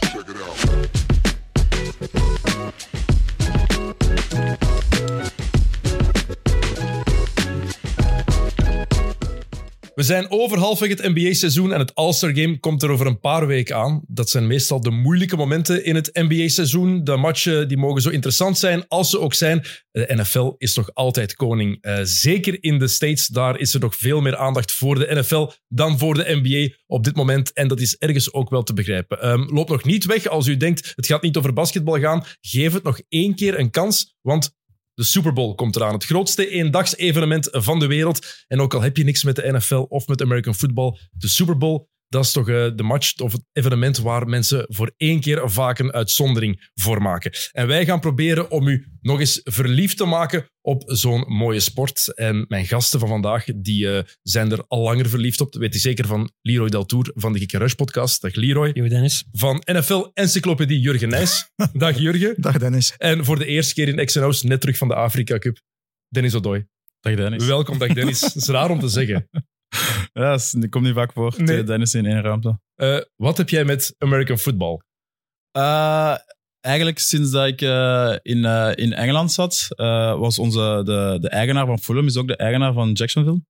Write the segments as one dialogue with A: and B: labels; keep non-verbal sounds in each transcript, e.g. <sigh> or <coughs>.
A: Check it out.
B: We zijn over halfweg het NBA-seizoen en het All-Star Game komt er over een paar weken aan. Dat zijn meestal de moeilijke momenten in het NBA-seizoen. De matchen die mogen zo interessant zijn als ze ook zijn. De NFL is toch altijd koning. Eh, zeker in de States, daar is er nog veel meer aandacht voor de NFL dan voor de NBA op dit moment. En dat is ergens ook wel te begrijpen. Ehm, loop nog niet weg als u denkt, het gaat niet over basketbal gaan. Geef het nog één keer een kans, want de Super Bowl komt eraan. Het grootste eendagsevenement van de wereld. En ook al heb je niks met de NFL of met American football, de Super Bowl, dat is toch eh, de match of het evenement waar mensen voor één keer vaak een uitzondering voor maken. En wij gaan proberen om u nog eens verliefd te maken op zo'n mooie sport. En mijn gasten van vandaag, die eh, zijn er al langer verliefd op. Dat weet ik zeker van Leroy Deltour van de Gekke Rush podcast. Dag Leroy.
C: Jo, Dennis.
B: Van NFL Encyclopedie Jurgen Nijs. Dag Jurgen.
D: Dag Dennis.
B: En voor de eerste keer in XNO's, net terug van de Afrika Cup, Dennis Odoi.
C: Dag Dennis.
B: Welkom, dag
C: <laughs>
B: Dennis. Dat is raar om te zeggen.
C: Ja, dat, is- dat komt niet vaak voor.
B: Nee.
C: Twee Dennis in één ruimte.
B: Eh, wat heb jij met American football?
C: Eh, eigenlijk sinds dat ik eh, in, eh, in Engeland zat, eh, was onze, de, de eigenaar van Fulham is ook de eigenaar van Jacksonville.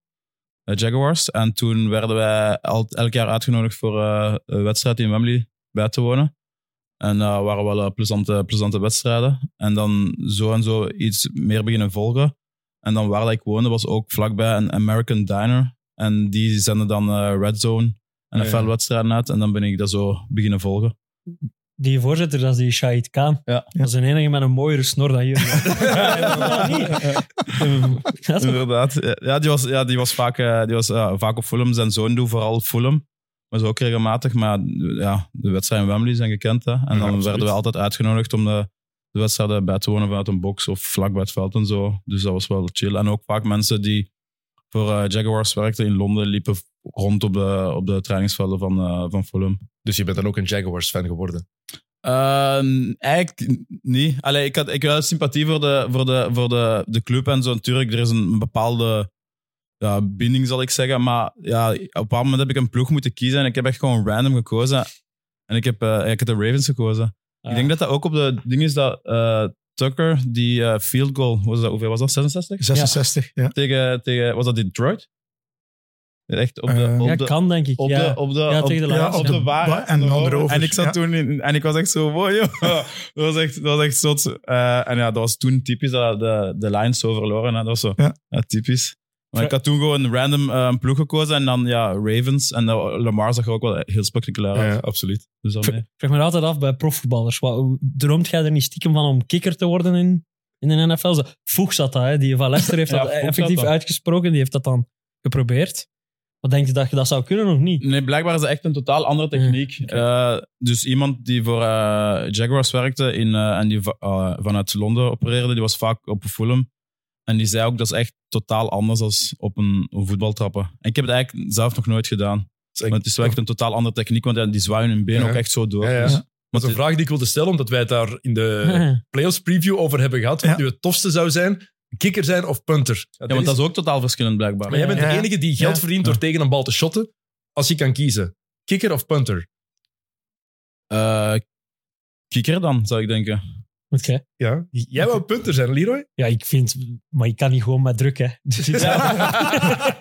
C: eh, Jaguars. En toen werden wij al, elk jaar uitgenodigd voor eh, een wedstrijd in Wembley bij te wonen. En dat waren wel eh, plezante, plezante wedstrijden. En dan zo en zo iets meer beginnen volgen. En dan waar dat ik woonde was ook vlakbij een American Diner. En die zenden dan eh, Red Zone en
B: Ja, ja.
C: NFL-wedstrijden uit. En dan ben ik dat zo beginnen volgen.
E: Die voorzitter, dat is die Shahid Khan.
C: Ja.
E: Dat is een enige met een mooiere snor
C: <laughs>
E: dan jullie. Ja, niet. Ehm, <laughs> dat is-
C: Inderdaad. Ja, die was, ja, die was, vaak, eh, die was eh, vaak op Fulham. Zijn zoon doet vooral Fulham. Maar zo ook regelmatig. Maar ja, de wedstrijden in Wembley zijn gekend. Hè. En dan
B: absoluut.
C: werden we altijd uitgenodigd om de, de wedstrijden bij te wonen vanuit een box of vlak bij het veld en zo. Dus dat was wel chill. En ook vaak mensen die voor eh, Jaguars werkten in Londen liepen rond op de, op de trainingsvelden van, eh, van Fulham.
B: Dus je bent dan ook een Jaguars-fan geworden.
C: Ehm, eigenlijk niet. Allee, ik had ik had wel sympathie voor de, voor de, voor de, de club en zo. Natuurlijk, er is een bepaalde ja, binding, zal ik zeggen. Maar ja, op een bepaald moment heb ik een ploeg moeten kiezen. En ik heb echt gewoon random gekozen. En ik heb, eh, ik heb de Ravens gekozen.
E: Ah.
C: Ik denk dat dat ook op de ding is dat eh, Tucker, die eh, field goal, was dat, hoeveel was dat? 66?
D: 66, ja.
C: Tegen, tegen, was dat Detroit? Echt op de,
D: Eh,
C: op
E: ja,
C: de,
E: kan denk ik.
C: op,
E: ja.
C: de, op de,
E: Ja,
C: op,
E: tegen de
C: ja,
E: laatste.
C: op de waar.
D: Wa- en de onderover,
C: En ik zat
D: ja.
C: toen in, en ik was echt zo, wow,
D: <laughs>
C: joh. dat was echt, dat was echt zot. Eh, en ja, dat was toen typisch dat de, de Lions zo verloren. Hè. Dat was zo
D: Ja.
C: ja, typisch. Maar ik had toen gewoon random eh, een ploeg gekozen en dan ja, Ravens. En dat- Lamar zag er ook wel heel spectaculair uit.
B: absoluut.
C: Dus dat mee.
E: Ik vraag me altijd af bij profvoetballers. Wat, hoe- droomt jij er niet stiekem van om kikker te worden in, in de NFL? Zo, Voeg zat dat, hè? die van Leicester
C: <laughs>
E: heeft
C: Ja,
E: dat
C: Voeg zat
E: effectief
C: dat.
E: uitgesproken. Die heeft dat dan geprobeerd. Wat denk je dat je dat zou kunnen of niet?
C: Nee, blijkbaar is dat echt een totaal andere techniek. Eh, dus iemand die voor eh, Jaguars werkte in, eh, en die va- eh, vanuit Londen opereerde, die was vaak op Fulham. En die zei ook dat is echt totaal anders als op een, een voetbal trappen. En ik heb het eigenlijk zelf nog nooit gedaan. Want het is wel echt een totaal andere techniek, want ja, die zwaaien hun been
B: Ja.
C: ook echt zo door.
B: Ja, ja.
C: Dus-
B: Dat is een vraag die ik wilde stellen, omdat wij het daar in
C: <laughs>
B: de playoffs preview over hebben gehad. Wat
D: Ja.
B: nu het tofste zou zijn, kikker zijn of punter.
C: ja, want dat is ook totaal verschillend blijkbaar.
B: Maar jij bent de
D: Ja.
B: enige die geld
D: Ja.
B: verdient door tegen een bal te shotten, als je kan kiezen. Kikker of punter?
C: Eh, kikker dan, zou ik denken.
E: <laughs> Oké.
B: Ja. Jij wou punter zijn, Leroy?
E: Ja, ik vind... Maar je kan niet gewoon met
C: <laughs>
E: druk, hè. Dus ik-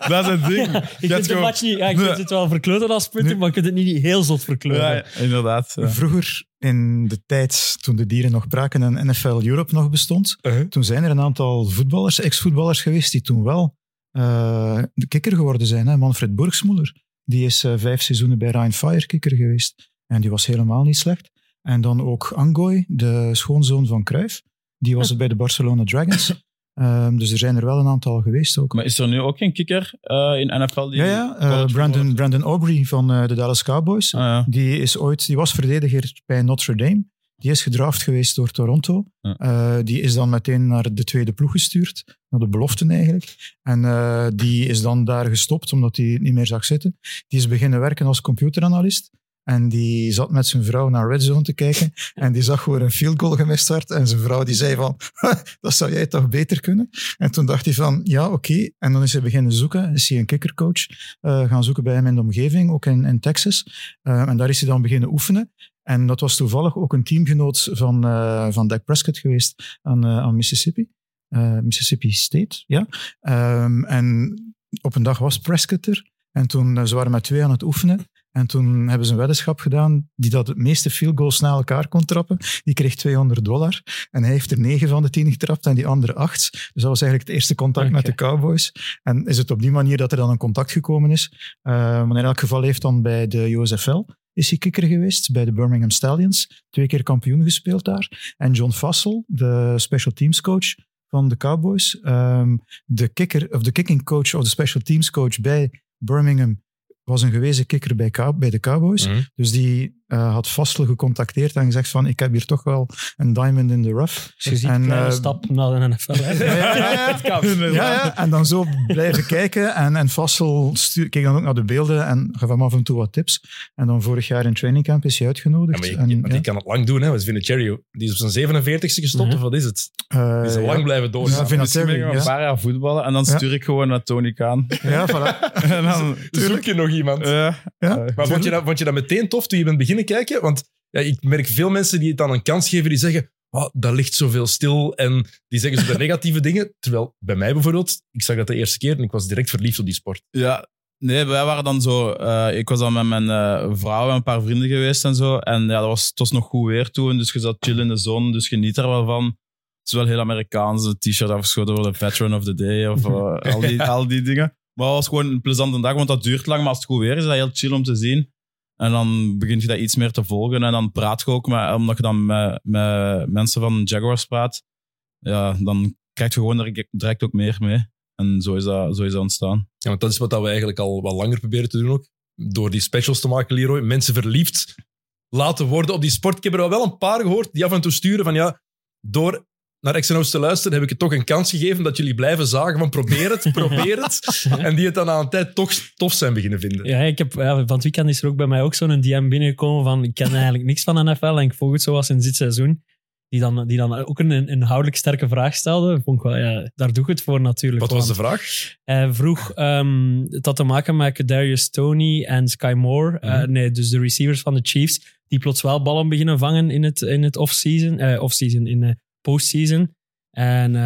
C: dat is het ding.
E: Ja, ik vind de
C: gewoon-
E: match niet... Ja, ik vind
C: Nee.
E: het wel verkleuren als punten,
D: Nee.
E: maar ik vind het niet heel zot verkleuren.
C: Ja, inderdaad. ja.
D: Vroeger, in de tijd toen de dieren nog braken en NFL Europe nog bestond,
B: Uh-huh.
D: toen zijn er een aantal voetballers, ex-voetballers geweest die toen wel eh, de kikker geworden zijn. Hè? Manfred Burgsmoeller, die is eh, vijf seizoenen bij Ryan Fire kikker geweest. En die was helemaal niet slecht. En dan ook Angoy, de schoonzoon van Cruijff, die was het bij de Barcelona Dragons.
C: <coughs>
D: Ehm, dus er zijn er wel een aantal geweest ook.
C: Maar is er nu ook geen kikker eh, in NFL? Die
D: Ja, ja. eh,
C: college
D: Brandon, Brandon Aubrey van eh, de Dallas Cowboys.
C: Ah, ja.
D: Die, is ooit, die was verdediger bij Notre Dame. Die is gedraft geweest door Toronto.
C: Ja.
D: Eh, die is dan meteen naar de tweede ploeg gestuurd. Naar de beloften eigenlijk. En eh, die is dan daar gestopt omdat hij het niet meer zag zitten. Die is beginnen werken als computeranalist. En die zat met zijn vrouw naar Red Zone te kijken. En die zag gewoon een field goal gemist werd. En zijn vrouw die zei van, dat zou jij toch beter kunnen? En toen dacht hij van, ja, oké. En dan is hij beginnen zoeken. Is hij een Ehm, kickercoach eh, gaan zoeken bij hem in de omgeving, ook in, in Texas. Eh, en daar is hij dan beginnen oefenen. En dat was toevallig ook een teamgenoot van, eh, van Dak Prescott geweest aan, eh, aan Mississippi. Eh, Mississippi State, ja. Ehm, en op een dag was Prescott er. En toen eh, ze waren met twee aan het oefenen. En toen hebben ze een weddenschap gedaan die dat het meeste field goals na elkaar kon trappen. Die kreeg 200 dollar. En hij heeft er 9 van de 10 getrapt en die andere 8. Dus dat was eigenlijk het eerste contact met de Cowboys. En is het op die manier dat er dan een contact gekomen is. Eh, maar in elk geval heeft dan bij de USFL is hij kikker geweest, bij de Birmingham Stallions. Twee keer kampioen gespeeld daar. En John Fassel, de special teams coach van de Cowboys, ehm, de, kicker, of de kicking coach of de special teams coach bij Birmingham, was een gewezen kikker bij, Cow- bij de Cowboys.
B: Mhm.
D: Dus die eh, had Vassel gecontacteerd en gezegd van, ik heb hier toch wel een diamond in the rough.
E: Dus je ziet
D: en,
E: een kleine
C: ehm,
D: eh,
E: stap naar de NFL.
C: <laughs>
E: hè.
D: <laughs> Ja, ja, ja, ja.
E: Het
B: <laughs>
E: kan.
D: Ja, ja, en dan zo blijven <laughs> kijken. En, en Vassel stuur, keek dan ook naar de beelden en gaf hem af en toe wat tips. En dan vorig jaar in trainingcamp is hij
B: Ja,
D: uitgenodigd.
B: maar je-
D: En,
B: je- want
D: ja.
B: die kan het lang doen, hè. Want Vinatieri, die is op zijn 47ste gestopt,
E: Mhm.
B: of wat is het?
D: Eh,
B: Die is al
D: ja.
B: lang blijven doorgaan.
D: Ja, Vinatieri,
C: Misschien ben ik nog een
D: ja.
C: paar jaar voetballen en dan
D: Ja.
C: stuur ik gewoon naar Tony Kaan. <laughs>
B: <laughs>
D: Ja, voilà.
C: en dan,
B: Zoek je nog iemand?
C: Eh,
D: Ja.
C: eh,
B: maar vond je, dat, vond je dat meteen tof toen je bent beginnen kijken? Want ja, ik merk veel mensen die het aan een kans geven, die zeggen, oh, dat ligt zoveel stil. En die zeggen zo de <laughs> negatieve dingen. Terwijl bij mij bijvoorbeeld, ik zag dat de eerste keer en ik was direct verliefd op die sport.
C: Ja, nee, wij waren dan zo. eh, ik was dan met mijn eh, vrouw en een paar vrienden geweest en zo. En ja, dat was, het was nog goed weer toen. Dus je zat chill in de zon, dus geniet er wel van. Het is wel heel Amerikaans, een t-shirt afgeschoten voor de Veteran of the Day of eh, al, die, al die dingen. Maar het was gewoon een plezante dag, want dat duurt lang. Maar als het goed weer is, is dat heel chill om te zien. En dan begin je dat iets meer te volgen. En dan praat je ook, maar omdat je dan met, met mensen van Jaguars praat, ja, dan krijg je gewoon direct- direct ook meer mee. En zo is dat, zo is dat ontstaan.
B: Ja, want dat is wat dat we eigenlijk al wat langer proberen te doen ook. Door die specials te maken, Leroy. Mensen verliefd laten worden op die sport. Ik heb er al wel een paar gehoord die af en toe sturen van ja, door naar XNO's te luisteren heb ik het toch een kans gegeven dat jullie blijven zagen van probeer <laughs> het, probeer het. En die het dan aan een tijd toch tof zijn beginnen vinden.
E: Ja, ik heb, ja, van het weekend is er ook bij mij ook zo'n DM binnengekomen van ik ken eigenlijk niks van NFL en ik volg het zoals in dit seizoen. Die dan, die dan ook een een inhoudelijk sterke vraag stelde. Vond ik wel, ja, daar doe ik het voor natuurlijk.
B: Wat was de
E: Want
B: vraag?
E: Hij Eh, vroeg, ehm het had te maken met Darius Tony en Sky Moore. Eh,
B: Mhm.
E: nee, dus de receivers van de Chiefs, die plots wel ballen beginnen vangen in het, in het off-season, eh, off-season, in de postseason. En <laughs> eh,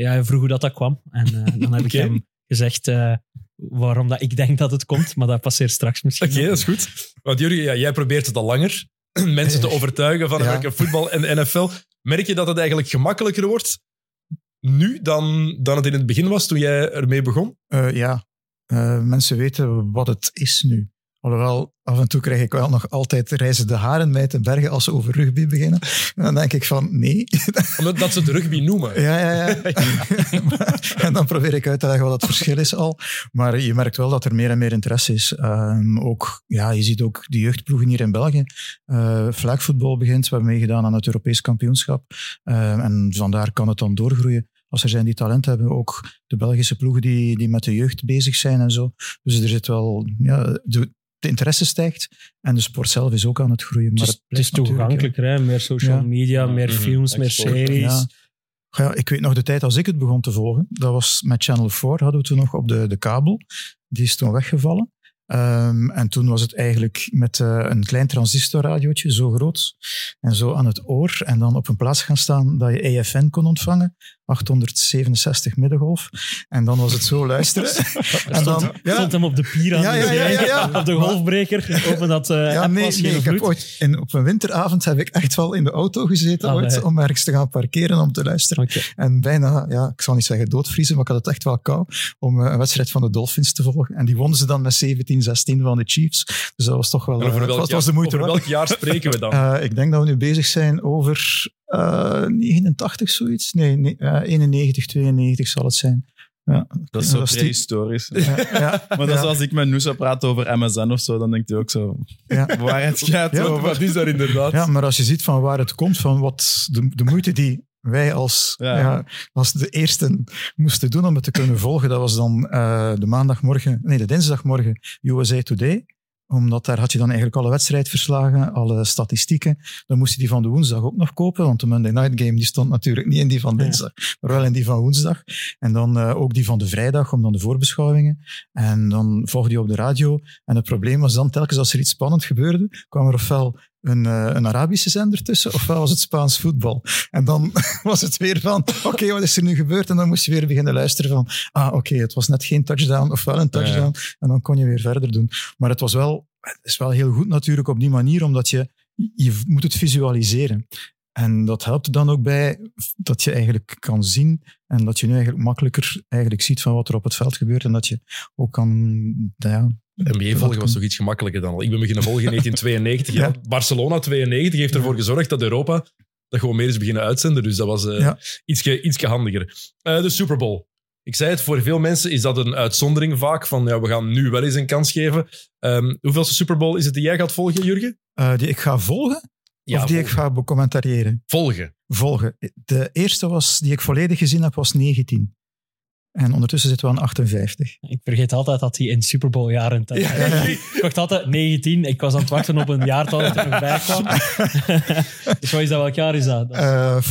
E: ja, hij vroeg hoe dat, dat kwam. En eh, dan heb ik
B: Oké.
E: hem gezegd eh, waarom dat ik denk dat het komt, maar dat passeert straks
B: <laughs>
E: misschien.
B: Oké, dat is goed. Want Jurgen, ja, jij probeert het al langer. <clears throat> Mensen te overtuigen van
D: Ja.
B: Amerika voetbal en de NFL. Merk je dat het eigenlijk gemakkelijker wordt nu dan, dan het in het begin was toen jij ermee begon?
D: Eh, ja, Eh, mensen weten wat het is nu. Alhoewel, af en toe krijg ik wel nog altijd reizen de haren mij te bergen als ze over rugby beginnen. En dan denk ik van, nee.
B: Omdat dat ze het rugby noemen.
D: ja, ja, ja.
E: <laughs>
D: <laughs> en dan probeer ik uit te leggen wat het verschil is al. Maar je merkt wel dat er meer en meer interesse is. Ehm, ook, ja, je ziet ook de jeugdploegen hier in België. Eh Vlaagvoetbal begint, we hebben meegedaan aan het Europees kampioenschap. Ehm, en vandaar kan het dan doorgroeien. Als er zijn die talent hebben, ook de Belgische ploegen die, die met de jeugd bezig zijn en zo. Dus er zit wel, ja, de, de interesse stijgt en de sport zelf is ook aan het groeien. Maar
E: Het is, het is
D: blijft natuurlijk,
E: toegankelijker, hè? meer social
D: Ja.
E: media,
C: Ja,
E: meer
B: mhm.
E: films, meer
C: Export.
E: series.
D: Ja. Ja, ik weet nog de tijd als ik het begon te volgen. Dat was met Channel 4, hadden we toen nog op de, de kabel. Die is toen weggevallen. Ehm, en toen was het eigenlijk met eh, een klein transistorradiootje, zo groot. En zo aan het oor. En dan op een plaats gaan staan dat je EFN kon ontvangen. 867 middengolf. En dan was het
E: <laughs>
D: zo luisteren. en
E: Stond,
D: dan, ja,
E: stond hem op de pier aan
D: Ja,
E: de
D: ja, ja, ja, ja.
E: zee, op de golfbreker, open dat eh
D: ja,
E: app
D: nee,
E: was
D: nee,
E: geen
D: ik heb
E: vloed.
D: ooit, in, op een winteravond heb ik echt wel in de auto gezeten
E: Ah,
D: ooit,
E: nee.
D: om ergens te gaan parkeren om te luisteren.
E: Oké.
D: En bijna, ja, ik zal niet zeggen doodvriezen, maar ik had het echt wel kou om eh, een wedstrijd van de Dolphins te volgen. En die wonnen ze dan met 17-16 van de Chiefs. Dus dat was toch wel...
B: En
D: eh,
B: over
D: het
B: welk,
D: was,
B: jaar,
D: was de moeite
B: over
D: waard.
B: welk jaar spreken we dan?
D: Eh, ik denk dat we nu bezig zijn over eh, 89 zoiets. Nee, nee eh, 91, 92 zal het zijn. Ja,
C: Dat is zo
D: dat is die-
C: prehistorisch.
D: ja, ja,
C: Maar dat
D: ja,
C: is als ik met Noosa praat over MSN of zo, dan denkt hij ook zo,
D: <laughs> ja.
C: waar het gaat.
D: Ja,
C: over.
B: wat is daar inderdaad?
D: Ja, maar als je ziet van waar het komt, van wat de, de moeite die wij als,
C: Ja.
D: ja. als de eersten moesten doen om het te kunnen volgen, dat was dan eh, de maandagmorgen, nee, de dinsdagmorgen USA Today omdat daar had je dan eigenlijk alle wedstrijdverslagen, alle statistieken. Dan moest je die van de woensdag ook nog kopen, want de Monday Night Game die stond natuurlijk niet in die van
E: Ja.
D: dinsdag, maar wel in die van woensdag. En dan eh, ook die van de vrijdag, om dan de voorbeschouwingen. En dan volgde je op de radio. En het probleem was dan telkens als er iets spannend gebeurde, kwam er ofwel een, eh, een Arabische zender tussen, ofwel was het Spaans voetbal. En dan <laughs> was het weer van, oké, wat is er nu gebeurd? En dan moest je weer beginnen luisteren van, ah, oké, het was net geen touchdown, ofwel een touchdown. En dan kon je weer verder doen. Maar het was wel, het is wel heel goed natuurlijk op die manier, omdat je, je moet het visualiseren. En dat helpt dan ook bij dat je eigenlijk kan zien en dat je nu eigenlijk makkelijker eigenlijk ziet van wat er op het veld gebeurt en dat je ook kan, nou ja,
B: NBA volgen was toch iets gemakkelijker dan al. Ik ben beginnen volgen
D: <laughs>
B: in 1992. ja.
D: Ja.
B: Barcelona 92 heeft ervoor gezorgd dat Europa dat gewoon meer is beginnen uitzenden. Dus dat was eh
D: Ja.
B: ietsje, ietsje handiger. Eh, de Super Bowl. Ik zei het, voor veel mensen is dat een uitzondering vaak. Van ja, we gaan nu wel eens een kans geven. Ehm hoeveelste Super Bowl is het die jij gaat volgen, Jurgen?
D: eh, die ik ga volgen of die ik
B: volgen.
D: ga becommentariëren. <laughs>
B: volgen.
D: volgen. De eerste was, die ik volledig gezien heb was 19. En ondertussen zitten we aan 58.
E: Ik vergeet altijd dat hij in Super Bowl jaren telt.
D: Ja, ja.
E: Ik dacht altijd 19. Ik was aan het wachten op een jaartal dat er nog bij
D: <laughs>
E: kwam. dus wat is dat? Welk jaar is dat? Dat is-
D: Eh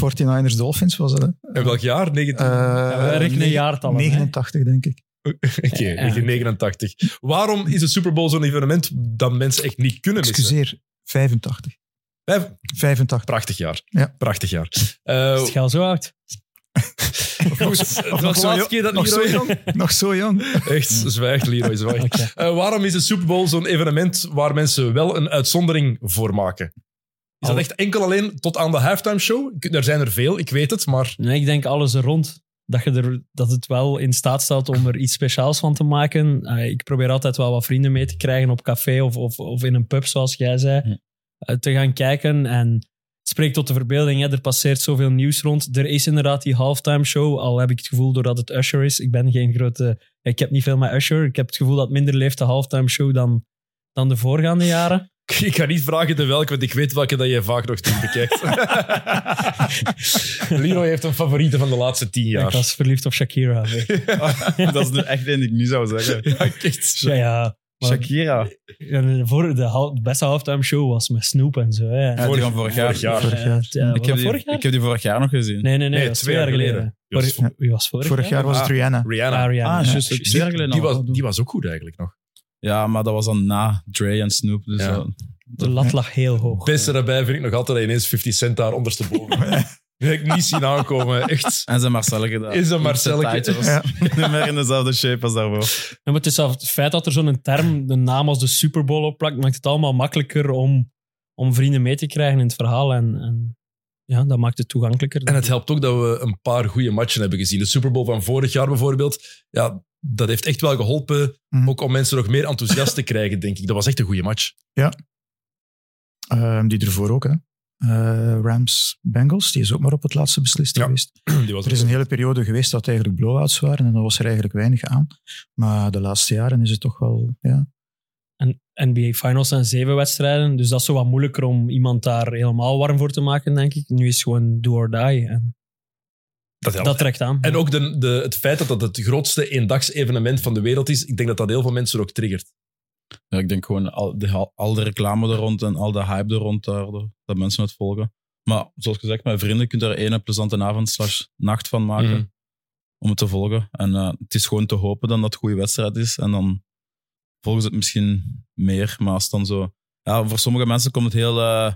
D: 49ers Dolphins was het. hè?
B: En welk jaar? 19...
D: Eh,
E: Ja, we rekenen
D: ne-
E: jaartallen, hè?
D: 89, denk ik.
B: Oké, 1989. Waarom is de Super Bowl zo'n evenement dat mensen echt niet kunnen missen?
D: Excuseer, 85.
B: Vijf-
D: 85.
B: Prachtig jaar.
D: Ja.
B: Prachtig jaar. Eh,
E: is het geld zo oud?
B: Jongens, het was de
D: zo
B: laatste
D: jong-
B: keer dat
D: nog zo
B: Leroy...
D: jong. Nog zo jong.
B: Echt,
E: Mm.
B: zwijgt Leroy,
D: oh
E: <laughs>
B: zwijgt.
E: Oké.
B: Eh, waarom is de Super Bowl zo'n evenement waar mensen wel een uitzondering voor maken? Is dat
E: Al-
B: echt enkel alleen tot aan de halftime show? Ik- Er zijn er veel, ik weet het, maar <laughs>
E: Nee, ik denk alles er rond. Dat, je er, dat het wel in staat staat om er iets speciaals van te maken. Eh, ik probeer altijd wel wat vrienden mee te krijgen op café of, of, of in een pub, zoals jij zei.
C: Ja.
E: eh, te gaan kijken en het spreekt tot de verbeelding. Hè. Er passeert zoveel nieuws rond. Er is inderdaad die halftime show, al heb ik het gevoel doordat het Usher is. Ik ben geen grote... Ik heb niet veel met Usher. Ik heb het gevoel dat minder leeft de halftime show dan, dan de voorgaande jaren.
B: ik ga niet vragen de welke, want ik weet welke dat jij vaak nog terug
E: <laughs>
B: bekijkt. Leroy heeft een favoriete van de laatste tien
E: Ik
B: jaar.
E: was verliefd op
C: <laughs>
E: Shakira.
C: dat is nu echt één die ik nu zou zeggen.
E: Ja, ja. Maar-
C: Shakira.
E: Ja, de, voor, de, hal- de beste halftime show was met Snoep en zo. Hè.
C: Ja, die van vorig jaar.
B: vorig jaar.
D: vorig jaar.
E: Eh, t- eh,
C: Ik
E: was
C: heb,
E: dat
C: die,
E: vorig jaar?
C: ik heb die vorig jaar nog gezien.
E: Nee, nee, nee.
B: Nee,
E: dat was twee jaar geleden.
B: Ja,
E: Vorig-
D: ja.
E: Wie was vorig,
D: Vorig jaar was het
B: Ah.
D: Rihanna.
B: Rihanna.
C: Ah,
E: Ariana. Ja. dus
C: juist.
B: Die-
C: Twee jaar geleden
B: die,
C: al.
B: was, die was ook goed eigenlijk nog.
C: Ja, maar dat was dan na Dre en Snoop. Dus
B: Ja.
C: dat-
E: De lat lag heel hoog.
B: Het beste daarbij vind ik nog altijd dat ineens 50 cent daar ondersteboven. <laughs> Dat heb ik niet zien aankomen, echt.
C: En zijn Marcelleke daar.
B: Is een Marcelleke.
C: Met de
D: Ja.
C: titles. <laughs> Niet meer in dezelfde shape als daarvoor.
E: Ja, maar het, is zelf, het feit dat er zo'n term, de naam als de Super Bowl opplakt, maakt het allemaal makkelijker om, om vrienden mee te krijgen in het verhaal. En, en ja, dat maakt het toegankelijker.
B: En het helpt ook dat we een paar goede matchen hebben gezien. De Super Bowl van vorig jaar bijvoorbeeld. Ja, dat heeft echt wel geholpen.
D: Mhm.
B: Ook om mensen nog meer enthousiast te krijgen, denk ik. Dat was echt een goede match. <clears throat>
D: Ehm, die ervoor ook, hè. Eh, Rams Bengals, die is ook maar op het laatste beslist
B: Ja.
D: geweest.
B: Die was
D: Er is een hele periode geweest dat het eigenlijk blowouts waren en dan was er eigenlijk weinig aan. Maar de laatste jaren is het toch wel. Ja.
E: En NBA Finals zijn zeven wedstrijden, dus dat is zo wat moeilijker om iemand daar helemaal warm voor te maken, denk ik. Nu is het gewoon do or die. En
B: dat helpt.
E: dat trekt aan.
B: En ook de, de, het feit dat dat het grootste eendagsevenement van de wereld is. Ik denk dat dat heel veel mensen ook triggert.
C: Ja, ik denk gewoon al, de, al de reclame er rond en al de hype er rond daardoor, dat mensen het volgen. Maar zoals gezegd, mijn vrienden kunt er één plezante avond slash nacht van maken
B: Mhm.
C: om het te volgen. En eh, het is gewoon te hopen dan dat het een goede wedstrijd is. En dan volgen ze het misschien meer. Maar als het dan zo... Ja, voor sommige mensen komt het heel... eh,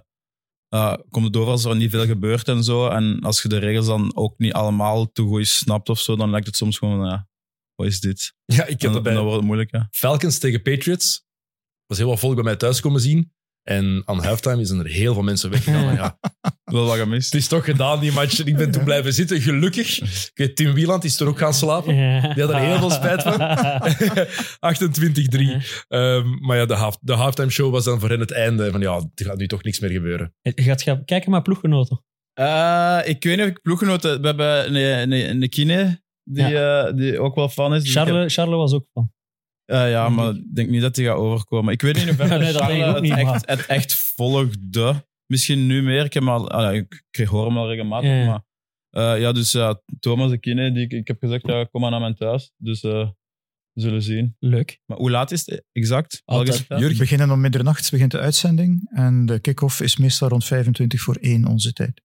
C: eh, komt het door als er niet veel gebeurt en zo. En als je de regels dan ook niet allemaal te goed snapt of zo, dan lijkt het soms gewoon... ja, wat is dit?
B: Ja, ik
C: En
B: heb
C: dan,
B: dat bij
C: dan wordt het moeilijk, hè.
B: Falcons tegen Patriots. was heel wat volk bij mij thuis komen zien. En aan halftime zijn er heel veel mensen weggegaan.
C: <laughs>
B: En ja,
C: Wel wat gemist.
B: Het is toch gedaan, die match. Ik ben toen blijven zitten, gelukkig. Ik weet, Tim Wieland is er ook gaan slapen.
E: Ja.
B: Die had er heel veel spijt van. <laughs> 28-3. Ehm, maar ja, de, half, de halftime show was dan voor hen het einde. Van ja, er gaat nu toch niks meer gebeuren.
E: <laughs> Je Gaat gaan kijken naar ploeggenoten.
C: Eh, ik weet niet of ik ploeggenoten... We hebben een, een, een kine die, eh, die ook wel fan is. Dus ik heb-
E: Charles, Charles was ook van.
C: Eh, ja,
B: Hmm.
C: maar ik denk niet dat die gaat overkomen. Ik weet niet in hoeverre
E: <laughs> Nee, dat
C: Charles
E: denk ik ook niet,
C: het,
E: maar-
C: echt, het echt volgde. Misschien nu meer. Ik, heb hem al, ah, ja, ik kreeg hoor hem al regelmatig.
E: Ja, ja.
C: Maar, eh, ja, dus ja, Thomas de Kine, die, ik, ik heb gezegd, ja, kom maar naar mijn thuis. Dus eh, we zullen zien.
E: Leuk. Ah,
C: Maar hoe laat is het exact?
E: Altijd.
C: Welke tijd?
D: We beginnen om middernacht, begint de uitzending. En de kick-off is meestal rond 25 voor 1 onze tijd.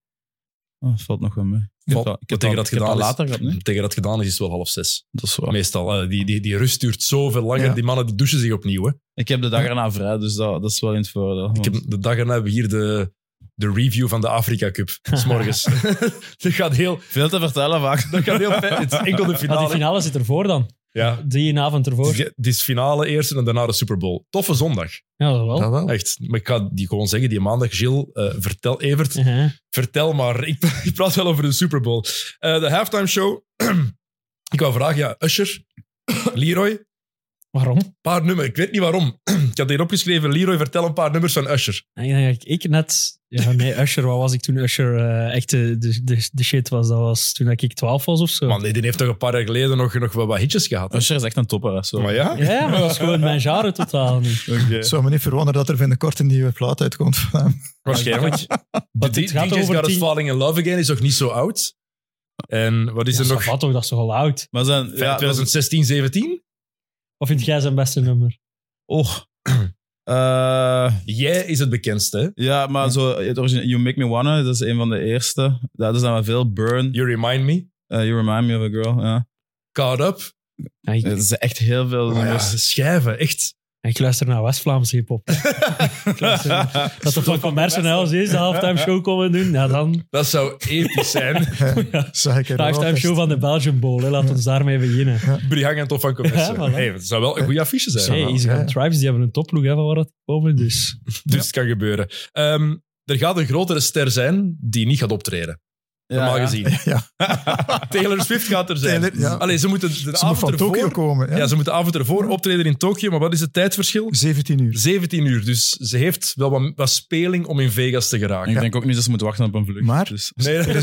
C: Oh, valt nog wel mee. Ik heb
B: Wat-
C: dat, ik
B: wat
C: heb
B: tegen
C: dat,
B: dat
C: ik heb dat
B: gedaan is-
C: later gehad. Nee?
B: Tegen dat gedaan is, is het wel half zes.
C: Dat is waar.
B: Meestal. eh, die, die, die rust duurt zoveel langer.
D: Ja.
B: Die mannen die douchen zich opnieuw. Hè.
C: Ik heb de dag erna vrij, dus dat, dat is wel in het voordeel.
B: Ik heb, de dag erna hebben we hier de, de review van de Afrika Cup. 's morgens. <laughs> dat gaat heel,
C: Veel te vertellen vaak.
B: dat gaat heel fijn.
C: <laughs>
B: Het is enkel de
E: Ah, die
B: finale.
E: finale zit ervoor dan.
B: Ja.
E: Die avond ervoor.
B: Het is finale eerst en daarna de Super Bowl. Toffe zondag.
E: Oh. Ja, dat wel.
D: Dat wel.
B: Echt. Maar ik ga die gewoon zeggen, die maandag. Gilles, eh, vertel, Evert,
E: Aha.
B: vertel maar. <laughs> Ik, pra- ik praat wel over de Super Bowl. Eh, de halftime show. <clears throat> ik wou vragen, ja, Usher, <clears throat> Leroy, een
E: Waarom?
B: paar nummers. Ik weet niet waarom. <clears throat> ik had hier opgeschreven, Leroy, vertel een paar nummers van Usher.
E: En ik denk dat ik- ik net... Ja, nee, Usher, wat was ik toen Usher eh, echt de, de, de, de shit was? Dat was toen ik 12 was of zo.
B: Man, nee, die heeft toch een paar jaar geleden nog, nog wat, wat hitjes gehad. hè?
C: Usher is echt een topper. hè, Zo.
B: Maar ja.
E: Ja, maar dat is gewoon mijn genre totaal niet.
C: Oké.
D: Het zou me niet verwonderen dat er binnenkort een nieuwe plaat uitkomt van hem. <laughs>
B: Waarschijnlijk. De
E: Want
B: D-
E: het gaat
B: DJ's
E: over
B: Got Us
E: tien-
B: Falling in Love Again is nog niet zo oud. En wat is
E: Ja,
B: er nog?
E: ça va toch, dat is toch al oud?
C: Maar zijn, ja, dat is-
B: 2016, 17?
E: Of vind jij zijn beste nummer?
C: oh. Eh,
B: Jij is het bekendste. hè?
C: ja, maar zo, het origine- You Make Me Wanna, dat is een van de eerste. Dat is dan wel veel. Burn,
B: You Remind Me,
C: eh, You Remind Me of a Girl. Ja.
B: Caught Up.
E: Ja, ik,
C: Het is echt heel
D: Oh
C: veel.
B: Maar ja,
D: <laughs>
C: nummers.
B: schijven, echt.
E: ik luister naar West-Vlaamse hip-hop. Ik luister naar- dat de Frank van Mersen als eerste halftime show komen doen, ja, dan
B: Dat zou episch zijn.
D: Zag ik er
E: de
D: wel
E: halftime
D: vast.
E: show van de Belgian Bowl. Hè. Laat ons daarmee beginnen.
B: Brihang en Tof van Comesse.
E: Ja, voilà.
B: hey, het zou wel een goede affiche zijn.
E: Hey,
D: wel,
E: Easy
D: ja.
E: on Tribes, die hebben een topploeg hè, van waar dat komen. Dus
B: Dus het kan gebeuren. Ehm, er gaat een grotere ster zijn die niet gaat optreden. Normaal
C: Ja, ja.
D: <laughs>
B: gezien.
D: Ja.
B: Taylor Swift gaat er zijn.
D: Taylor, ja.
B: Allee, ze moeten de
D: Ze moet
B: avond
D: van
B: ervoor...
D: Tokio komen.
B: Ja.
D: Ja.
B: ze moeten de avond ervoor optreden in Tokio. Maar wat is het tijdverschil?
D: 17 uur.
B: 17 uur. Dus ze heeft wel wat, wat speling om in Vegas te geraken.
C: Ik denk ook niet dat ze moeten wachten op een vlucht.
D: Maar-
C: dus.
B: Nee, dat is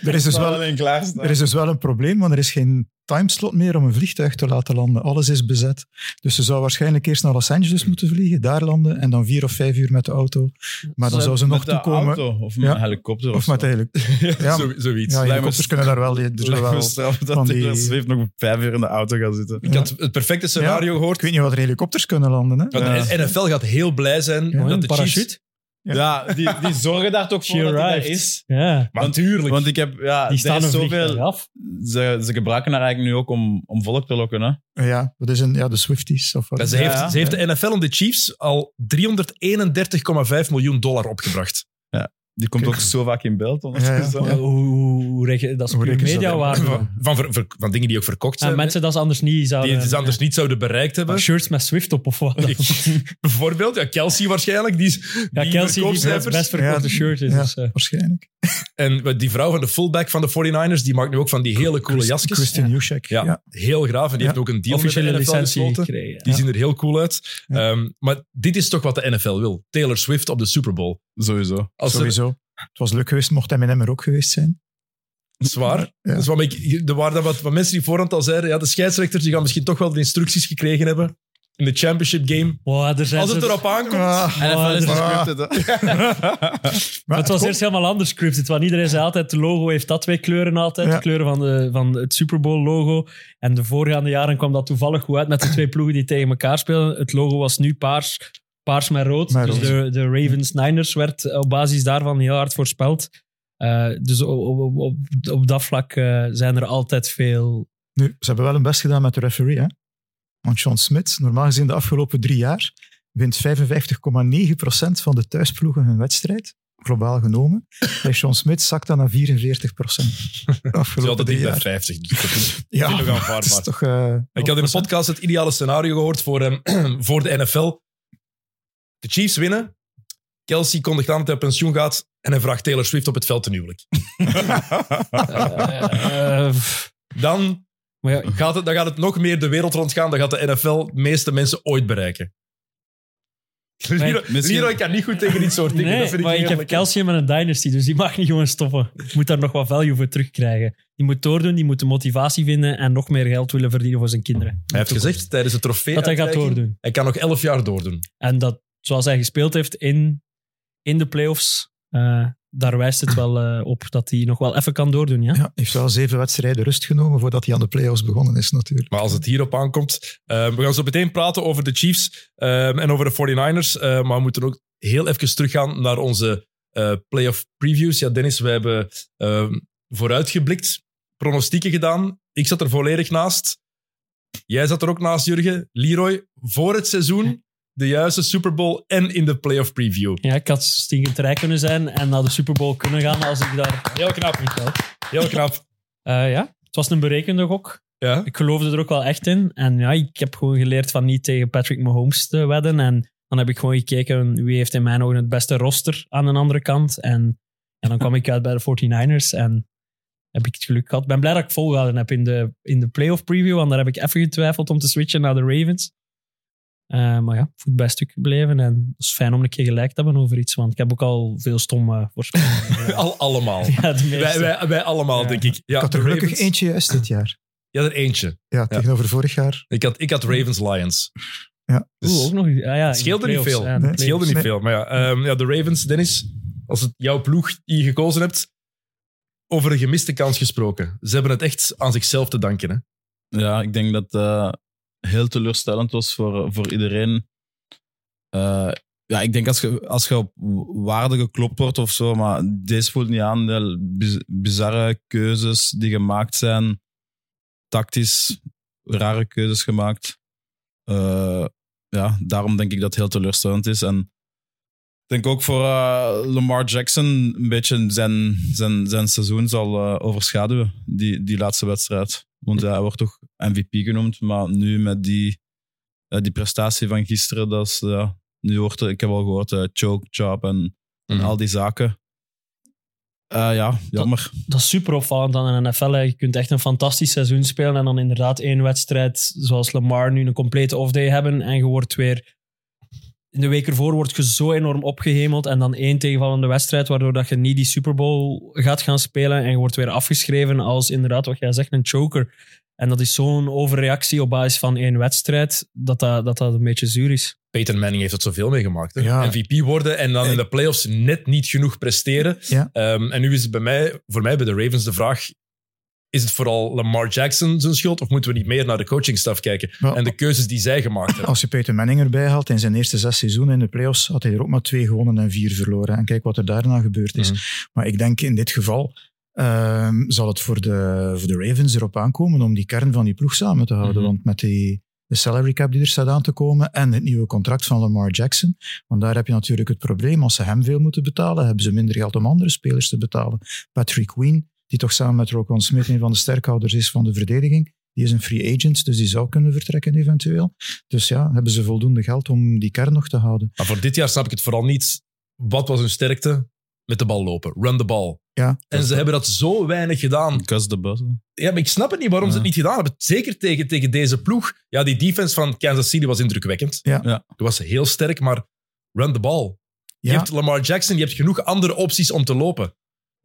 D: Er is dus wel
C: alleen
D: Er is dus wel een probleem, want er is geen timeslot meer om een vliegtuig te laten landen. Alles is bezet. Dus ze zou waarschijnlijk eerst naar Los Angeles moeten vliegen, daar landen en dan vier of vijf uur met de auto. Maar dan zou ze nog toekomen.
C: Auto, of met
D: Ja.
C: een helikopter.
D: Of
C: <laughs>
D: met
C: zo. Dus
D: eigenlijk. Ja,
B: zo, zoiets.
D: ja
C: me-
D: helikopters kunnen daar
C: <laughs>
D: wel. die- er zullen
C: Lijkt me
D: wel-
C: straf dat
D: van die-
C: Taylor Swift nog vijf uur in de auto gaat zitten.
B: Ik had het perfecte scenario gehoord.
D: Ik weet niet wat er helikopters kunnen landen. Hè?
B: Want
C: Ja.
B: de NFL gaat heel blij zijn
E: Gewoon
B: dat
E: een
B: de Chiefs...
E: parachute.
D: Ja.
C: die, die zorgen daar toch
E: She arrived. Ja,
B: Maar natuurlijk.
C: Want ik heb, ja,
E: die
C: er
E: staan
C: is
E: er
C: zoveel.
E: zoveel af.
C: Ze, ze gebruiken haar eigenlijk nu ook om, om volk te lokken. Hè?
D: Ja, dat is een, ja, de Swifties. Of wat.
B: Ja, ze,
C: Ja,
B: heeft,
C: ja.
B: ze heeft de NFL en de Chiefs al 331,5 miljoen dollar opgebracht.
C: Die komt
D: Kijk.
C: ook zo vaak in beeld.
D: Ja, ja.
E: Hoe, hoe, hoe reken- dat is
D: Hoe
E: puur
D: rekenen ze dat
E: mediawaarde.
B: Van, van, ver- ver- van dingen die ook verkocht zijn.
E: En mensen dat ze anders niet
B: hè,
E: zouden... Ah,
B: die het anders niet zouden bereikt hebben.
E: Shirts met Swift op of
B: <laughs>
E: wat.
B: Ik- Bijvoorbeeld, ja, Kelsey waarschijnlijk. Die, is-
E: Ja,
B: die
E: Kelsey die het
B: verkoopcijfers.
E: best verkochte
D: Ja,
E: shirt is.
D: ja.
E: dus, eh.
D: Waarschijnlijk.
B: En wat die vrouw van de fullback van de 49ers, die maakt nu ook van die hele coole jasjes.
D: Christian Juszek.
B: Ja,
D: Ja.
B: heel graaf. En die
D: Ja.
B: heeft ook een deal met
E: officiële
B: de NFL
E: licentie
B: gesloten.
E: gekregen.
B: Die
E: Ja.
B: zien er heel cool uit.
D: Ja.
B: Ehm, maar dit is toch wat de NFL wil. Taylor Swift op de Super Bowl.
C: Sowieso.
B: Als er,
D: Sowieso. Het was leuk geweest, mocht hij met hem er ook geweest zijn.
B: zwaar.
D: Ja.
B: Dus wat ik, er waren dan wat, wat mensen die voorhand al zeiden, ja, de scheidsrechters die gaan misschien toch wel de instructies gekregen hebben in de championship game.
E: Wow, er Oh, zijn Oh,
B: Als het
E: zo-
B: erop aankomt.
D: Ah,
E: En dan is het
D: maar
E: het was
D: kon-
E: eerst helemaal anders scripted, want iedereen zei altijd, het logo heeft dat twee kleuren altijd.
D: Ja.
E: De kleuren van, de, van het Super Bowl logo. En de voorgaande jaren kwam dat toevallig goed uit met de
D: <clears throat>
E: twee ploegen die tegen elkaar spelen. Het logo was nu paars, paars met rood.
D: Met
E: dus
D: rood.
E: de, de Ravens-Niners werd op basis daarvan heel hard voorspeld. Eh, dus op, op, op, op, op dat vlak eh, zijn er altijd
D: <laughs>
E: veel...
D: Nu, ze hebben wel hun best gedaan met de referee. Hè? Want John Smith, normaal gezien de afgelopen drie jaar, wint 55,9% van de thuisploegen hun wedstrijd.
B: <laughs>
D: Globaal genomen. Bij John Smith zakt dat naar 44%. De
B: Het is
D: afgelopen
B: altijd dicht
D: drie
B: bij
D: jaar.
B: 50. Dus dat is-
D: Ja,
B: vind ik nog
D: het is
B: aanvaardbaar.
D: toch... eh,
B: Ik had in de podcast het ideale scenario gehoord voor, ehm, <clears throat> voor de NFL. De Chiefs winnen. Kelsey kondigt aan dat hij op pensioen gaat. En hij vraagt Taylor Swift op het veld ten huwelijk.
E: eh, eh, pff.
B: Dan
E: maar ja,
B: gaat, het, dan gaat het nog meer de wereld rondgaan. Dan gaat de NFL de meeste mensen ooit bereiken. Leroy,
C: misschien-
B: Leroy kan niet goed tegen dit soort dingen.
E: Nee,
B: dat vind ik
E: maar
B: niet
E: ik heb
B: eerlijk.
E: Calcium en een Dynasty, dus die mag niet gewoon stoppen. Ik moet daar nog wat value voor terugkrijgen. Die moet doordoen, die moet de motivatie vinden en nog meer geld willen verdienen voor zijn kinderen.
B: Hij heeft gezegd tijdens het trofee.
E: dat hij gaat doordoen.
B: Hij kan nog 11 jaar doordoen.
E: En dat, zoals hij gespeeld heeft in, in de playoffs, eh, daar wijst het wel eh, op dat hij nog wel even kan doordoen. Ja?
D: Ja, hij heeft wel zeven wedstrijden rust genomen voordat hij aan de playoffs begonnen is natuurlijk.
B: Maar als het hierop aankomt. eh, we gaan zo meteen praten over de Chiefs eh, en over de 49ers. eh, maar we moeten ook heel even teruggaan naar onze eh, playoff previews. Ja, Dennis, we hebben eh, vooruitgeblikt, pronostieken gedaan. Ik zat er volledig naast. Jij zat er ook naast, Jurgen. Leroy, voor het seizoen de juiste Super Bowl en in de playoff preview.
E: Ja, ik had stinkend rijk kunnen zijn en naar de Super Bowl kunnen gaan als ik daar
B: Heel knap.
E: niet had.
B: Heel knap.
E: Eh, ja, het was een berekende gok.
B: Ja.
E: Ik geloofde er ook wel echt in. En ja, ik heb gewoon geleerd van niet tegen Patrick Mahomes te wedden. En dan heb ik gewoon gekeken wie heeft in mijn ogen het beste roster aan de andere kant. En, en dan kwam ik uit bij de 49ers en heb ik het geluk gehad. Ik ben blij dat ik volgehouden heb in de, in de playoff preview, want daar heb ik even getwijfeld om te switchen naar de Ravens. Eh, maar ja, voet bij stuk gebleven. En het is fijn om een keer gelijk te hebben over iets, want ik heb ook al veel stomme voorspellingen. gedaan.
B: Al, allemaal.
E: ja, de
B: Wij,
E: meeste.
B: wij, wij allemaal,
E: Ja.
B: denk ik. Ja,
D: ik had er
B: de
D: gelukkig
B: Ravens-
D: eentje juist dit jaar.
B: Ja, er eentje.
D: Ja, tegenover vorig jaar.
B: Ik had, ik had Ravens Lions.
D: Ja.
B: Dus
E: Oeh, ook nog. Ah, ja, in de
B: scheelde niet
E: playoffs,
B: veel.
E: ja, in de
D: Nee,
B: het scheelde niet
D: Nee.
B: veel. Maar ja, ehm, ja, de Ravens, Dennis, als het jouw ploeg die je gekozen hebt, over een gemiste kans gesproken. Ze hebben het echt aan zichzelf te danken. Hè?
C: Ja, ik denk dat eh heel teleurstellend was voor, voor iedereen. Eh, ja, ik denk als je, als je op waarde geklopt wordt of zo, maar deze voelt niet aan. De biz- bizarre keuzes die gemaakt zijn, tactisch rare keuzes gemaakt. Eh, ja, daarom denk ik dat het heel teleurstellend is. En ik denk ook voor eh, Lamar Jackson een beetje zijn, zijn, zijn seizoen zal eh, overschaduwen, die, die laatste wedstrijd. Want ja, hij wordt toch MVP genoemd, maar nu met die, eh, die prestatie van gisteren, dat is, ja, nu wordt, er- ik heb al gehoord, eh, choke, job en, en
B: Mhm.
C: al die zaken. Eh, ja, jammer.
E: dat is super opvallend aan een NFL. hè. Je kunt echt een fantastisch seizoen spelen en dan inderdaad één wedstrijd, zoals Lamar, nu een complete off-day hebben en je wordt weer... In de week ervoor word je zo enorm opgehemeld en dan één tegenvallende wedstrijd, waardoor dat je niet die Super Bowl gaat gaan spelen en je wordt weer afgeschreven als inderdaad, wat jij zegt, een choker. En dat is zo'n overreactie op basis van één wedstrijd, dat dat, dat, dat een beetje zuur is.
B: Peyton Manning heeft dat zoveel meegemaakt. hè.
D: Ja.
B: MVP worden en dan in de playoffs net niet genoeg presteren.
D: Ja.
B: Ehm, en nu is het bij mij, voor mij bij de Ravens de vraag: is het vooral Lamar Jackson zijn schuld of moeten we niet meer naar de coachingstaf kijken
D: Maar
B: en de keuzes die zij gemaakt
D: <laughs>
B: hebben?
D: Als je Peter Manning erbij haalt, in zijn eerste zes seizoenen in de playoffs had hij er ook maar twee gewonnen en vier verloren. En kijk wat er daarna gebeurd is. Maar ik denk in dit geval ehm, zal het voor de, voor de Ravens erop aankomen om die kern van die ploeg samen te houden.
B: Mhm.
D: Want met die, de salary cap die er staat aan te komen en het nieuwe contract van Lamar Jackson. Want daar heb je natuurlijk het probleem. Als ze hem veel moeten betalen, hebben ze minder geld om andere spelers te betalen. Patrick Queen, die toch samen met Roquan Smith een van de sterkhouders is van de verdediging. Die is een free agent, dus die zou kunnen vertrekken eventueel. Dus ja, hebben ze voldoende geld om die kern nog te houden.
B: Maar voor dit jaar snap ik het vooral niet. Wat was hun sterkte? Met de bal lopen. Run the ball.
D: Ja.
B: En ze hebben dat zo weinig gedaan.
C: Kus de bus.
B: Ja, maar ik snap het niet waarom ze het
C: Ja.
B: niet gedaan hebben. Zeker tegen, tegen deze ploeg. Ja, die defense van Kansas City was indrukwekkend.
D: Ja.
C: Ja.
B: Die was heel sterk, maar run the ball. Je
D: Ja.
B: hebt Lamar Jackson, je hebt genoeg andere opties om te lopen.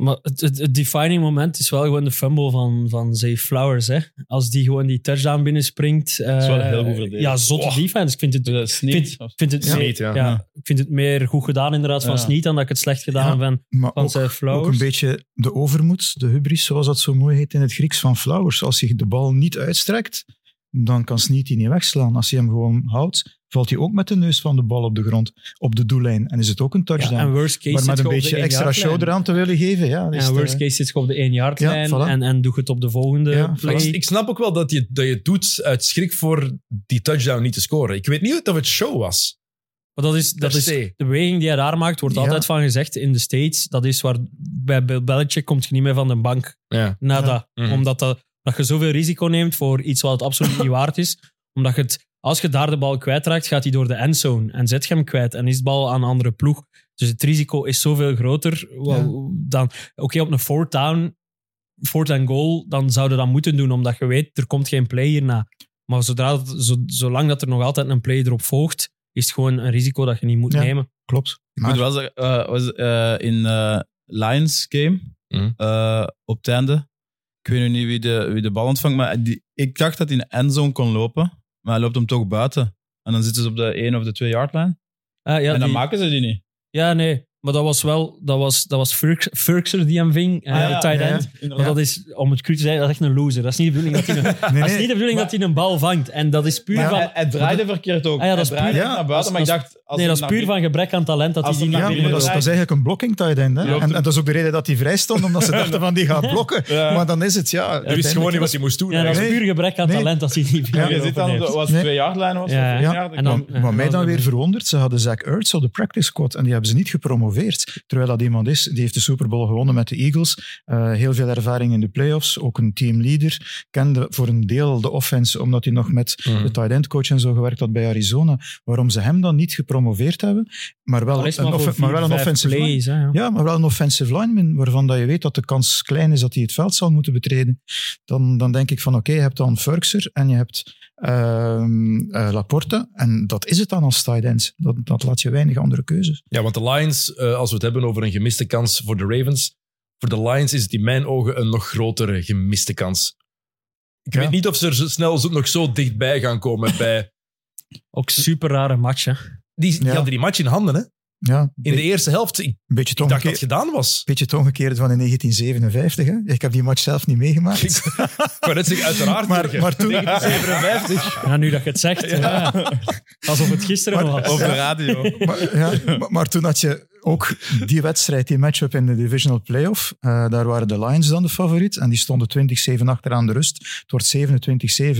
E: Maar het, het, het defining moment is wel gewoon de fumble van, van Zay Flowers. Hè? Als die gewoon die touchdown binnenspringt. eh
C: is wel heel goed verdedigd. Dus
E: Ja, zotte
B: Wow.
E: defense. Ik vind het, ik vind, ik vind het,
D: Ja.
E: meer-
B: Sneed, ja.
E: ja, ik vind het meer goed gedaan inderdaad van
C: Ja.
E: Sneed dan dat ik het slecht gedaan ben
D: Maar
E: van
D: ook-
E: Zay
D: Ook een
E: Flowers.
D: beetje de overmoed, de hubris, zoals dat zo mooi heet in het Grieks van Flowers. Als hij de bal niet uitstrekt, dan kan Sneed die niet wegslaan. Als hij hem gewoon houdt, valt hij ook met de neus van de bal op de grond, op de doellijn. En is het ook een
E: Ja,
D: touchdown.
E: en worst case
D: maar
E: zit
D: met een
E: je op de
D: beetje
E: één
D: extra
E: yardlijn.
D: show eraan te willen geven. Ja, dat is eh,
E: En
D: de-
E: worst case zit je op de 1 yard
D: Ja,
E: lijn
D: voilà.
E: en, en doe je het op de volgende
D: Ja, voilà.
E: play.
B: Dus Ik, ik snap ook wel dat je, dat je het doet uit schrik voor die touchdown niet te scoren. Ik weet niet of het show was.
E: Maar dat is, dat
B: Per
E: is
B: se.
E: de beweging die hij daar maakt, wordt
D: Ja.
E: altijd van gezegd in de States. Dat is waar bij Bill Belichick komt je niet meer van de bank.
B: Ja.
E: nada.
B: Ja. Mhm.
E: Omdat dat, dat je zoveel risico neemt voor iets wat het absoluut niet waard is. Omdat je het, als je daar de bal kwijtraakt, gaat hij door de endzone en zet je hem kwijt en is de bal aan een andere ploeg. Dus het risico is zoveel groter wa-
D: Ja.
E: dan... Oké, op een fourth down, fourth and goal, dan zou je dat moeten doen, omdat je weet, er komt geen play hierna. Maar zodra, dat- zo, zolang dat er nog altijd een play erop volgt, is het gewoon een risico dat je niet moet
D: Ja.
E: nemen.
D: Klopt.
C: Ik
D: Maar
C: moet wel zeggen, eh, was, eh, in eh, Lions game,
B: Mhm.
C: eh, op het einde, ik weet nu niet wie de, wie de bal ontvangt, maar die, ik dacht dat hij in de endzone kon lopen, maar hij loopt hem toch buiten. En dan zitten ze op de 1 of de 2 yard line.
E: Ah, ja,
C: en dan
E: die-
C: maken ze die niet.
E: ja, nee. Maar dat was wel... Dat was, dat was Furk- Furkser die hem ving, eh,
C: Ah, ja,
E: de tight
D: ja, ja.
E: end. Maar dat is, om het cru te zeggen, dat is echt een loser. Dat is niet de bedoeling <laughs> dat hij een,
D: nee,
E: dat is
D: nee,
E: niet de bedoeling dat hij een bal vangt. En dat is puur
D: Maar-
E: van...
C: Hij, hij draaide verkeerd ook.
E: Ah ja, dat
C: hij
E: is
C: draaide
D: puur-
C: echt
D: ja,
C: naar buiten,
E: dat
C: maar ik
E: is-
C: dacht, als
E: nee,
C: hij
E: dat is
C: naar
E: puur
C: binnen-
E: van gebrek aan talent dat
C: Als
E: hij die
C: hem
E: niet
D: Ja,
C: naar
E: meer
D: maar dat is, dat is eigenlijk een blocking tight end. Hè?
C: Ja.
D: En, en dat is ook de reden dat hij vrij stond, omdat ze dachten van die gaat blokken.
C: Ja.
D: Maar dan is het, ja.
B: Hij wist
D: uiteindelijk-
B: gewoon niet wat hij moest doen.
E: Ja, dat is
D: Nee.
E: puur gebrek aan
D: Nee.
E: talent dat hij niet meer
D: Ja,
C: Ja, je zit dan op de-
E: heeft.
C: was
D: Nee.
C: twee jaar lijn was
E: Ja.
C: of
D: Ja.
C: ja. jaar.
E: En dan- eh,
D: Maar- Wat mij dan weer verwondert, ze hadden Zach Ertz op de practice squad en die hebben ze niet gepromoveerd. Terwijl dat iemand is, die heeft de Super Bowl gewonnen met de Eagles. eh, heel veel ervaring in de playoffs, ook een teamleader. Kende voor een deel de offense, omdat hij nog met
B: Mhm.
D: de tight end coach en zo gewerkt had bij Arizona. Waarom ze hem dan niet gepromoveerd hebben, maar wel
E: Al is het
D: een,
E: maar
D: off-
E: voor
D: maar
E: vier,
D: wel een
E: vijf
D: offensive line.
E: plays, hè, ja.
D: Ja, maar wel een offensive lineman waarvan dat je weet dat de kans klein is dat hij het veld zal moeten betreden. Dan, dan denk ik van oké, je hebt dan Furkser en je hebt ehm eh, Laporte. En dat is het dan als tight end. Dat, dat laat je weinig andere keuzes.
B: Ja, want de Lions, eh, als we het hebben over een gemiste kans voor de Ravens, voor de Lions is het in mijn ogen een nog grotere gemiste kans. Ik
D: Ja.
B: weet niet of ze er zo snel zo- nog zo dichtbij gaan komen
D: <laughs>
B: bij...
E: Ook super rare match, hè.
B: Die, die
D: Ja.
B: hadden die match in handen, hè?
D: Ja, een
B: In de
D: be-
B: eerste helft. Ik
D: beetje,
B: dacht
D: het
B: dat
D: omgekeerde,
B: het gedaan was.
D: beetje het omgekeerde van in 1957. Hè? Ik heb die match zelf niet meegemaakt.
B: Maar dat is uiteraard.
D: Maar,
B: Jurgen.
D: maar toen...
C: 57.
E: Ja, nu dat je het zegt. ja. Alsof het gisteren
D: Maar-
E: was.
C: Op de radio.
E: <laughs>
D: Maar, ja, maar, maar toen had je ook die wedstrijd, die matchup in de divisional playoff. eh daar waren de Lions dan de favoriet. En die stonden 20-7 achter aan de rust. Het wordt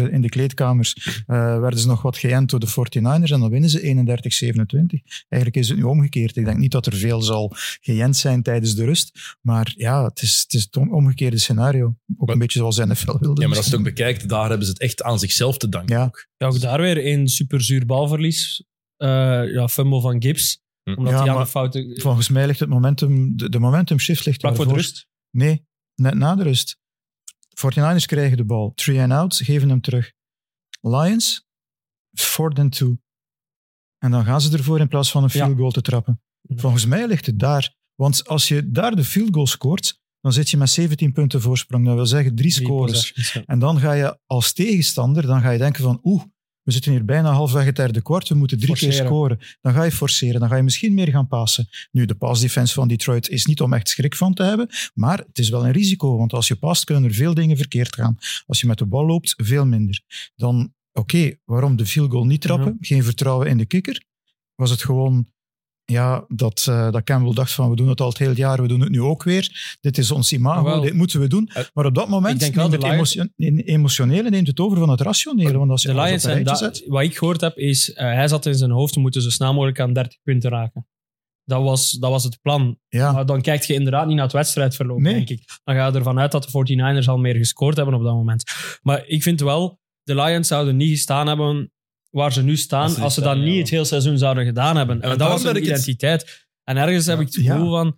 D: 27-7 in de kleedkamers. eh, werden ze nog wat geënt door de 49ers. En dan winnen ze 31-27. Eigenlijk is het nu omgekeerd. Ik denk niet dat er veel zal geënt zijn tijdens de rust. Maar ja, het is het, is het om- omgekeerde scenario. Ook
B: Maar-
D: een beetje zoals NFL wilde.
B: ja, maar als je het ook bekijkt, daar hebben ze het echt aan zichzelf te danken.
D: Ja.
E: Ja, ook daar weer een super zuur balverlies. Eh, ja, fumble van Gibbs.
B: Hm.
E: Omdat
D: Ja,
E: hij aan
D: maar-
E: de fouten...
D: Volgens mij ligt het momentum... De, de momentum shift ligt
E: Vlak voor de
D: daarvoor.
E: rust.
D: Nee, net na de rust. 49ers krijgen de bal. Three and out, geven hem terug. Lions, fourth and two. En dan gaan ze ervoor in plaats van een
E: Ja.
D: field goal te trappen.
E: Ja.
D: Volgens mij ligt het daar. Want als je daar de field goal scoort, dan zit je met 17 punten voorsprong. Dat wil zeggen drie
E: Drie
D: scores.
E: possessions, ja.
D: En dan ga je als tegenstander, dan ga je denken van oeh, we zitten hier bijna halfweg het derde kwart, we moeten drie keer
E: Forceren.
D: scoren. Dan ga je forceren, dan ga je misschien meer gaan passen. Nu, de pass-defense van Detroit is niet om echt schrik van te hebben, maar het is wel een risico, want als je past, kunnen er veel dingen verkeerd gaan. Als je met de bal loopt, veel minder. Dan, oké, waarom de field goal niet trappen?
E: Mhm.
D: Geen vertrouwen in de kikker? Was het gewoon... Ja, dat, eh, dat Campbell dacht van we doen het al het hele jaar, we doen het nu ook weer. Dit is ons imago,
E: Jawel.
D: dit moeten we doen.
B: Eh,
D: Maar op dat moment
E: Ik denk wel
D: neemt
E: de
D: het
E: Lions-
D: emotio- in- emotionele neemt het over van het rationele. Want als je
E: De
D: alles
E: Lions,
D: op een
E: en
D: rijtje
E: dat-
D: zet,
E: wat ik gehoord heb, is eh, hij zat in zijn hoofd, we moeten zo snel mogelijk aan 30 punten raken. Dat was, dat was het plan.
D: ja,
E: Maar dan kijk je inderdaad niet naar het wedstrijdverloop,
D: Ah. Nee.
E: denk ik. Dan ga je ervan uit dat de 49ers al meer gescoord hebben op dat moment. Maar ik vind wel, de Lions zouden niet gestaan hebben waar ze nu staan,
C: Als
E: als
C: ze niet
E: ze, dat
C: staan,
E: niet
C: ja.
E: het hele seizoen zouden gedaan hebben. En,
B: daarom
E: dat was
B: dat
E: hun
B: ik het-
E: identiteit. En ergens heb ik het
D: Ja.
E: gevoel van,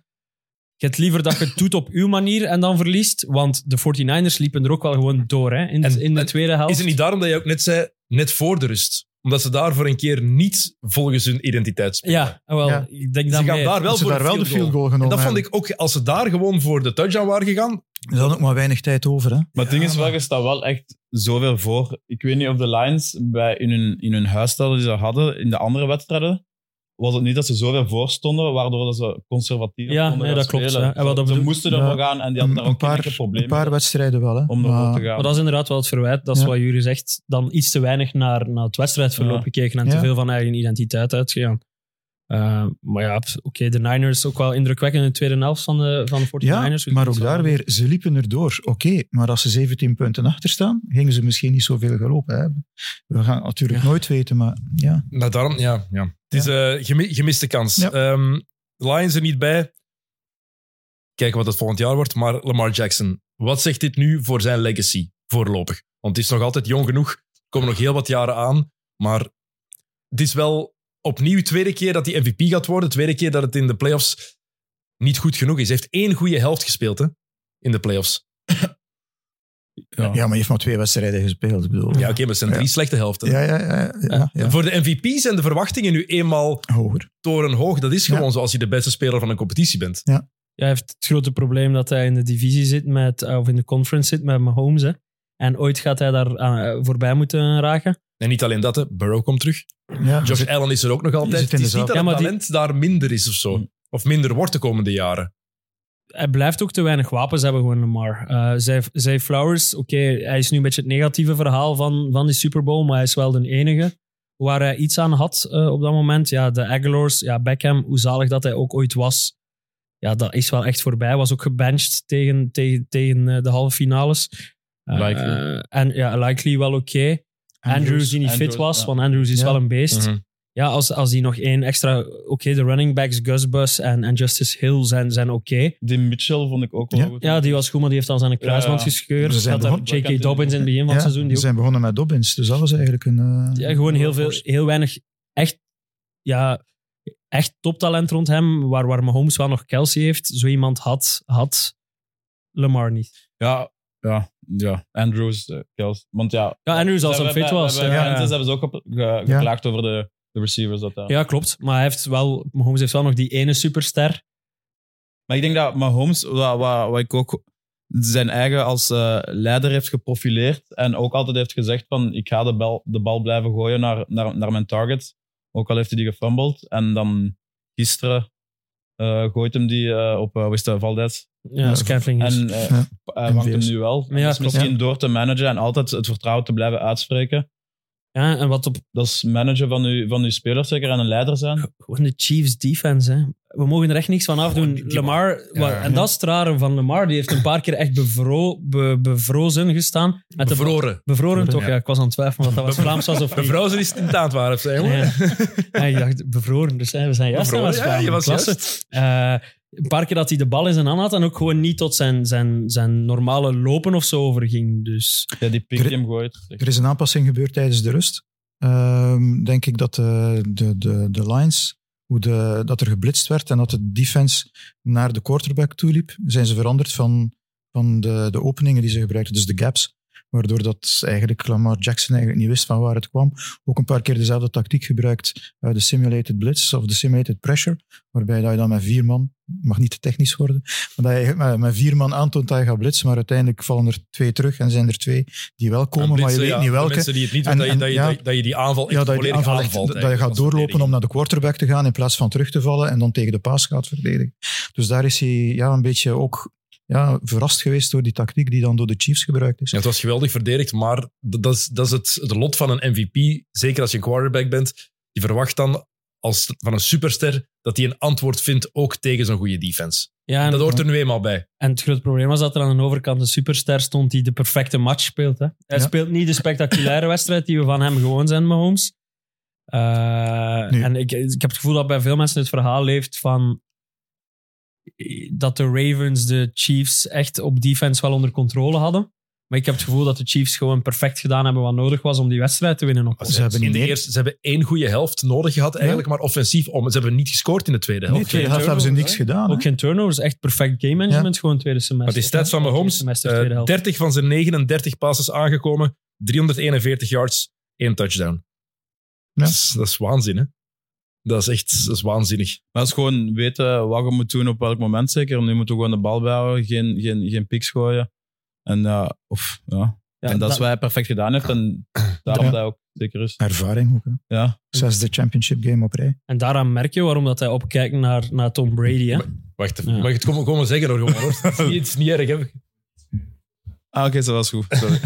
E: je hebt liever dat je het doet op uw manier en dan verliest, want de 49ers liepen er ook wel gewoon door hè, in,
B: En-
E: in de
B: en
E: tweede helft.
B: Is het niet daarom dat je ook net zei, net voor de rust? Omdat ze daar voor een keer niet volgens hun identiteit spelen.
E: Ja, ah, wel,
D: Ja.
E: ik denk
B: Ze
E: dat
B: gaan
E: meer.
B: daar wel
D: dat ze
B: voor
D: daar wel de field goal
B: En
D: genomen
B: dat vond
D: hebben.
B: ik ook, als ze daar gewoon voor de touchdown waren gegaan,
D: Er zat ook maar weinig tijd over. Hè?
C: Maar het ding is wel, je staat wel echt zoveel voor. Ik weet niet of de Lions bij, in, hun, in hun huisstijl die ze hadden in de andere wedstrijden, was het niet dat ze zoveel voor stonden, waardoor dat ze conservatiever
E: Ja,
C: konden
E: nee,
C: gaan
E: dat klopt,
C: spelen.
E: ja. En wat dat
C: ze
E: bedoel-
C: moesten ervoor gaan en die hadden
D: Een,
C: daar
D: een
C: ook geen
D: paar,
C: enkel probleem
D: een paar wedstrijden wel. Hè?
C: om ervoor te
D: maar,
C: gaan.
E: Maar dat is inderdaad wel het verwijt. Dat is
D: Ja.
E: wat jullie zegt. Dan iets te weinig naar, naar het wedstrijdverloop
C: Ja.
E: gekeken en te
D: Ja.
E: veel van eigen identiteit uitgegaan. Eh, maar ja, oké, de Niners ook wel indrukwekkend in de tweede helft van de, van de 49ers. Dus
D: ja, maar
E: dat
D: ook
E: is
D: daar
E: wel-
D: weer, ze liepen erdoor. Oké, maar als ze 17 punten achter staan, gingen ze misschien niet zoveel gelopen hebben. We gaan het natuurlijk
E: Ja.
D: nooit weten, maar ja.
B: Nou, daarom, ja. ja. Het is eh, gemi- gemiste kans.
D: Ja.
B: Ehm, Lions er niet bij. Kijken wat het volgend jaar wordt. Maar Lamar Jackson, wat zegt dit nu voor zijn legacy voorlopig? Want het is nog altijd jong genoeg. Er komen nog heel wat jaren aan. Maar het is wel opnieuw de tweede keer dat hij MVP gaat worden. De tweede keer dat het in de playoffs niet goed genoeg is. Hij heeft één goede helft gespeeld hè, in de playoffs.
D: Ja. maar je heeft maar twee wedstrijden gespeeld. Ik bedoel.
B: Ja, oké, maar het zijn drie slechte helften.
D: ja, ja, ja, ja, ja.
B: Voor de MVP zijn de verwachtingen nu eenmaal
D: Hoger.
B: torenhoog. Dat is
D: Ja.
B: gewoon zoals je de beste speler van een competitie bent.
E: Ja, hij heeft het grote probleem dat hij in de divisie zit, met, eh, of in de conference zit met Mahomes. Hè. En ooit gaat hij daar eh, voorbij moeten raken.
B: En niet alleen dat, hè. Burrow komt terug.
D: Ja,
B: Josh Allen is er ook nog altijd.
D: zit
B: Het
D: in Mm.
B: is niet dat
D: dezelfde-
B: het
E: Ja, maar die-
B: talent daar minder is of zo. Of minder wordt de komende jaren.
E: Hij blijft ook te weinig wapens hebben, gewoon Lamar. Eh zij, zij Flowers, oké, hij is nu een beetje het negatieve verhaal van, van die Super Bowl, maar hij is wel de enige. waar hij iets aan had eh, op dat moment. Ja, de Aguilars, ja, Beckham, hoe zalig dat hij ook ooit was. Ja, dat is wel echt voorbij. Was ook gebenched tegen, tegen, tegen eh, de halve finales. Eh,
C: Likely.
E: en ja, likely wel oké. Andrews, die niet fit
C: Andrews,
E: was,
C: ja.
E: want Andrews is
D: Ja.
E: wel een beest.
B: Mhm.
E: Ja, als, als die nog één extra... Oké, de running backs, Gus Bus en, en Justice Hill zijn, zijn oké.
C: Die Mitchell vond ik ook wel
D: Ja.
C: goed.
E: Ja, die was goed, maar die heeft dan zijn kruisband
C: Ja.
E: gescheurd.
D: Ze zijn
E: Dat daar
C: begonnen-
E: J.K. Dobbins in het begin van
D: Ja,
E: het seizoen. Die
D: Ze zijn begonnen met Dobbins, dus dat was eigenlijk een... eh,
E: ook, ja, gewoon heel, veel,
D: voorsprong.
E: heel weinig echt, ja, echt toptalent rond hem, waar, waar Mahomes wel nog Kelsey heeft. Zo iemand had, had Lamar niet.
C: Ja, ja, ja. Andrews, eh, Kels. Want ja...
E: Ja, Andrews als
C: Bij-
E: hij
C: bij-
E: fit
C: bij-
E: was, eh,
C: Bij
E: ja.
C: Kansas hebben ze ook op, ge- geklaagd over de, de receivers. Dat, eh, daar.
E: Ja, klopt. Maar hij heeft wel, Mahomes heeft wel nog die ene superster.
C: Maar ik denk dat Mahomes, wat, wat, wat ik ook zijn eigen als eh, leider heeft geprofileerd en ook altijd heeft gezegd van ik ga de bal, de bal blijven gooien naar, naar, naar mijn target. Ook al heeft hij die gefumbled. En dan gisteren eh, gooit hem die eh, op uh, Valdez.
E: Ja,
D: Ja,
E: Scantling is.
C: En eh,
D: Ja.
C: hij wankt hem
D: Veers.
C: nu wel.
E: Ja,
C: dus
E: klopt.
C: misschien door te managen en altijd het vertrouwen te blijven uitspreken.
E: ja, en wat op
C: Dat is managen van uw, van uw spelers zeker en een leider zijn.
E: Gewoon de Chiefs defense, hè. We mogen er echt niks van afdoen.
B: die- die
E: Lamar, wa- en dat is het rare van Lamar. Die heeft een paar keer echt bevro, be- bevrozen gestaan. Met de
B: Bevroren.
E: bevroren toch?
B: ja.
E: Ja. ik was aan het twijfelen of dat was
B: Be-
E: Vlaams was of niet.
B: Mevrouw, ze die stintaand waren, of zei, jongen.
E: Ja.
B: <laughs>
E: Ja, ik dacht, bevroren. Dus hè, we zijn juist aan
B: Bevroren,
E: het
B: ja,
E: Vlaams.
B: je was
E: Klasse. Eh, een paar keer dat hij de bal in zijn hand had en ook gewoon niet tot zijn, zijn, zijn normale lopen of zo overging. Dus
C: Ja, die pick die hem gooit.
D: Er is een aanpassing gebeurd tijdens de rust. Ehm, denk ik dat de, de, de, de lines, hoe de, dat er geblitst werd en dat de defense naar de quarterback toeliep, zijn ze veranderd van, van de, de openingen die ze gebruikten, dus de gaps. Waardoor dat eigenlijk Lamar Jackson eigenlijk niet wist van waar het kwam. Ook een paar keer dezelfde tactiek gebruikt, eh, de simulated blitz of de simulated pressure, waarbij dat je dan met vier man, mag niet te technisch worden, maar dat je met, met vier man aantoont dat je gaat blitsen, maar uiteindelijk vallen er twee terug en zijn er twee die wel komen, maar je
B: Blitsen,
D: weet
B: eh, ja,
D: niet
B: de
D: welke
B: Mensen die het niet
D: En-
B: doen, dat, je,
D: en-
B: dat, je,
D: ja.
B: dat, je die aanval echt
D: ja, dat je die
B: volledig
D: aanval echt-
B: aanvalt.
D: dat je
B: eigenlijk,
D: gaat
B: als
D: doorlopen
B: verdediging.
D: om naar de quarterback te gaan in plaats van terug te vallen en dan tegen de paas gaat verdedigen. Dus daar is hij ja, een beetje ook ja, verrast geweest door die tactiek die dan door de Chiefs gebruikt is.
B: Ja, het was geweldig verdedigd, maar d- dat is, dat is het, het lot van een MVP. Zeker als je een quarterback bent. Je verwacht dan als, van een superster dat hij een antwoord vindt ook tegen zo'n goede defense.
E: ja, en-
B: Dat hoort er nu eenmaal bij.
E: En het grote probleem was dat er aan de overkant een superster stond die de perfecte match speelt. Hè. Hij
D: Ja.
E: speelt niet de spectaculaire <laughs> wedstrijd die we van hem gewoon zijn, Mahomes. Eh
D: Nee.
E: en ik, ik heb het gevoel dat bij veel mensen het verhaal leeft van eh, dat de Ravens de Chiefs echt op defense wel onder controle hadden. Maar ik heb het gevoel dat de Chiefs gewoon perfect gedaan hebben wat nodig was om die wedstrijd te winnen. Op.
B: Maar
D: Ze hebben
B: in
D: niet
B: de
D: meer-
B: eerste, ze hebben één goede helft nodig gehad, eigenlijk, maar offensief om. Ze hebben niet gescoord in de tweede
D: Nee,
B: helft.
D: tweede helft hebben ze niks gedaan. hè.
E: Ook geen turnovers, echt perfect game management, gewoon tweede semester.
B: Maar die stats van Mahomes,
E: Tweede semester,
B: eh,
E: tweede helft.
B: 30 van zijn 39 passes aangekomen, 341 yards, één touchdown.
D: Ja.
B: Dat, is, dat is waanzin, hè? Dat is echt dat is waanzinnig.
C: Maar dat is gewoon weten wat je moet doen op welk moment zeker. Nu moeten we gewoon de bal bijhouden, geen, geen, geen piks gooien. En, ja, of, ja.
E: Ja,
C: en dat
E: da-
C: is wat hij perfect gedaan heeft. En daarom
D: Ja.
C: dat hij ook zeker is.
D: Ervaring ook. Hè.
C: Ja.
D: Zesde championship game op rij.
E: En daaraan merk je waarom dat hij opkijkt naar, naar Tom Brady.
B: <laughs>
E: Hè?
B: Wacht even,
E: Ja.
B: mag ik het gewoon, gewoon zeggen? Hoor, gewoon, hoor. Het, is niet, het is niet erg, hè?
C: Ah, oké, dat was goed. Sorry.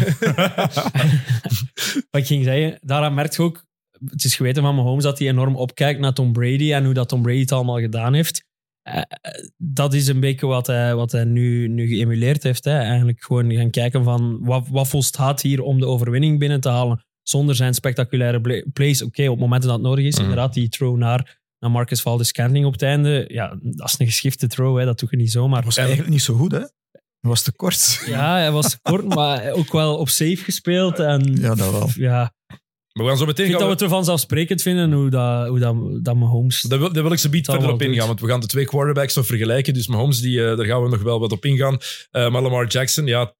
E: Wat ik ging zeggen, daaraan merkt je ook, het is geweten van Mahomes dat hij enorm opkijkt naar Tom Brady en hoe dat Tom Brady het allemaal gedaan heeft. Eh, eh, dat is een beetje wat hij, wat hij nu, nu geëmuleerd heeft. Hè. Eigenlijk gewoon gaan kijken van wat, wat volstaat hier om de overwinning binnen te halen zonder zijn spectaculaire bla- plays. Oké, op momenten dat het nodig is,
B: Mhm.
E: inderdaad, die throw naar, naar Marcus Valdes-Scantling op het einde. Ja, dat is een geschifte throw, hè. dat doe je niet zomaar.
D: Was eigenlijk niet zo goed, hè? Was te
E: <laughs>
D: kort.
E: Ja, hij was kort, maar ook wel op safe gespeeld. En
D: Ja, dat wel.
E: ja,
B: Maar we gaan zo
E: ik
B: meteen...
E: vind
B: gaan
E: dat we
B: we-
E: het er vanzelfsprekend vinden hoe dat, hoe dat, dat Mahomes...
B: Daar wil, daar wil ik ze bied
E: Dat
B: verder op
E: wel
B: ingaan,
E: doet.
B: want we gaan de twee quarterbacks nog vergelijken. Dus Mahomes, die, eh, daar gaan we nog wel wat op ingaan. Eh, maar Lamar Jackson, ja,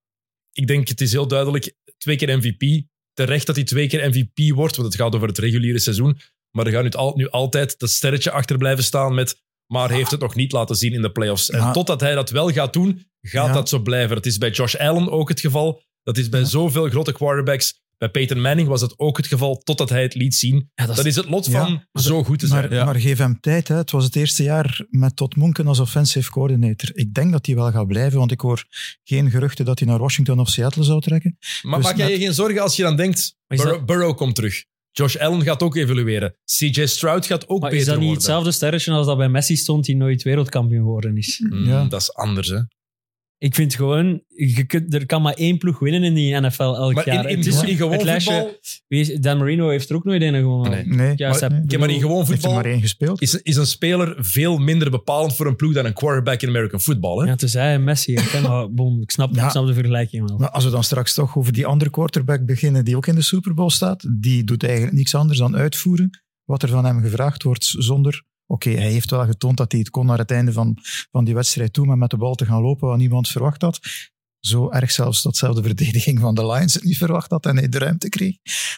B: ik denk het is heel duidelijk. Twee keer MVP. Terecht dat hij twee keer MVP wordt, want het gaat over het reguliere seizoen. Maar er gaat nu, al, nu altijd dat sterretje achter blijven staan met maar heeft het nog niet laten zien in de playoffs. En
D: Ja.
B: totdat hij dat wel gaat doen, gaat
D: Ja.
B: dat zo blijven. Dat is bij Josh Allen ook het geval. Dat is bij
D: Ja.
B: zoveel grote quarterbacks. Bij Peyton Manning was dat ook het geval, totdat hij het liet zien.
E: Ja, dat
B: Dat is het lot van zo goed te zijn.
D: Maar,
C: Ja.
D: maar geef hem tijd. Hè. Het was het eerste jaar met Todd Monken als offensive coordinator. Ik denk dat hij wel gaat blijven, want ik hoor geen geruchten dat hij naar Washington of Seattle zou trekken.
B: Maar
D: Dus
B: maak jij je geen zorgen als je dan denkt,
E: Maar is
B: Burrow, Burrow komt terug. Josh Allen gaat ook evolueren. CJ Stroud gaat ook
E: Maar
B: beter
E: is dat niet
B: worden.
E: hetzelfde sterretje als dat bij Messi stond, die nooit wereldkampioen geworden is?
B: Hmm,
D: Ja.
B: Dat is anders, hè.
E: Ik vind gewoon, je kunt, er kan maar één ploeg winnen in die NFL elk
B: Maar
E: jaar.
B: in, in,
E: Het is
B: in gewoon
E: het lijstje-
B: voetbal...
E: Wie is- Dan Marino heeft er ook nooit een gewonnen.
B: Nee.
D: Nee,
E: Juist,
D: maar,
E: heb-
D: nee.
B: Ja, maar in gewoon
D: heeft er
B: voetbal
D: maar één gespeeld.
B: is, is een speler veel minder bepalend voor een ploeg dan een quarterback in American football. Hè?
E: Ja, tenzij hij Messi heeft, hè, maar bon, ik, snap,
D: Ja.
E: ik snap de vergelijking wel.
D: Maar als we dan straks toch over die andere quarterback beginnen die ook in de Super Bowl staat, die doet eigenlijk niks anders dan uitvoeren wat er van hem gevraagd wordt zonder... Oké, hij heeft wel getoond dat hij het kon naar het einde van, van die wedstrijd toe, maar met de bal te gaan lopen wat niemand verwacht had. Zo erg zelfs datzelfde verdediging van de Lions het niet verwacht had en hij de ruimte kreeg.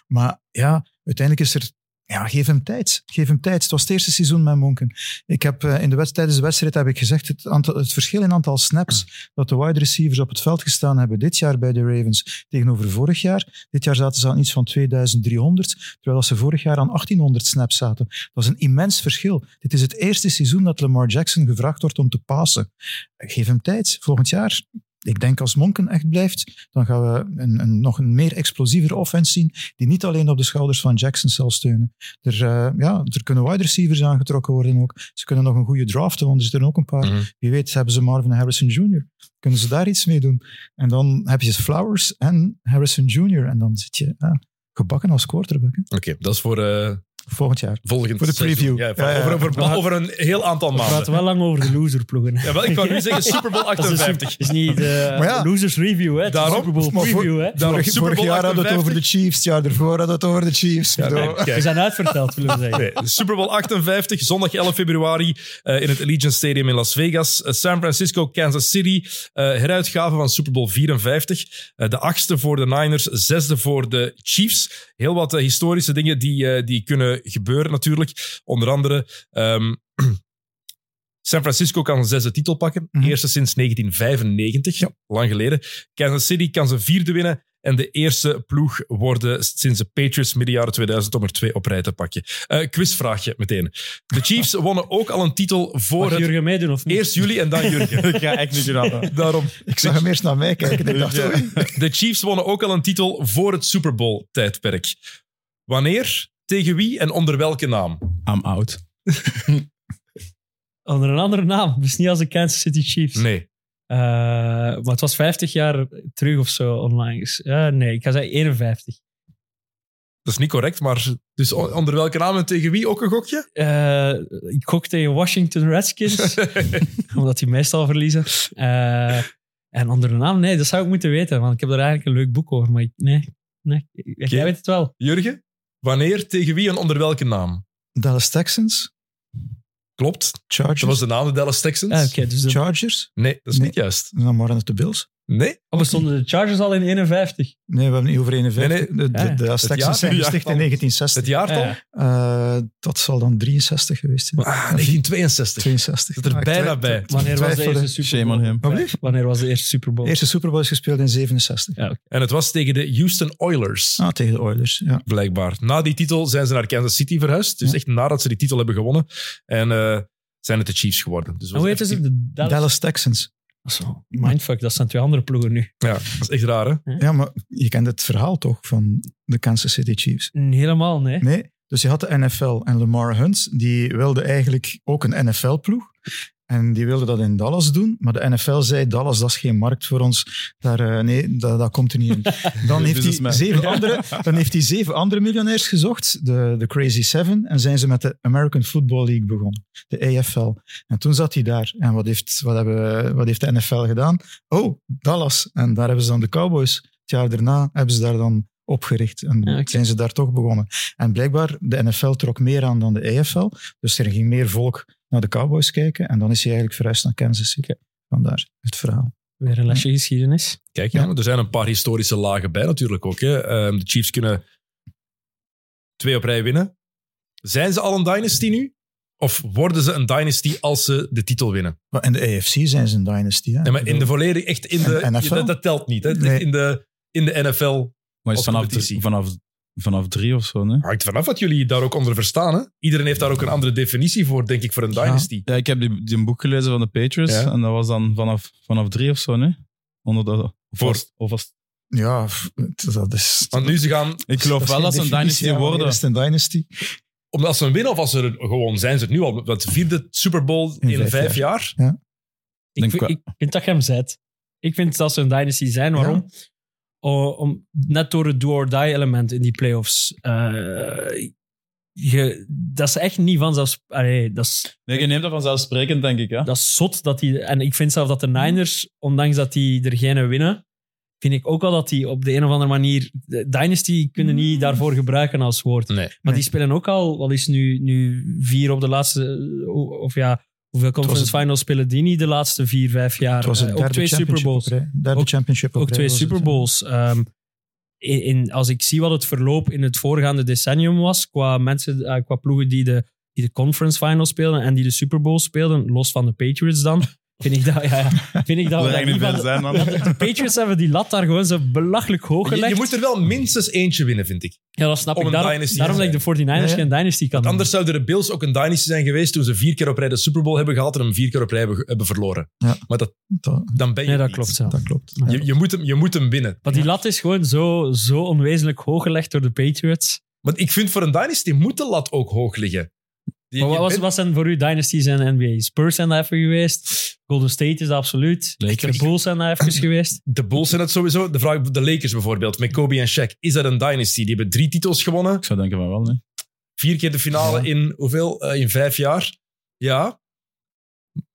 D: Maar ja, uiteindelijk is er... Ja, geef hem tijd. Geef hem tijd. Het was het eerste seizoen met Monken. Ik heb eh, in de wedstrijd, tijdens de wedstrijd heb ik gezegd, het, aantal, het verschil in aantal snaps dat de wide receivers op het veld gestaan hebben dit jaar bij de Ravens tegenover vorig jaar. Dit jaar zaten ze aan iets van 2300, terwijl dat ze vorig jaar aan 1800 snaps zaten. Dat is een immens verschil. Dit is het eerste seizoen dat Lamar Jackson gevraagd wordt om te passen. Geef hem tijd, volgend jaar. Ik denk als Monken echt blijft, dan gaan we een, een nog een meer explosiever offense zien, die niet alleen op de schouders van Jackson zal steunen. Er, eh, ja, er kunnen wide receivers aangetrokken worden ook. Ze kunnen nog een goede draften, want er zitten ook een paar
B: Mhm.
D: wie weet hebben ze Marvin Harrison Jr. Kunnen ze daar iets mee doen? En dan heb je Flowers en Harrison Jr. En dan zit je ah, gebakken als quarterback hè,
B: Oké, dat is voor eh,
D: volgend jaar.
B: volgend
D: Voor de
B: seizoen.
D: preview.
B: Ja,
D: Ja, ja.
B: Over, over,
E: Maar-
B: over een heel aantal
E: We
B: maanden.
E: praten wel lang over de loserploegen.
B: Ja, wel, ik wou nu
E: <laughs>
B: zeggen Super Bowl
E: Dat is, een-
B: 58.
E: is niet de
D: Maar ja.
E: losers review, hè? Het is
B: Daarom-
E: een Super Bowl
D: maar voor-
E: preview, hè?
B: Daarom,
D: Vorig,
B: Super
D: vorig
B: Bowl
D: jaar hadden we het over
B: 58.
D: de Chiefs, het jaar daarvoor hadden we het over de Chiefs. Ik bedoel,
B: Ja,
E: We
B: kijk.
E: zijn uitverteld, willen we zeggen.
B: Nee, Super Bowl 58, zondag 11 februari eh, in het Allegiant Stadium in Las Vegas. Eh, San Francisco, Kansas City. eh, heruitgave van Super Bowl 54. Eh, de achtste voor de Niners, zesde voor de Chiefs. Heel wat eh, historische dingen die, eh, die kunnen gebeuren natuurlijk. Onder andere... ehm, <clears throat> San Francisco kan zijn zesde titel pakken.
D: Mhm.
B: Eerste sinds 1995, lang geleden. Kansas City kan zijn vierde winnen. En de eerste ploeg worden sinds de Patriots midden jaren 2000 om er twee op rij te pakken. Eh, quizvraagje meteen.
C: <laughs>
B: De Chiefs wonnen ook al een titel voor
E: Mag
B: het...
E: Jurgen meedoen of niet?
B: Eerst jullie en dan Jurgen.
C: <laughs> Ik ga echt niet raden.
B: Daarom.
D: ik zag hem eerst naar mij kijken en ik dacht,
C: Ja.
D: oei.
B: De Chiefs wonnen ook al een titel voor het Super Bowl-tijdperk. Wanneer, tegen wie en onder welke naam?
C: <laughs> I'm out.
E: Onder een andere naam. Dus niet als de Kansas City Chiefs.
B: Nee.
E: Eh, maar het was 50 jaar terug of zo online. Dus, eh, nee, ik ga zeggen 51.
B: Dat is niet correct, maar... Dus on- onder welke naam en tegen wie ook een gokje? <laughs>
E: Eh, ik gok tegen Washington Redskins, omdat die meestal verliezen. Eh, en onder een naam, nee, dat zou ik moeten weten, want ik heb er eigenlijk een leuk boek over. Maar ik- nee, nee jij weet het wel.
B: Jurgen? Wanneer, tegen wie en onder welke naam?
D: Dallas Texans,
B: Klopt.
D: Chargers,
B: Dat was de naam, de Dallas Texans.
E: Ah, Oké, dus de,
D: Chargers.
B: Nee, dat is
D: Nee.
B: niet juist.
D: En dan waren het de Bills.
B: Nee?
E: oh, maar stonden de Chargers al in 51?
D: Nee, we hebben het niet over 51.
B: Nee,
D: De, de,
E: Ja, ja.
D: de Dallas
B: Het
D: Texans
B: jaar-
D: zijn
B: het
D: gesticht in
B: jaartal. Het
D: 1960.
B: jaartal?
E: Ja.
D: Eh, dat zal dan 63 geweest zijn.
B: Ah, 1962.
D: 62.
B: Dat er
D: Ah, ik
B: bijna
D: twijfel-
B: bij.
E: Wanneer was de
D: Twijfelde.
E: eerste Super
C: Shame on
E: Bowl?
C: him.
D: Wat bleef?
E: Wanneer was de eerste Super Bowl?
D: De eerste Super Bowl is gespeeld in 67.
B: En het was tegen de Houston Oilers,
D: Ah, tegen de Oilers, ja.
B: blijkbaar. Na die titel zijn ze naar Kansas City verhuisd. Dus
D: Ja.
B: echt nadat ze die titel hebben gewonnen. En eh, zijn het de Chiefs geworden. Dus
E: En hoe heette ze? De Dallas.
D: Dallas Texans.
E: Zo, mindfuck, dat zijn twee andere ploegen nu.
B: Ja, dat is echt raar, hè?
D: Ja, maar je kent het verhaal toch van de Kansas City Chiefs?
E: Helemaal, nee.
D: Nee. Dus je had de NFL en Lamar Hunt, die wilde eigenlijk ook een NFL-ploeg. En die wilde dat in Dallas doen, maar de NFL zei, Dallas, dat is geen markt voor ons. Daar, eh, nee, dat, dat komt er niet in. Dan heeft, hij
C: Businessman.
D: zeven andere, dan heeft hij zeven andere miljonairs gezocht, de, de Crazy Seven, en zijn ze met de American Football League begonnen, de AFL. En toen zat hij daar. En wat heeft, wat hebben, wat heeft de NFL gedaan? Oh, Dallas. En daar hebben ze dan de Cowboys. Het jaar daarna hebben ze daar dan opgericht. En
E: Ja, oké.
D: zijn ze daar toch begonnen. En blijkbaar, de NFL trok meer aan dan de AFL. Dus er ging meer volk naar de Cowboys kijken. En dan is hij eigenlijk verhuisd naar Kansas City. Vandaar het verhaal.
E: Weer een lesje geschiedenis.
B: Kijk, ja,
D: Ja.
B: maar er zijn een paar historische lagen bij natuurlijk ook. Hè. Ehm, de Chiefs kunnen twee op rij winnen. Zijn ze al een dynasty nu? Of worden ze een dynasty als ze de titel winnen?
D: Maar in de AFC zijn ze een dynasty. Hè?
B: Nee, maar in de volledige, echt in de...
D: En NFL?
B: Dat, dat telt niet, hè? Echt
D: Nee.
B: In, de, in de NFL
C: Maar
B: Als
C: is vanaf,
B: competitie.
C: vanaf, vanaf drie of zo, nee?
B: Hangt vanaf wat jullie daar ook onder verstaan. Hè? Iedereen heeft daar ook een andere definitie voor, denk ik, voor een
D: Ja.
B: dynasty.
C: Ja, ik heb die, die een boek gelezen van de Patriots.
B: Ja.
C: En dat was dan vanaf, vanaf drie of zo, nee? Onder de, of
B: Voor-
C: was, of was
D: Ja, f- het- dat is...
B: Want nu ze gaan,
C: Ik geloof wel dat ze een dynasty worden.
D: is een dynasty.
B: omdat ze een winnen of als ze er gewoon zijn, ze het nu al. Dat vierde Super Bowl in, vijf,
D: vijf
B: jaar.
E: Ik,
C: Denk
E: vind-
C: wel-
E: ik vind dat je hem zet. Ik vind dat ze een dynasty zijn. Waarom? O- om, net door het do-or-die element in die playoffs. Eh, je, dat is echt niet vanzelfs... Allee, dat, is,
C: Nee, je neemt dat vanzelfsprekend, denk ik. Hè?
E: dat is zot. Dat die, en ik vind zelf dat de Niners, ondanks dat die er geen winnen, vind ik ook al dat die op de een of andere manier... de Dynasty kunnen niet daarvoor gebruiken als woord.
B: Nee.
E: Maar
D: Nee.
E: die spelen ook al, wat is nu, nu vier op de laatste, eh, o- of ja, hoeveel conference
D: het-
E: finals spelen die niet de laatste vier, vijf jaar?
D: Het was
E: Eh,
D: een
E: ook
D: derde
E: twee Super
D: championship
E: Bowls.
D: op rij. Derde
E: Ook-
D: championship dus, op
E: Ook
D: rij
E: twee
D: was het,
E: Super
D: ja.
E: Bowls. Ehm, in, in- als ik zie wat het verloop in het voorgaande decennium was, qua, mensen, eh, qua ploegen die de, die de conference finals speelden en die de Super Bowl speelden, los van de Patriots
D: <laughs>
E: dan, vind ik dat, ja, ja, vind
C: Dat wil
E: ik dat, we daar
C: eigenlijk
E: niet
C: niet
E: van-
C: zijn, man.
E: de Patriots hebben die lat daar gewoon zo belachelijk hoog
B: Je,
E: gelegd.
B: je moet er wel minstens eentje winnen, vind ik.
E: ja, dat snap
B: om
E: ik.
B: een
E: Daarom,
B: dynasty te
E: daarom dat ik de 49ers
D: Ja, ja.
E: geen dynasty kan
B: Want
E: noemen.
B: anders zouden de Bills ook een dynasty zijn geweest toen ze vier keer op rij de Super Bowl hebben gehaald en hem vier keer op rij hebben, hebben verloren.
D: Ja.
B: Maar dat,
D: eh, Dat,
B: dan ben je
E: Nee, dat
B: niet.
E: klopt zo.
D: dat klopt.
E: Ja.
B: Je, je, moet hem, je moet hem winnen.
E: Maar die lat is gewoon zo, zo onwezenlijk hoog gelegd door de Patriots.
B: Want ik vind voor een dynasty moet de lat ook hoog liggen. Die-
E: Maar
B: je
E: wat, was,
B: bent-
E: wat zijn voor u dynasties en NBA? Spurs zijn daar even geweest. Golden State is dat absoluut.
B: Lakers.
E: De Bulls zijn daar
D: <coughs>
E: even geweest.
B: De Bulls zijn het sowieso. De, vraag, de Lakers bijvoorbeeld, met Kobe en Shaq. Is dat een dynasty? Die hebben drie titels gewonnen.
C: <laughs> Ik zou denken van wel, nee.
B: Vier keer de finale in hoeveel? Eh, in vijf jaar. Ja.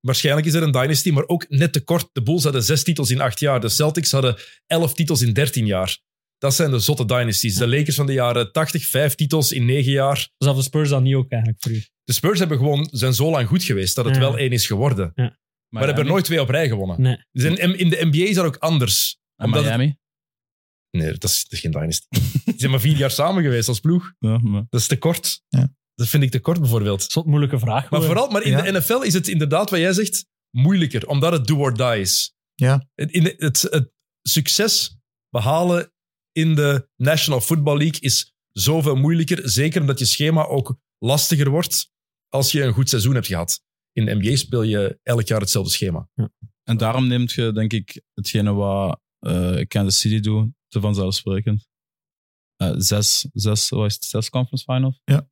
B: Waarschijnlijk is er een dynasty, maar ook net te kort. De Bulls hadden zes titels in acht jaar. De Celtics hadden elf titels in dertien jaar. Dat zijn de zotte dynasties. De Lakers van de jaren 80, vijf titels in negen jaar.
E: Dus dat de Spurs dan niet ook eigenlijk voor u.
B: De Spurs hebben gewoon, zijn zo lang goed geweest dat het
E: Ja.
B: wel één is geworden. Maar,
C: Miami.
B: hebben er nooit twee op rij gewonnen.
E: Nee.
B: Dus in, in de NBA is dat ook anders.
C: En
B: omdat het-
C: Miami.
B: Nee, dat is, dat is geen
E: <laughs>
B: dynasty. Ze zijn maar vier jaar samen geweest als ploeg.
C: Ja, maar...
B: Dat is te kort.
D: Ja.
B: Dat vind ik te kort bijvoorbeeld.
E: Zot moeilijke vraag.
B: Maar
E: hoor.
B: vooral, maar in
D: Ja.
B: de NFL is het inderdaad, wat jij zegt, moeilijker. Omdat het do or die is.
D: Ja.
B: Het, in de- het, het succes behalen in de National Football League is zoveel moeilijker. Zeker omdat je schema ook lastiger wordt als je een goed seizoen hebt gehad. In de NBA speel je elk jaar hetzelfde schema.
C: En daarom neemt je, denk ik, hetgene wat eh Kansas City doet, te vanzelfsprekend. Eh, zes, zes, wat is het, zes conference finals?
D: Ja.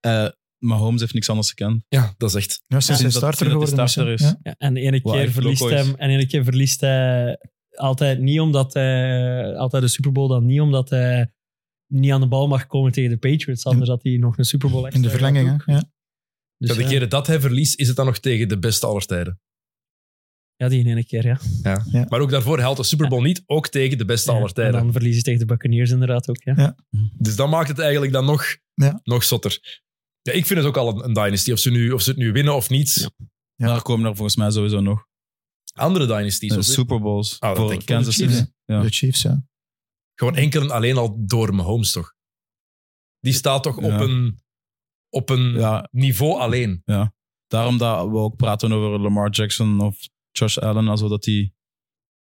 C: Eh, maar Holmes heeft niks anders gekend.
B: Ja, dat is echt.
D: Ja, sinds hij
C: Sinds dat-
D: starter
C: sinds dat
D: geworden
C: hij
D: is. hè.
C: starter is.
D: Ja.
E: Ja, en de ene
C: Wat
E: keer
C: echt
E: verliest
C: loco is.
E: hem. En de ene keer verliest hij altijd niet omdat hij... Altijd de Super Bowl dan niet omdat hij niet aan de bal mag komen tegen de Patriots. Anders had hij nog een Super Bowl
D: In de verlenging, hè. Ja.
E: Dus,
B: dat de
E: ja.
B: keren dat hij verliest, is het dan nog tegen de beste aller tijden.
E: Ja, die ene keer, ja.
B: Maar ook daarvoor helpt de Super Bowl niet, ook tegen de beste aller
E: En
B: tijden.
E: dan verliezen tegen de Buccaneers inderdaad ook, ja.
B: Dus dat maakt het eigenlijk dan nog,
D: Ja.
B: nog zotter. Ja, ik vind het ook al een, een dynasty, of ze, nu, of ze het nu winnen of niet.
D: Ja.
C: Daar komen er volgens mij sowieso nog.
B: Andere dynasties.
C: Eh,
B: of-
C: Super Bowls
B: Oh, dat denk
C: voor
B: ik.
C: Kansas
D: Voor de
C: City.
B: <laughs>
C: Ja.
D: De Chiefs, ja.
B: Gewoon enkel en alleen al door Mahomes, toch? Die staat toch
C: Ja.
B: op een, op een
C: Ja,
B: niveau alleen.
C: daarom dat we ook praten over Lamar Jackson of Josh Allen, alsof dat die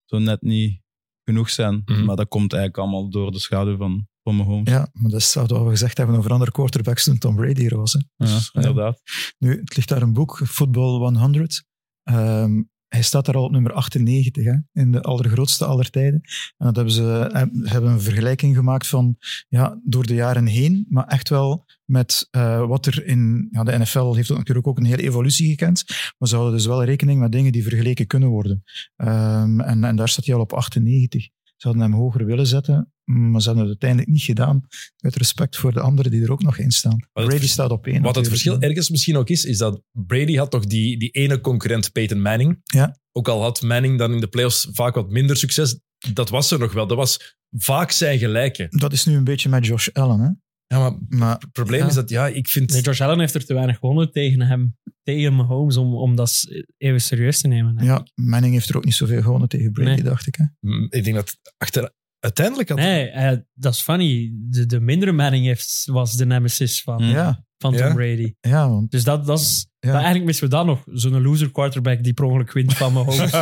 C: zo net niet genoeg zijn.
B: Mhm.
C: Maar dat komt eigenlijk allemaal door de schaduw van, van Mahomes.
D: Ja, maar dat is wat we gezegd hebben over andere quarterbacks toen Tom Brady er was. Hè.
C: Ja,
D: Dus, eh,
C: inderdaad.
D: Nu, het ligt daar een boek, Football 100. Ehm, hij staat daar al op nummer 98, hè, in de allergrootste aller tijden. En dat hebben ze eh, hebben een vergelijking gemaakt van ja, door de jaren heen, maar echt wel met eh, wat er in... Ja, de NFL heeft ook natuurlijk ook een hele evolutie gekend, maar ze houden dus wel rekening met dingen die vergeleken kunnen worden. Ehm, en, en daar staat hij al op 98. Ze hadden hem hoger willen zetten, maar ze hebben het uiteindelijk niet gedaan, uit respect voor de anderen die er ook nog in staan.
B: het
D: Brady
B: vers-
D: staat op één.
B: Wat het
D: natuurlijk.
B: verschil ergens misschien ook is, is dat Brady had toch die, die ene concurrent Peyton Manning.
D: Ja.
B: Ook al had Manning dan in de playoffs vaak wat minder succes. Dat was er nog wel. Dat was vaak zijn gelijke.
D: Dat is nu een beetje met Josh Allen. Hè?
B: Ja, maar
D: Maar
B: het probleem
D: Ja.
B: is dat, ja, ik vind...
E: Nee, Josh Allen heeft er te weinig gewonnen tegen hem. Tegen Mahomes, om, om dat s- even serieus te nemen. hè.
D: ja, Manning heeft er ook niet zoveel gewonnen tegen Brady,
E: Nee.
D: dacht ik. Hè?
B: Mm, Ik denk dat achter, uiteindelijk had
E: Nee, eh, dat is funny. De, de mindere Manning heeft, was de nemesis van,
C: Hmm.
D: Mm. Ja,
E: van Tom
B: Ja.
E: Brady.
D: ja, want
E: Dus dat, dat is,
D: Ja.
E: dat- eigenlijk missen we dat nog. Zo'n loser quarterback die per ongeluk wint van
D: <laughs>
E: Mahomes.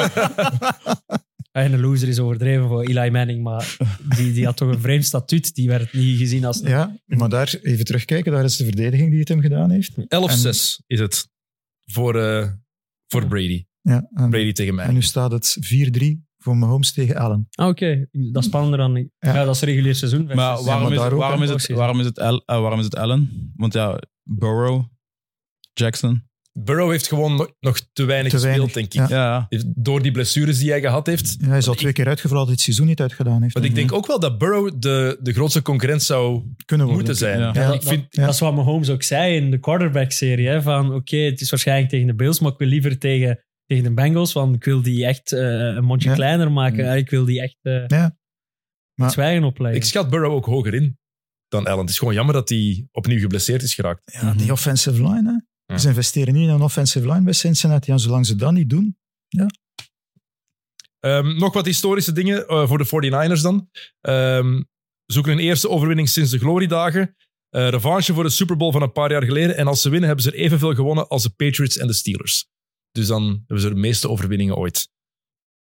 E: en een loser is overdreven voor Eli Manning, maar die, die had toch een vreemd statuut. Die werd niet gezien als...
D: ja, maar daar even terugkijken, daar is de verdediging die het hem gedaan heeft.
B: 11-6 is het voor, eh, voor Brady.
D: Ja, en,
B: Brady tegen mij.
D: en nu staat het 4-3 voor Mahomes tegen Allen.
E: Ah, oké. Dat is spannender dan... Ja. dat is regulier seizoen.
C: Maar
E: versus-
D: maar
C: waarom is
D: daar
C: het-
D: ook
C: waarom
D: een
C: is het-
D: postseason.
C: waarom is het Al- eh, waarom is het Allen? Want ja, Burrow, Jackson.
B: Burrow heeft gewoon nog, nog te weinig
D: Te
B: gespeeld,
D: weinig,
B: denk ik.
D: ja.
C: Ja,
B: Heeft- Door die blessures die hij gehad heeft.
D: Ja, hij is al
B: Want
D: twee keer uitgevallen dat hij het seizoen niet uitgedaan heeft.
B: Want ik denk ook wel dat Burrow de, de grootste concurrent zou
D: Kunnen worden.
B: moeten zijn.
C: Ja.
E: Ja,
B: En
E: dat,
B: ik vind,
E: dat, dat is wat Mahomes ook zei in de quarterback-serie. hè, Van oké, het is waarschijnlijk tegen de Bills, maar ik wil liever tegen, tegen de Bengals. Want ik wil die echt eh, een mondje
D: Ja.
E: kleiner maken.
C: Mm.
E: Ik wil die echt eh
D: Ja. Maar-
E: het zwijgen opleggen.
B: ik schat Burrow ook hoger in dan Allen. Het is gewoon jammer dat hij opnieuw geblesseerd is geraakt.
D: Ja, die offensive line. Hè.
B: Mhm. Ja.
D: Ze investeren niet in een offensive line bij Cincinnati. En zolang ze dat niet doen...
B: Ehm, nog wat historische dingen eh, voor de 49ers dan. Ehm, zoeken een eerste overwinning sinds de gloriedagen. Eh revanche voor de Super Bowl van een paar jaar geleden. En als ze winnen, hebben ze er evenveel gewonnen als de Patriots en de Steelers. Dus dan hebben ze de meeste overwinningen ooit.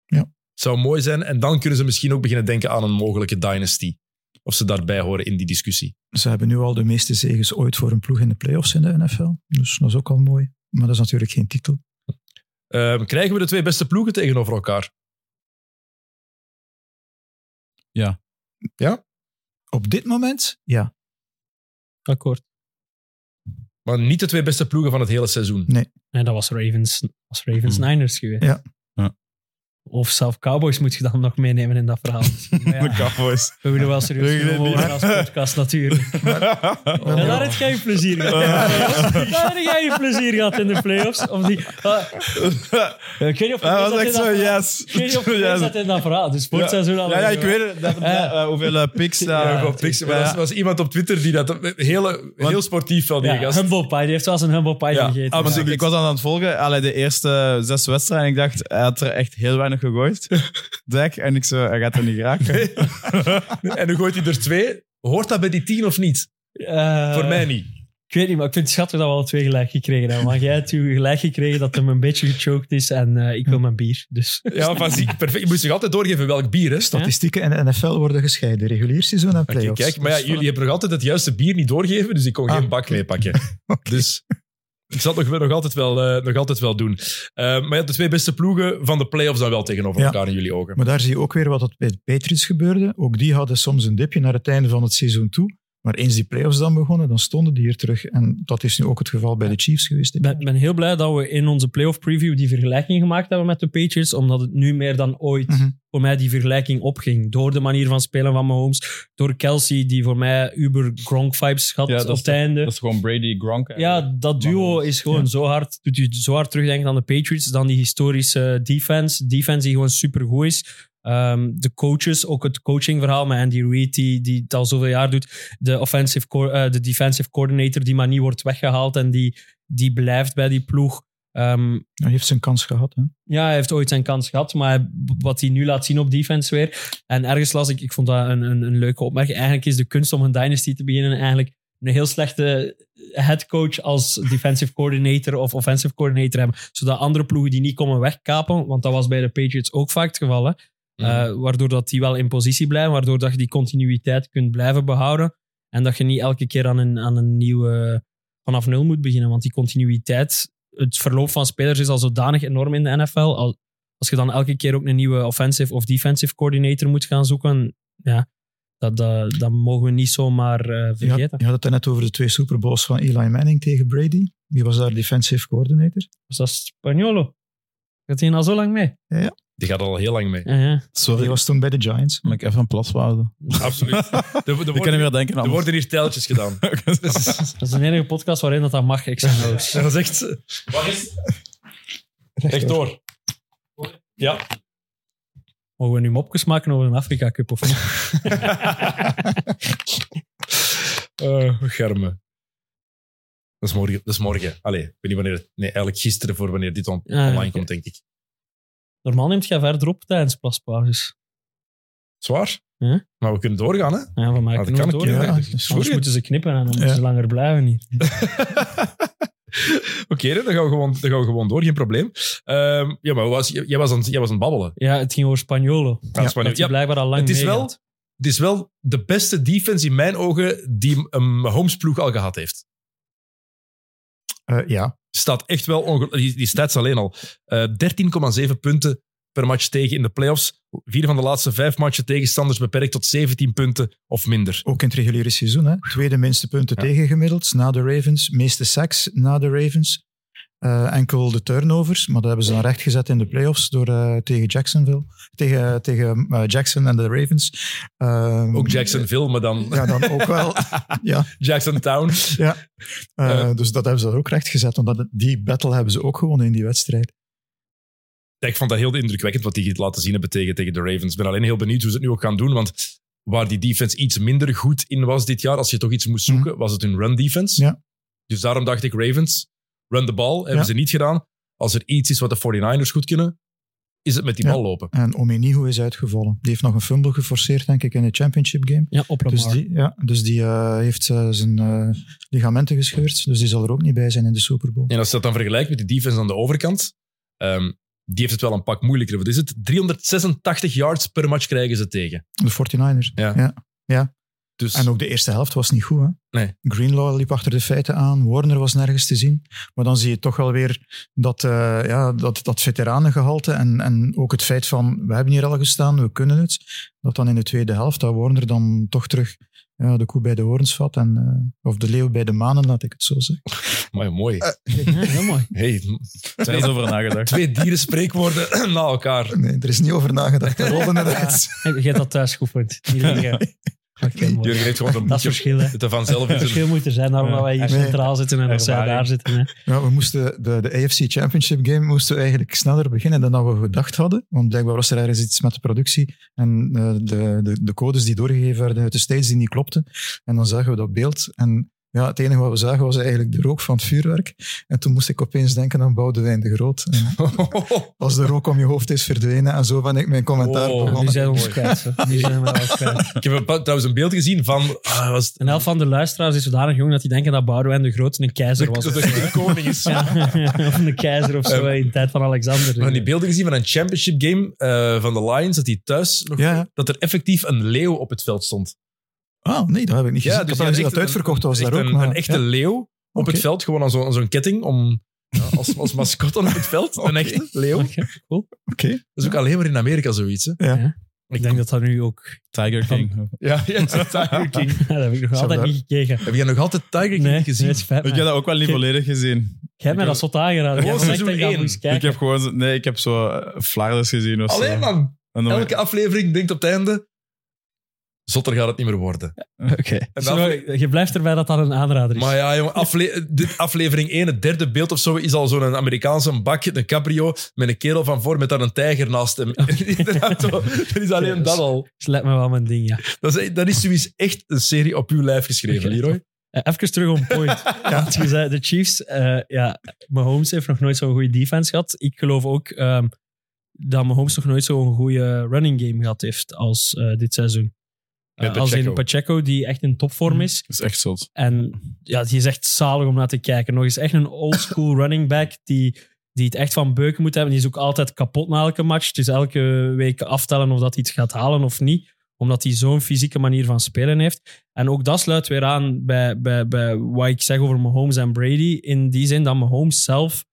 D: Ja.
B: Het zou mooi zijn. En dan kunnen ze misschien ook beginnen denken aan een mogelijke dynasty. Of ze daarbij horen in die discussie.
D: Ze hebben nu al de meeste zegens ooit voor een ploeg in de playoffs in de NFL. Dus dat is ook al mooi. Maar dat is natuurlijk geen titel.
B: Ehm, krijgen we de twee beste ploegen tegenover elkaar?
D: Op dit moment, ja.
E: akkoord.
B: Maar niet de twee beste ploegen van het hele seizoen.
E: Nee, dat was Ravens, was Ravens
C: Mm.
E: Niners geweest.
D: Ja.
C: Ja.
E: Of zelf Cowboys moet je dan nog meenemen in dat verhaal. Maar
C: de
E: ja, <laughs>
C: Cowboys.
E: we willen wel serieus
C: Doe je dit
E: genomen worden
C: niet?
E: als podcast
C: <laughs>
E: natuurlijk.
D: Oh.
E: Ja, daar heb jij je plezier gehad. Ja, Daar heb jij je plezier gehad in de playoffs. Of die, ah, ik weet niet of je
C: Dat
E: dat
C: was
E: in
C: echt
E: dat
C: zo,
E: verhaal-
C: yes. <laughs>
E: Ik weet niet of je
C: Yes.
E: dat in dat verhaal. Dus voor het seizoen al.
C: Ja, ja, ik weet het. Dat-
E: Ja.
C: eh, hoeveel eh, picks daar.
E: Ja,
B: Op niks, maar
C: Ja.
B: Er was iemand op Twitter die dat heel, heel sportief van die
E: Ja,
B: gast.
E: humble pie. Die heeft zelfs een humble pie
B: Ja,
E: gegeten.
C: Want
B: absoluut.
C: ik, ik was aan het volgen, allee, de eerste zes wedstrijden. En ik dacht, hij had er echt heel weinig gegooid. Dek, en ik zo, hij gaat er niet raken.
B: en dan gooit hij er twee. Hoort dat bij die tien of niet?
E: Eh,
B: Voor mij niet.
E: Ik weet niet, maar ik vind het schattig dat we al twee gelijk gekregen hebben. Maar jij hebt u gelijk gekregen dat hem een beetje gechoked is en eh, ik wil mijn bier. Dus
B: Ja, van zie, perfect. Je moest zich altijd doorgeven welk bier, hè?
D: Statistieken in de NFL worden gescheiden. Regulier seizoen en
B: Oké,
D: playoffs.
B: kijk, maar ja,
D: Dus voilà.
B: jullie hebben nog altijd het juiste bier niet doorgegeven, dus ik kon
D: Ah.
B: geen bak
D: <laughs>
B: meepakken. Dus ik zal het nog, nog, altijd wel, eh, nog altijd wel doen. Eh, maar ja, de twee beste ploegen van de playoffs dan wel tegenover
D: Ja.
B: elkaar in jullie ogen.
D: Maar daar zie je ook weer wat dat bij de Patriots gebeurde. Ook die hadden soms een dipje naar het einde van het seizoen toe. Maar eens die playoffs dan begonnen, dan stonden die hier terug. En dat is nu ook het geval bij de Chiefs geweest.
E: ik ben, ben heel blij dat we in onze playoff preview die vergelijking gemaakt hebben met de Patriots. Omdat het nu meer dan ooit
D: Mhm.
E: voor mij die vergelijking opging. Door de manier van spelen van Mahomes. Door Kelsey, die voor mij uber Gronk vibes had
C: Ja, dat
E: op
C: is
E: het
C: toch-
E: einde.
C: Dat is gewoon Brady Gronk. eigenlijk.
E: Ja, dat duo
C: Mahomes.
E: is gewoon
D: Ja.
E: zo hard. Doet u zo hard terugdenken aan de Patriots. Dan die historische defense. Defense die gewoon supergoed is. Ehm, de coaches, ook het coachingverhaal met Andy Reid, die, die het al zoveel jaar doet. De, offensive co- eh, de defensive coordinator die maar niet wordt weggehaald en die, die blijft bij die ploeg. Ehm,
D: Hij heeft zijn kans gehad. Hè?
E: ja, hij heeft ooit zijn kans gehad, maar wat hij nu laat zien op defense weer. En ergens las ik, ik vond dat een, een, een leuke opmerking. Eigenlijk is de kunst om een dynasty te beginnen eigenlijk een heel slechte headcoach als defensive coordinator of offensive coordinator hebben. Zodat andere ploegen die niet komen wegkapen, want dat was bij de Patriots ook vaak het geval. Hè? Eh, waardoor dat die wel in positie blijven, waardoor dat je die continuïteit kunt blijven behouden. En dat je niet elke keer aan een, aan een nieuwe vanaf nul moet beginnen. Want die continuïteit, het verloop van spelers is al zodanig enorm in de NFL. Al- Als je dan elke keer ook een nieuwe offensive of defensive coordinator moet gaan zoeken, ja, dat, dat, dat mogen we niet zomaar eh,
D: Je had,
E: vergeten.
D: je had het net over de twee Super Bowls van Eli Manning tegen Brady. Wie was daar defensive coordinator?
E: Dus dat is Spagnolo. Gaat hij al zo lang mee?
B: Die gaat al heel lang
D: <laughs>
B: mee.
E: Ja, ja.
D: Die
C: Sorry,
D: was toen bij de Giants.
C: moet ik even een plas houden.
B: Absoluut. Er- Er,
C: Ik kan niet
B: worden,
C: meer denken
B: er
C: aan
B: worden hier teltjes
D: <laughs>
B: gedaan.
E: Dat is de enige podcast waarin dat, dat mag, nou
B: <laughs>
E: XNO's.
B: Dat is echt... Waar is Echt door. Ja.
E: Mogen we nu mopjes maken over een Afrika Cup of niet?
B: Eh germe. Dat is morgen. Dat is morgen. Allee, ik weet niet wanneer... het- Nee, eigenlijk gisteren voor wanneer dit on-
E: Ah, ja,
B: online
E: oké.
B: komt, denk ik.
E: Normaal neemt jij verder op tijdens plaspauzes.
B: Zwaar.
E: Ja.
B: Maar we kunnen
E: <laughs>
B: doorgaan, hè?
E: Ja, van mij
B: Ah, dat
E: kunnen we
B: kan
E: het
B: ik,
E: door.
B: ja.
E: Anders
B: Sorry.
E: moeten ze knippen en dan moeten
D: Ja.
E: ze langer blijven hier.
B: Oké, hè, dan, gaan we gewoon- dan gaan we gewoon door. Geen probleem. Ehm, ja, maar hoe was, jij, was aan, het- jij was aan het babbelen.
E: Ja, het ging over Spagnolo.
B: Ja,
E: Dat
B: Spanje-
E: hij
B: ja,
E: blijkbaar al lang
B: het is wel...
E: meegaat.
B: Het is wel de beste defense in mijn ogen die een Holmes-ploeg al gehad heeft.
D: Eh, ja,
B: Eh, staat echt wel ongelooflijk. Die, die stats alleen al. Eh, 13,7 punten per match tegen in de playoffs. Vier van de laatste vijf matchen tegenstanders beperkt tot 17 punten of minder.
D: Ook in het reguliere seizoen. Hè? Tweede minste punten
C: Ja.
D: tegengemiddeld na de Ravens. Meeste sacks na de Ravens. Eh, enkel de turnovers, maar dat hebben ze dan rechtgezet in de playoffs door, eh, tegen Jacksonville. Tegen, tegen eh, Jackson en de Ravens. Ehm,
B: Ook Jacksonville, maar dan <laughs>
D: Ja, dan ook wel. ja.
B: Jackson Town.
D: Eh,
B: Eh.
D: Dus dat hebben ze daar ook rechtgezet, want dat, die battle hebben ze ook gewonnen in die wedstrijd.
B: Ja, Ik vond dat heel indrukwekkend wat die het laten zien hebben tegen, tegen de Ravens. Ik ben alleen heel benieuwd hoe ze het nu ook gaan doen. Want waar die defense iets minder goed in was dit jaar, als je toch iets moest zoeken, was het hun run defense.
D: Mhm. Ja.
B: Dus daarom dacht ik, Ravens, run de bal, hebben
D: Ja.
B: ze niet gedaan. Als er iets is wat de 49ers goed kunnen, is het met die
D: Ja.
B: bal lopen.
D: En Omenihu is uitgevallen. Die heeft nog een fumble geforceerd, denk ik, in de championship game.
E: Ja, op Lamar.
D: Dus die, ja, dus die eh, heeft eh, zijn eh, ligamenten gescheurd, dus die zal er ook niet bij zijn in de Super Bowl.
B: En als je dat dan vergelijkt met de defense aan de overkant, ehm, die heeft het wel een pak moeilijker. Wat is het? 386 yards per match krijgen ze tegen.
D: De 49ers.
B: Ja.
D: Ja.
B: Dus
D: En ook de eerste helft was niet goed. Hè?
B: Nee.
D: Greenlaw liep achter de feiten aan, Warner was nergens te zien. Maar dan zie je toch wel weer dat, eh, ja, dat, dat veteranengehalte en, en ook het feit van we hebben hier al gestaan, we kunnen het. Dat dan in de tweede helft, dat Warner dan toch terug ja, de koe bij de horens vat. En, eh, of de leeuw bij de manen, laat ik het zo zeggen.
B: Amai, mooi.
D: Eh,
E: Ja, heel mooi.
B: Hey, het
C: Er
B: zijn
C: is
B: zo
C: over nagedacht.
B: twee dieren spreekwoorden <clears throat> na elkaar.
D: Nee, er is niet over nagedacht. <laughs> Dat rolde het uit.
E: Heb jij hebt dat thuis geoefend? Niet liggen. Oké, mooi.
B: Jurgen heeft gewoon een
E: Dat is
B: boekje.
E: verschil, hè.
B: Het er vanzelf in
E: Het
B: zijn-
E: verschil moet er zijn, daarom dat wij hier
D: Nee.
E: centraal zitten en dat zij
C: Ervaring.
E: daar zitten. Hè.
D: Ja, we moesten de, de AFC Championship game moesten we eigenlijk sneller beginnen dan dat we gedacht hadden. Want blijkbaar was er ergens iets met de productie en eh, de, de, de codes die doorgegeven werden uit de States die niet klopten. En dan zagen we dat beeld. En ja, het enige wat we zagen was eigenlijk de rook van het vuurwerk. En toen moest ik opeens denken aan Boudewijn de Groot. En als de rook om je hoofd is verdwenen en zo ben ik mijn commentaar
B: Wow.
E: Nu
D: begonnen.
E: zijn we ons
B: Mooi.
E: kwijt. hè. Nu zijn we ons
B: <laughs>
E: kwijt.
B: Ik heb een pa- trouwens een beeld gezien van... ah, was het-
E: Een helft van de luisteraars is zodanig jong dat die denken dat Boudewijn de Grote een keizer
B: de,
E: was.
B: de- de koning is.
E: <laughs> Ja, of een keizer of zo, hè, in de tijd van Alexander.
B: We hebben
E: <laughs>
B: die beelden gezien van een championship game eh, van de Lions, dat die thuis nog...
D: Ja, ja.
B: Dat er effectief een leeuw op het veld stond.
D: Ah, nee, dat heb ik niet
B: Ja,
D: gezien.
B: dus
D: ik had gezien
B: echt
D: dat het
B: een-
D: uitverkocht was
B: Echt
D: daar ook.
B: een,
D: maar-
B: een echte
D: ja,
B: leeuw op
D: oké.
B: het veld, gewoon aan zo'n aan zo'n ketting, om, ja, als, als mascotte op het veld. Een
D: Oké.
B: echte leeuw. Dat
E: Oké, cool.
D: Oké.
B: is ook alleen maar in Amerika zoiets. Hè.
D: Ja.
E: Ja. Ik denk dat dat nu ook... <laughs>
C: <laughs> Tiger King.
B: Ja, ja,
C: <laughs>
B: het is Tiger King.
E: Ja, dat heb ik nog
D: Zou
E: altijd
D: daar-
E: niet gekeken.
B: Heb jij nog altijd Tiger King
E: Nee,
B: niet gezien?
E: nee, het spijt
C: Ik
E: mij.
C: heb dat ook wel niet
E: Ik-
C: volledig gezien.
E: Jij hebt mij dat zot aangeraden.
B: Gewoon
E: Jij zegt,
B: seizoen
E: ik ga
B: één.
E: eens
C: Ik
E: kijken.
C: heb gewoon... zo- Nee, ik heb zo eh, flardes gezien of zo.
B: Alleen man,
C: En dan-
B: elke aflevering denkt op het einde... Zotter gaat het niet meer worden.
C: Oké.
B: En de
E: Zo,
B: afle-
E: Je blijft erbij dat dat een aanrader is.
B: Maar ja, jongen, afle de aflevering 1, het derde beeld of zo, is al zo'n Amerikaanse bak, een cabrio, met een kerel van voor met daar een tijger naast hem. <laughs> In de auto. dat is alleen dat al.
E: Dus lijkt me wel mijn ding, ja.
B: Dat is, dat is zoiets echt een serie op uw lijf geschreven, Leroy.
E: Eh, Even terug on
C: <laughs>
E: point. Want je zei, de Chiefs, eh ja, Mahomes heeft nog nooit zo'n goede defense gehad. Ik geloof ook ehm, dat Mahomes nog nooit zo'n goede running game gehad heeft als eh, dit seizoen.
B: Met
E: Eh, als in
B: Pacheco.
E: Pacheco, die echt in topvorm is.
C: Mhm. Dat is echt zot.
E: En ja, die is echt zalig om naar te kijken. Nog eens echt een
C: <laughs>
E: oldschool running back die, die het echt van beuken moet hebben. Die is ook altijd kapot na elke match. Het is elke week aftellen of dat hij iets gaat halen of niet. Omdat hij zo'n fysieke manier van spelen heeft. En ook dat sluit weer aan bij, bij, bij wat ik zeg over Mahomes en Brady. In die zin dat Mahomes zelf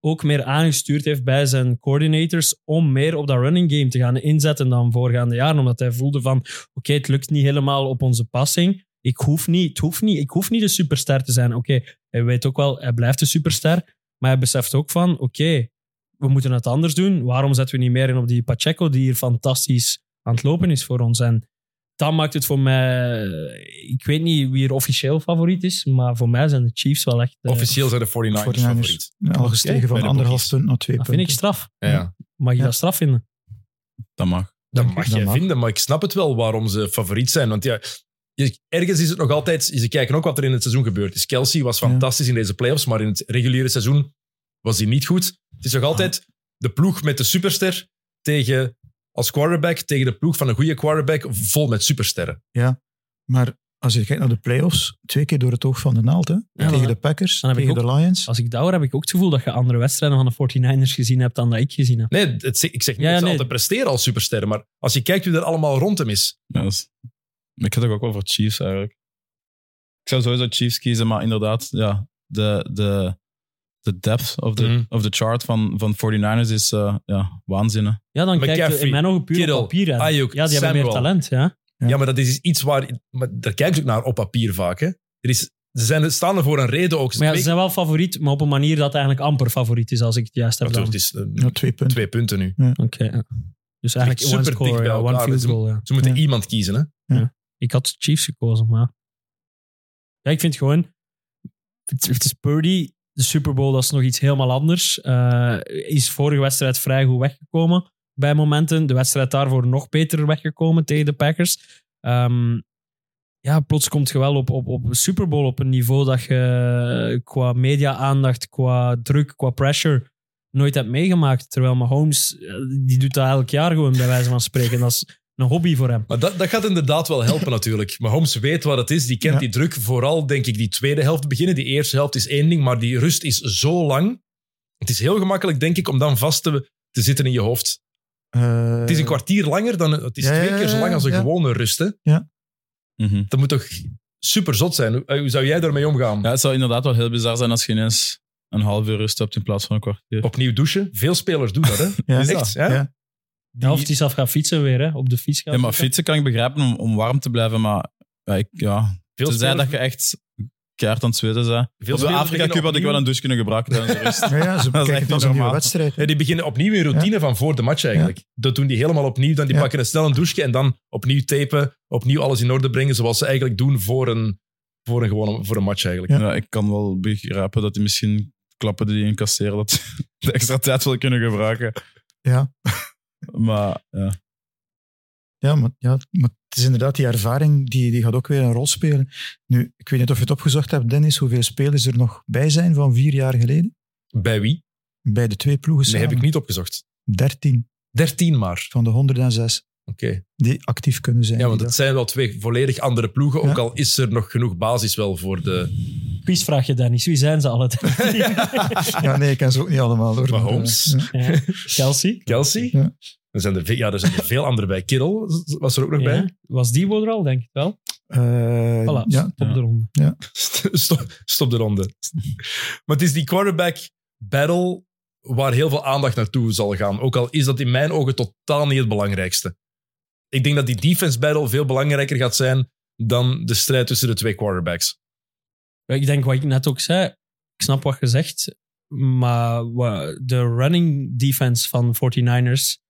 E: ook meer aangestuurd heeft bij zijn coordinators om meer op dat running game te gaan inzetten dan voorgaande jaren. Omdat hij voelde van, oké, het lukt niet helemaal op onze passing. Ik hoef niet, het hoeft niet, ik hoef niet de superster te zijn. Oké, hij weet ook wel, hij blijft de superster. Maar hij beseft ook van, oké, we moeten het anders doen. Waarom zetten we niet meer in op die Pacheco die hier fantastisch aan het lopen is voor ons? En dat maakt het voor mij... Ik weet niet wie er officieel favoriet is, maar voor mij zijn de Chiefs wel echt... eh,
B: Officieel zijn de 49ers,
D: 49ers.
B: favoriet.
D: Al gestegen
B: Bij
D: van
B: de
D: anderhalf punt naar twee
E: dat
D: punten.
E: vind ik straf.
B: Ja, ja.
E: Mag je
D: Ja.
E: dat straf vinden?
C: Dat mag.
B: Dat
D: Dank
B: mag
D: u, dat
B: jij
D: mag.
B: vinden, maar ik snap het wel waarom ze favoriet zijn. Want ja, je- ergens is het nog altijd... Ze kijken ook wat er in het seizoen gebeurd is. Kelsey was
D: Ja.
B: fantastisch in deze playoffs, maar in het reguliere seizoen was hij niet goed. Het is nog
E: Ah.
B: altijd de ploeg met de superster tegen... Als quarterback tegen de ploeg van een goede quarterback vol met supersterren.
D: Maar als je kijkt naar de playoffs, twee keer door het oog van de naald. Hè?
E: maar-
D: tegen de Packers,
E: Dan heb ik
D: tegen de Lions.
E: Als ik dat hoor, heb ik ook het gevoel dat je andere wedstrijden van de 49ers gezien hebt dan dat ik gezien heb.
B: Nee, het, ik zeg niet
E: Ja,
B: dat ze
E: nee.
B: altijd presteren als supersterren, maar als je kijkt wie er allemaal rond hem is.
C: Ja, dat is- Ik had ook wel voor Chiefs eigenlijk. Ik zou sowieso Chiefs kiezen, maar inderdaad, ja, de, de, de depth of the,
B: Mhm.
C: of the chart van, van 49ers is eh, ja, waanzinnig.
E: Ja, dan kijkt
B: McCaffrey,
E: in mijn ogen puur
B: Kittle,
E: op papier. hè.
B: Ayuk,
E: ja, die hebben meer
B: Samuel.
E: talent. Ja.
B: Ja, maar dat is iets waar... Maar daar kijken ze ook naar op papier vaak. Hè. Er is, ze zijn, ze staan er voor een reden ook. Ze
E: Maar ja, ze
B: spreken-
E: zijn wel favoriet, maar op een manier dat eigenlijk amper favoriet is, als ik het juist heb.
B: Maar toch,
E: dan.
B: het
E: Oké,
B: is eh,
D: Ja, twee punten.
B: twee punten nu.
E: ja. Dus eigenlijk
B: Super
E: one
B: dicht
E: score,
B: bij
E: ja, one
B: elkaar,
E: field
B: dus we-
E: goal. Ja.
B: Ze moeten
D: Ja.
B: iemand kiezen. Hè.
E: Ik had Chiefs gekozen, maar... Ja, ik vind gewoon... Het, het is Purdy. De Super Bowl, dat is nog iets helemaal anders. Eh, is vorige wedstrijd vrij goed weggekomen bij momenten. De wedstrijd daarvoor nog beter weggekomen tegen de Packers. Ehm, ja, plots komt je wel op, op, op een Super Bowl op een niveau dat je eh, qua media-aandacht, qua druk, qua pressure nooit hebt meegemaakt. Terwijl Mahomes, eh, die doet dat elk jaar gewoon bij wijze van spreken. Dat is een hobby voor hem.
B: Maar dat, dat gaat inderdaad wel
D: <laughs>
B: helpen natuurlijk. Maar Holmes weet wat het is. Die kent
D: Ja.
B: die druk. Vooral denk ik die tweede helft beginnen. Die eerste helft is één ding. Maar die rust is zo lang. Het is heel gemakkelijk denk ik om dan vast te, te zitten in je hoofd.
D: Eh,
B: Het is een kwartier langer dan... Het is
D: Ja, ja,
B: twee keer zo lang als een
D: ja.
B: gewone rust. Hè.
C: Mhm.
B: Dat moet toch super zot zijn. Hoe, eh, hoe zou jij daarmee omgaan?
C: Ja, het zou inderdaad wel heel bizar zijn als je ineens een half uur rust hebt in plaats van een kwartier.
B: Opnieuw douchen. Veel spelers doen dat. Hè.
D: ja.
B: Is echt, ja?
D: Ja.
E: Ja, of die zelf gaat fietsen weer, hè? op de fiets gaat
C: Ja, maar
E: zitten.
C: fietsen kan ik begrijpen om, om warm te blijven, maar ja, ik, ja.
B: Veel
C: tenzij
B: spelers-
C: dat je echt keihard aan het zweten bent.
B: Veel
C: Op de
B: spelers
C: Afrika-cup had ik wel een douche kunnen gebruiken tijdens de
D: <laughs>
C: rust.
D: Ja, ja, ze
C: Dat is
D: bekijken
C: echt
D: het
C: niet
D: als een nieuwe
C: normaal.
D: wedstrijd.
B: Ja, die beginnen opnieuw in routine van voor de match eigenlijk. Dat doen die helemaal opnieuw. Dan die
D: Ja.
B: pakken een snel een douche en dan opnieuw tapen, opnieuw alles in orde brengen, zoals ze eigenlijk doen voor een, voor een, gewone, voor een match eigenlijk.
C: Ja. ik kan wel begrijpen dat die misschien klappen die incasseren, dat <laughs> de extra tijd wil kunnen gebruiken.
D: Ja.
C: Maar ja.
D: Ja, maar, ja, maar het is inderdaad die ervaring die, die gaat ook weer een rol spelen. Nu, ik weet niet of je het opgezocht hebt, Dennis, hoeveel spelers er nog bij zijn van vier jaar geleden?
B: Bij wie?
D: Bij de twee ploegen
B: Nee,
D: samen.
B: heb ik niet opgezocht.
D: 13
B: 13 maar.
D: van de 106
B: Oké.
D: die actief kunnen zijn.
B: Ja, want
D: die
B: het zijn wel twee volledig andere ploegen, ook
D: Ja.
B: al is er nog genoeg basis wel voor de...
E: Quizvraag je Dennis, wie zijn ze <laughs> alle drie?
D: dag- Ja, nee, ik ken ze ook niet allemaal. Hoor.
B: Maar Holmes?
D: eh, ja.
E: Ja. Chelsea?
B: Kelsey?
D: Ja.
B: Er zijn er, ve- ja, er zijn er veel andere bij. Kittle was er ook nog bij.
E: Ja. Was die er al, denk ik wel?
D: Eh,
E: Voilà,
D: ja,
E: op de ronde.
B: <laughs> Stop, stop de ronde. Maar het is die quarterback battle waar heel veel aandacht naartoe zal gaan. Ook al is dat in mijn ogen totaal niet het belangrijkste. Ik denk dat die defense battle veel belangrijker gaat zijn dan de strijd tussen de twee quarterbacks.
E: Ik denk wat ik net ook zei, ik snap wat je zegt, maar wa- de running defense van 49ers,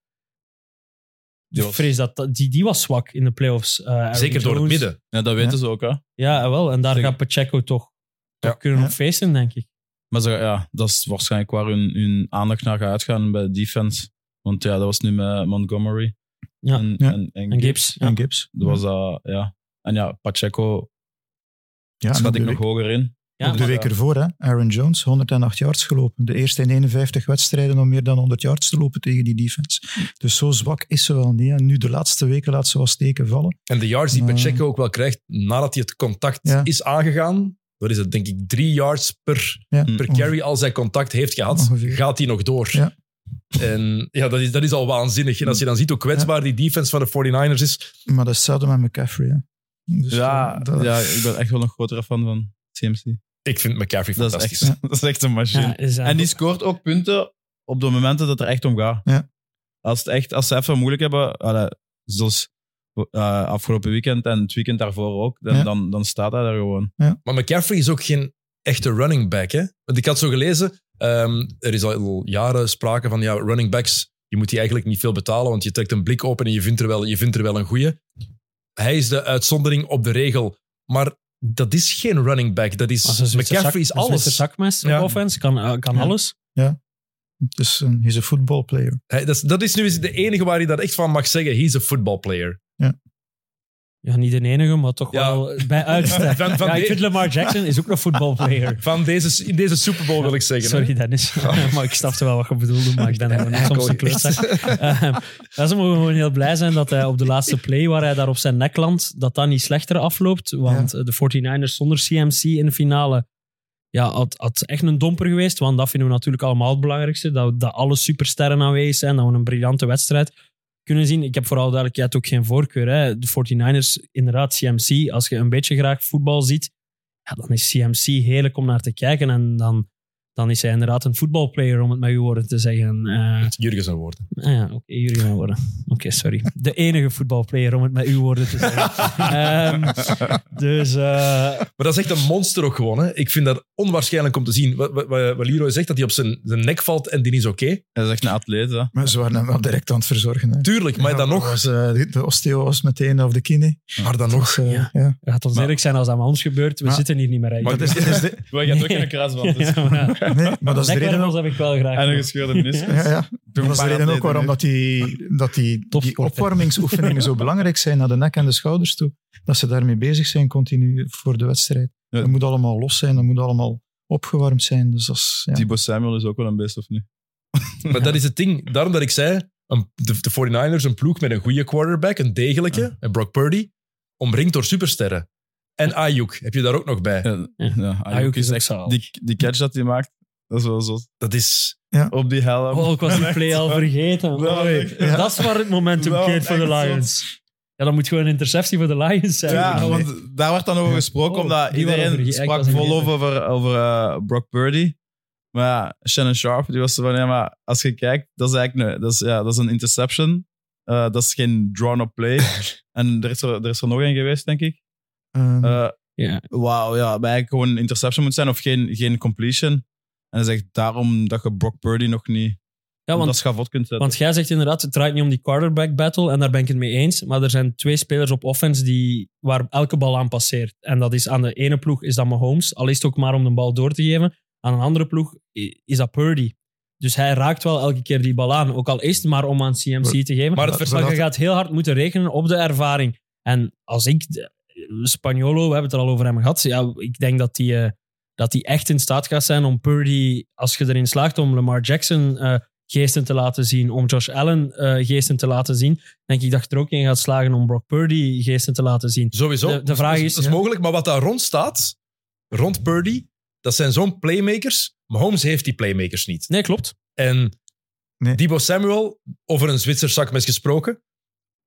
C: Die
E: ik
C: was-
E: vrees dat, dat- die, die was zwak in de playoffs. Eh, Aaron
B: Zeker door het
E: Jones.
B: midden.
C: ja, dat weten
D: Ja.
C: ze ook. Hè.
E: Ja, wel, en daar
C: Zeker.
E: gaat Pacheco toch, toch
B: Ja.
E: kunnen
D: Ja.
E: op feesten, denk ik.
C: Maar ze, ja, dat is waarschijnlijk waar hun, hun aandacht naar gaat uitgaan bij de defense. Want ja, dat was nu met Montgomery
E: Ja.
C: en,
D: Ja.
C: en, en
E: En
C: Gibbs.
E: Gibbs.
D: en Gibbs.
C: Dat was dat, ja. En ja, Pacheco
D: ja, en
C: schat
D: op
C: ik
D: de
C: nog
D: week-
C: hoger in.
E: Ja,
D: op de
E: maar-
D: week ervoor, hè, Aaron Jones, 108 yards gelopen. De eerste in 51 wedstrijden om meer dan 100 yards te lopen tegen die defense. Dus zo zwak is ze wel niet. En nu de laatste weken laat ze wel steken vallen.
B: En de yards die
D: Ja.
B: Pacheco ook wel krijgt nadat hij het contact
D: Ja.
B: is aangegaan. Dat is het, denk ik, drie yards per,
D: Ja,
C: Mm.
B: per carry als hij contact heeft gehad.
D: Ongeveer.
B: Gaat hij nog door.
D: Ja.
B: En ja, dat is, dat is al waanzinnig. En als je dan ziet hoe kwetsbaar die defense van de 49ers is,
D: Maar dat is hetzelfde met McCaffrey. Hè. Dus
C: ja,
D: eh, dat-
C: ja, ik ben echt wel een grotere fan van CMC.
B: Ik vind McCaffrey
C: Dat is,
B: fantastisch.
C: echt, <laughs> dat is echt een machine.
E: Ja, is
C: en die scoort ook punten op de momenten dat het er echt om gaat.
D: Ja.
C: Als, het echt, als ze even moeilijk hebben, allee, zoals eh, afgelopen weekend en het weekend daarvoor ook, dan,
D: Ja.
C: dan, dan staat hij daar gewoon.
B: Maar McCaffrey is ook geen echte running back. Hè? Want ik had zo gelezen, ehm, er is al jaren sprake van ja, running backs, je moet die eigenlijk niet veel betalen, want je trekt een blik open en je vindt er wel, je vindt er wel een goeie. Hij is de uitzondering op de regel. Maar dat is geen running back. Dat
E: Als
B: is,
E: een Zwitser zak-
B: McCaffrey is
E: Een Zwitser
B: alles.
E: zakmes op
B: Ja.
E: offense, kan, eh, kan
D: Ja.
E: alles.
D: Het is een, he's a football player.
B: Hij- dat, is, dat is nu eens de enige waar je dat echt van mag zeggen. He's a football player.
E: Ja, niet de enige, maar toch
B: Ja.
E: wel
B: <laughs>
E: bij uitstek.
B: Van- van
E: ja, ik
B: die-
E: vind Lamar Jackson is ook een voetbalplayer.
B: Van deze, in deze Super Bowl wil ik zeggen. hè.
E: Sorry
B: <laughs>
E: Dennis, maar ik snapte wel wat je bedoelde, maar ik ben gewoon soms een klootzak. Ehm, ja, ze mogen gewoon heel blij zijn dat hij op de laatste play waar hij daar op zijn nek landt, dat dat niet slechter afloopt. Want eh, de 49ers zonder CMC in de finale ja, had, had echt een domper geweest. Want dat vinden we natuurlijk allemaal het belangrijkste. Dat, dat alle supersterren aanwezig zijn, dat we een briljante wedstrijd kunnen zien. Ik heb vooral duidelijkheid ook geen voorkeur. Hè. De 49ers, inderdaad, CMC. Als je een beetje graag voetbal ziet, ja, dan is CMC heerlijk om naar te kijken. En dan dan is hij inderdaad een voetbalplayer, om het met uw woorden te zeggen. Eh,
B: Jurgen zijn woorden.
E: Ah ja, oké, jullie gaan worden. Oké, sorry. De enige voetbalplayer, om het met uw woorden
C: <laughs>
E: te zeggen. Ehm, dus eh,
B: Maar dat is echt een monster ook gewoon. Hè. Ik vind dat onwaarschijnlijk om te zien. Wat, wat, wat wat Leroy zegt, dat hij op zijn, zijn nek valt en die is oké.
C: Hij is echt een atleet. Hè.
D: Maar ze waren hem wel direct aan het verzorgen. Hè.
B: Tuurlijk, maar dan
D: Ja,
B: nog.
D: was, eh, de- de osteo was meteen, of de kine.
B: Maar dan nog.
D: Dus, eh,
E: Ja.
D: ja.
E: laat ons
C: Maar-
E: eerlijk zijn, als dat met ons gebeurt, we
D: Maar-
E: zitten hier niet meer uit. <laughs>
D: Maar dat is, dat is de,
C: Wij gaan
E: ook in een <laughs>
C: kras van.
D: dus-
E: ja, maar, ja.
D: nee, maar dat is de reden
E: Nekwervels heb ik wel graag.
C: En een
E: nog.
C: gescheurde meniscus.
D: Ja, ja.
C: ben
D: Dat is de
C: een
D: reden ook
C: paraatleet
D: waarom
C: nu.
D: dat die, dat die, die
E: Topsport, hè.
D: opwarmingsoefeningen zo belangrijk zijn naar de nek en de schouders toe. Dat ze daarmee bezig zijn continu voor de wedstrijd.
C: Ja.
D: Dat moet allemaal los zijn, dat moet allemaal opgewarmd zijn. Dus dat is, ja.
C: Thibaut Samuel is ook wel een beest, of niet?
B: Maar dat is het ding. Daarom dat ik zei, een, de, de 49ers, een ploeg met een goede quarterback, een degelijke, en Brock Purdy, omringd door supersterren. En Ayuk heb je daar ook nog bij.
C: Ja, ja.
E: Ayuk
C: Ayuk
E: is
C: is
E: Ah, ook
C: echt
E: zalig.
C: die, die catch dat hij maakt, dat is wel zo.
B: Dat is...
C: Op die helm.
E: Oh, ik was die play al vergeten.
C: Dat was
E: Oei.
C: echt-
E: Dat is waar het momentum
C: Dat was
E: keert voor de
C: echt zo.
E: Lions. Ja, dat moet gewoon een interceptie voor de Lions zijn.
C: Ja,
E: Nee.
C: want daar werd dan over gesproken,
E: Oh,
C: omdat
E: die waren
C: iedereen
E: verge- ik
C: sprak
E: was
C: vol
E: vergeten.
C: over, over eh, Brock Purdy. Maar ja, Shannon Sharp, die was er van, ja, maar als je kijkt, dat is eigenlijk een, dat is, ja, dat is een interception. Eh, dat is geen drawn-up play. en er is er, er is er nog één geweest, denk ik.
D: Ehm,
C: Eh,
E: Ja.
C: Wauw, ja, maar eigenlijk gewoon een interception moet zijn of geen, geen completion. En hij zegt daarom dat je Brock Purdy nog niet
E: Ja,
C: dat
E: want,
C: schavot kunt zetten.
E: want jij zegt inderdaad, het draait niet om die quarterback battle. En daar ben ik het mee eens. Maar er zijn twee spelers op offense die, waar elke bal aan passeert. En dat is aan de ene ploeg is dat Mahomes. Al is het ook maar om de bal door te geven. Aan een andere ploeg i- is dat Purdy. Dus hij raakt wel elke keer die bal aan. Ook al is het maar om aan CMC te geven.
B: Maar het
E: Maar
B: verschil...
E: je gaat heel hard moeten rekenen op de ervaring. En als ik... Spagnolo, we hebben het er al over hem gehad. Ja, ik denk dat die, eh, dat die echt in staat gaat zijn om Purdy... Als je erin slaagt om Lamar Jackson eh, geesten te laten zien, om Josh Allen eh, geesten te laten zien, denk ik dat je er ook in gaat slagen om Brock Purdy geesten te laten zien.
B: Sowieso.
E: De- de vraag
B: Dat
E: is-
B: Dat is
E: ja.
B: mogelijk, maar wat daar rond staat, rond Purdy, dat zijn zo'n playmakers. Mahomes heeft die playmakers niet.
E: Nee, klopt.
B: En
D: Nee.
B: Debo Samuel, over een Zwitser zakmes gesproken,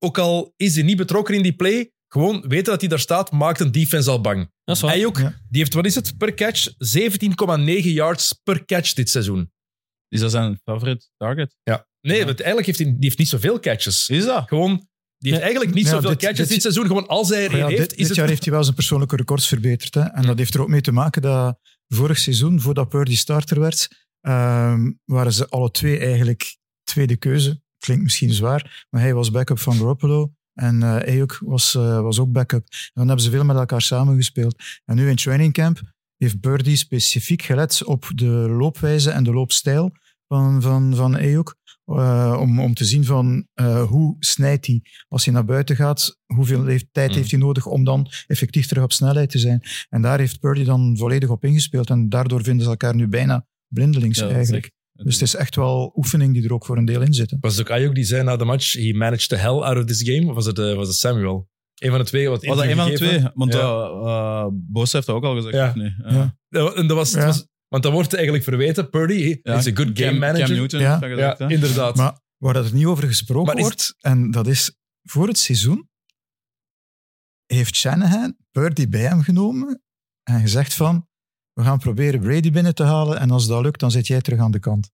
B: ook al is hij niet betrokken in die play, gewoon weten dat hij daar staat, maakt een defense al bang.
E: Dat is waar.
B: Hij ook.
D: Ja.
B: Die heeft, wat is het, per catch? 17,9 yards per catch dit seizoen.
C: Is dat zijn favoriet target?
B: Nee,
C: Ja.
B: want eigenlijk heeft hij die heeft niet zoveel catches.
C: Is dat?
B: Gewoon, die heeft
E: Nee.
B: eigenlijk niet
D: Ja,
B: zoveel
D: dit-
B: catches dit,
D: dit-
B: seizoen. Gewoon als hij er
D: Maar ja,
B: een
D: dit,
B: heeft, is
D: dit
B: het...
D: jaar heeft hij wel zijn persoonlijke records verbeterd. Hè? En dat heeft er ook mee te maken dat vorig seizoen, voordat Purdy starter werd, ehm, waren ze alle twee eigenlijk tweede keuze. Klinkt misschien zwaar, maar hij was backup van Garoppolo. En eh Ayuk was, eh, was ook backup. En dan hebben ze veel met elkaar samengespeeld. En nu in training camp heeft Purdy specifiek gelet op de loopwijze en de loopstijl van, van, van Ayuk. eh, om, om te zien van eh, hoe snijdt hij als hij naar buiten gaat, hoeveel heeft, tijd
C: Hmm.
B: Mm.
D: heeft hij nodig om dan effectief terug op snelheid te zijn. En daar heeft Purdy dan volledig op ingespeeld. En daardoor vinden ze elkaar nu bijna blindelings
C: Ja, dat is
D: eigenlijk. Dus het is echt wel oefening die er ook voor een deel in zitten.
B: Was het ook Ayuk die zei na de match, he managed the hell out of this game? Of was het, eh, was het Samuel? Een van de twee. Wat
C: Was dat een
B: interview
C: van de
B: gegeven.
C: twee? Want
B: Ja.
C: eh, eh, Bosa heeft dat ook al gezegd,
B: Ja.
C: of niet?
D: Ja.
C: Eh,
B: Ja, en dat was, het
D: Ja.
B: was- want dat wordt eigenlijk verweten. Purdy he,
C: ja,
B: is a good game
C: Cam-
B: manager.
C: Cam Newton
D: Ja.
C: heeft dat gezegd,
B: ja,
C: hè?
B: inderdaad.
D: Maar waar dat er niet over
B: Maar
D: gesproken
B: is-
D: wordt, en dat is voor het seizoen, heeft Shanahan Purdy bij hem genomen en gezegd van, we gaan proberen Brady binnen te halen en als dat lukt, dan zit jij terug aan de kant.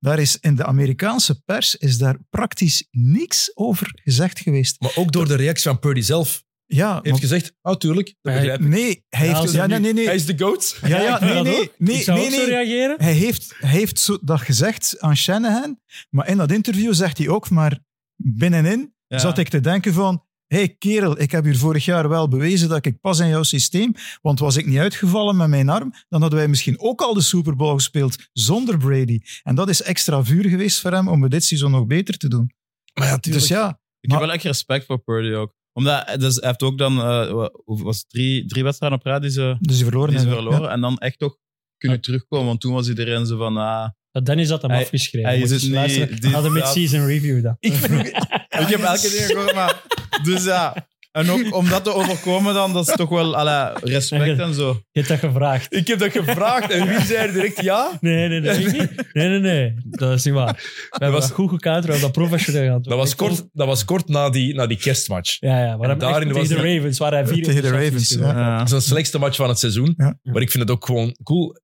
D: Daar is in de Amerikaanse pers is daar praktisch niks over gezegd geweest.
B: Maar ook door de reactie van Purdy zelf.
D: Ja,
B: Heeft gezegd, oh tuurlijk, dat
E: Maar hij-
B: begrijp ik.
D: nee, hij
E: Ja,
D: heeft...
E: als
D: Ja,
E: hij
D: nee,
E: nu-
D: nee, nee.
B: Hij is de GOAT.
D: Ja, ja,
E: ik vind
D: nee,
E: dat
D: nee,
E: ook. ik
D: nee,
E: zou
D: nee,
E: ook zo
D: nee.
E: reageren.
D: Hij heeft, hij heeft zo dat gezegd aan Shanahan, maar in dat interview zegt hij ook, maar binnenin
C: Ja.
D: zat ik te denken van, hey kerel, ik heb hier vorig jaar wel bewezen dat ik pas in jouw systeem, want was ik niet uitgevallen met mijn arm, dan hadden wij misschien ook al de Super Bowl gespeeld zonder Brady. En dat is extra vuur geweest voor hem om het dit seizoen nog beter te doen.
B: Maar ja,
D: Dus ja,
C: Ik heb
D: Maar-
C: wel echt respect voor Purdy ook. Omdat eh, dus hij heeft ook dan eh, wa- hoe- was het drie, drie wedstrijden op rij die ze,
D: dus die verloren.
C: die ze
D: hebben.
C: verloren. En dan echt toch kunnen terugkomen. Want toen was iedereen zo van... ah,
E: Dat Dennis had hem
C: Hij-
E: afgeschreven.
C: hij is
E: Moet je
C: het
E: eens
C: niet-
E: luisteren.
C: dit-
E: Naar de mid-season review dan.
B: Ik ben ook-
C: <laughs> ik heb elke keer gehoord, maar... Dus ja. En ook om dat te overkomen dan, dat is toch wel alla, respect en zo.
E: <laughs> Je hebt dat gevraagd.
B: ik heb dat gevraagd en wie zei er direct ja?
E: Nee, nee, nee. ik niet. Nee, nee, nee. Dat is niet waar. We hebben
B: was-
E: dat goed gekauwd, we hebben dat professioneel gehad.
B: Dat was kort, dat was kort na, die, na die kerstmatch.
E: Ja, ja. Maar
B: En daarin
E: daarin tegen
B: was
E: de
B: het-
E: Ravens waren hij vier
D: Tegen de
E: intercepties
D: Ravens,
E: gedaan.
D: ja.
B: Dat is een slechtste match van het seizoen.
D: Ja.
B: Maar ik vind het ook gewoon cool.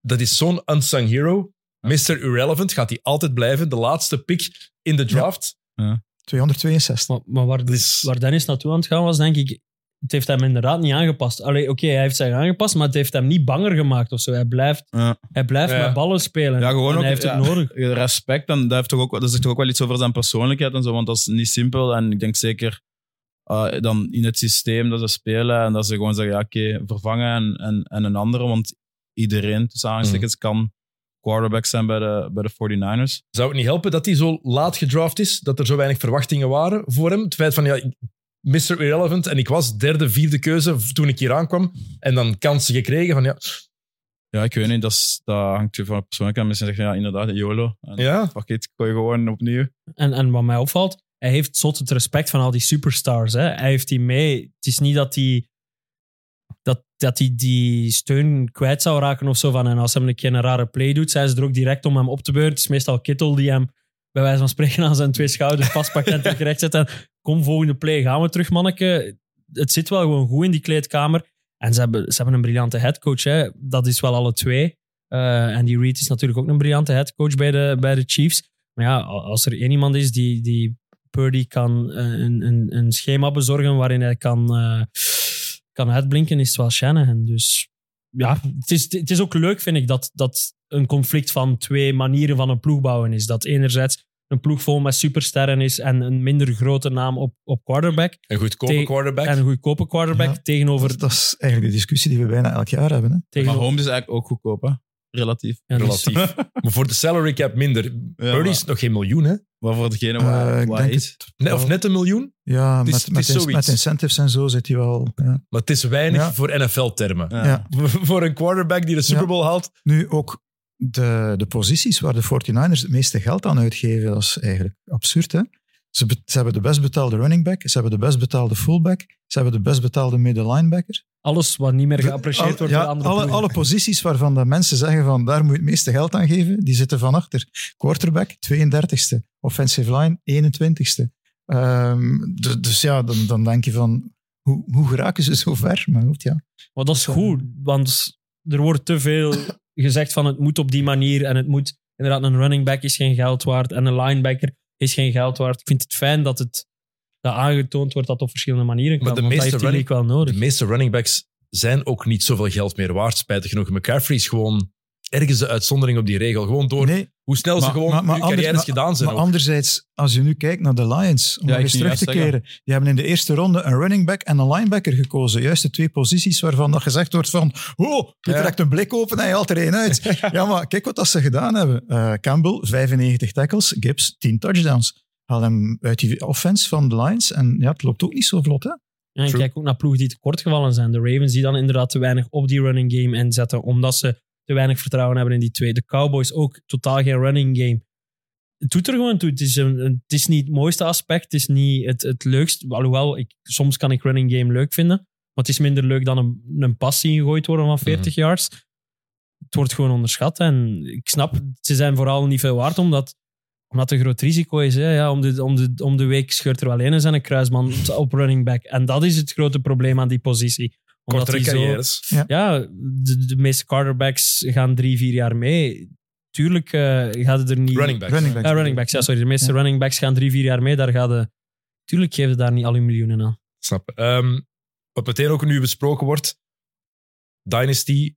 B: dat is zo'n unsung hero. Mr. Irrelevant gaat hij altijd blijven. De laatste pick in de draft.
D: 262.
E: Maar, maar waar,
B: Dus-
E: waar Dennis naartoe aan het gaan was, denk ik, het heeft hem inderdaad niet aangepast. Allee, oké, hij heeft zich aangepast, maar het heeft hem niet banger gemaakt of zo. Hij blijft,
C: Ja.
E: hij blijft
B: Ja.
E: met ballen spelen.
C: Ja, gewoon
E: en
C: ook-
E: hij heeft
C: ja.
E: het nodig.
C: Respect, en dat, heeft toch ook, wel- dat zegt toch ook wel iets over zijn persoonlijkheid en zo, want dat is niet simpel. En ik denk zeker eh, dan in het systeem dat ze spelen en dat ze gewoon zeggen, ja, oké, vervangen en, en, en een andere, want iedereen, tussen aanhalingstekens,
D: Mm.
C: kan quarterback zijn bij de, bij de 49ers.
B: Zou het niet helpen dat hij zo laat gedraft is? Dat er zo weinig verwachtingen waren voor hem? Het feit van, ja, ik- Mr. Irrelevant en ik was derde, vierde keuze v- toen ik hier aankwam. En dan kansen gekregen van, ja,
C: Ja, ik weet niet, dat, is, dat hangt je van de persoonlijkheid. Mensen zeggen, ja, inderdaad, YOLO. En
B: ja
C: Fuck it, gooi gewoon opnieuw.
E: En, en wat mij opvalt, hij heeft zot het respect van al die superstars. Hè. Hij heeft die mee. Het is niet dat hij dat, dat die, die steun kwijt zou raken of zo. Van, en als hij een keer een rare play doet, zijn ze er ook direct om hem op te beuren. Het is meestal Kittel die hem bij wijze van spreken aan zijn twee schouders vastpakt en terug recht zet. En kom, volgende play, gaan we terug, manneke. Het zit wel gewoon goed in die kleedkamer. En ze hebben, ze hebben een briljante headcoach. hè. Dat is wel alle twee. Eh, en die Reed is natuurlijk ook een briljante headcoach bij de, bij de Chiefs. Maar ja, a- als er één iemand is die, die Purdy kan eh, een, een, een schema bezorgen waarin hij kan, eh, kan uitblinken, is het wel Shanahan. Dus ja, het is, het is ook leuk, vind ik, dat, dat een conflict van twee manieren van een ploeg bouwen is. Dat enerzijds een ploeg vol met supersterren is en een minder grote naam op, op quarterback.
B: een goedkope
E: Tegen-
B: quarterback.
E: En een goedkope quarterback
D: Ja.
E: tegenover...
D: Dat, dat is eigenlijk de discussie die we bijna elk jaar hebben. Hè?
E: tegenover
C: Maar Holmes is eigenlijk ook goedkoop, hè? Relatief.
E: Ja, dus dat is-
B: relatief. maar voor de salary cap minder. Purdy is nog geen miljoen, hè?
C: Maar voor degene
D: Eh,
C: waar
D: ik
C: waar
D: denk
C: hij is.
B: Nee, of net een miljoen.
D: Ja,
B: Het is-
D: met,
B: het
D: met,
B: is
D: ins-
B: zoiets.
D: met incentives en zo zit hij wel. Ja.
B: Maar het is weinig
D: Ja.
B: voor NFL-termen.
C: Ja.
D: Ja.
B: <laughs> Voor een quarterback die de Super Bowl haalt.
D: Nu ook de, de posities waar de 49ers het meeste geld aan uitgeven, dat is eigenlijk absurd. Hè? Ze, be- ze hebben de best betaalde running back, ze hebben de best betaalde fullback, ze hebben de best betaalde middle linebacker.
E: alles wat niet meer geapprecieerd
D: Al-
E: wordt
D: ja,
E: door andere
D: alle,
E: ploegen.
D: alle posities waarvan de mensen zeggen van daar moet je het meeste geld aan geven, die zitten van achter. Quarterback 32e, offensive line 21ste. Ehm, d- dus ja, dan, dan denk je van hoe, hoe geraken ze zo ver? Maar goed, ja.
E: Maar dat is goed, want er wordt te veel gezegd van het moet op die manier en het moet... Inderdaad, een running back is geen geld waard en een linebacker is geen geld waard. Ik vind het fijn dat het dat aangetoond wordt dat op verschillende manieren kan,
B: Maar de
E: want dat
B: meeste
E: heeft die
B: running-
E: league wel
B: De
E: nodig.
B: meeste running backs zijn ook niet zoveel geld meer waard, spijtig genoeg. McCaffrey is gewoon ergens de uitzondering op die regel. Gewoon door
D: Nee,
B: hoe snel ze
D: Maar-
B: gewoon
D: maar- maar
B: hun
D: anders-
B: carrières gedaan zijn.
D: Maar
B: ook.
D: anderzijds, als je nu kijkt naar de Lions, om
C: Ja,
D: nog
C: ik
D: eens
C: ging
D: terug
C: juist
D: te
C: zeggen.
D: keren, die hebben in de eerste ronde een running back en een linebacker gekozen. Juist de twee posities waarvan dat gezegd wordt van oh, je
B: Ja.
D: trekt een blik open en je haalt er één uit. ja, maar kijk wat dat ze gedaan hebben. Eh, Campbell, 95 tackles, Gibbs, 10 touchdowns. Haal hem uit die offense van de Lions en ja, het loopt ook niet zo vlot. Hè?
E: En
B: True.
E: kijk ook naar ploegen die tekortgevallen zijn. De Ravens die dan inderdaad te weinig op die running game inzetten, omdat ze te weinig vertrouwen hebben in die twee. De Cowboys ook totaal geen running game. Het doet er gewoon toe. Het is, een, een- het is niet het mooiste aspect, het is niet het, het leukst. Alhoewel, ik, soms kan ik running game leuk vinden, maar het is minder leuk dan een, een pas zien gegooid worden van 40 yards. Het wordt gewoon onderschat en ik snap, ze zijn vooral niet veel waard, omdat omdat het een groot risico is. Hè? Ja, om, de, om, de, om de week scheurt er wel een zijn een kruisman op running back. En dat is het grote probleem aan die positie. Omdat
B: Kortere
E: die zo-
B: carrières.
E: ja, de, de meeste quarterbacks gaan drie, vier jaar mee. Tuurlijk eh, gaat het er niet...
B: Running backs.
D: Running backs.
E: Ja, running backs, ja, sorry. De meeste
D: Ja.
E: running backs gaan drie, vier jaar mee. Daar gaat de... Tuurlijk geven ze daar niet al hun miljoenen aan.
B: Snap. Ehm, wat meteen ook nu besproken wordt: Dynasty,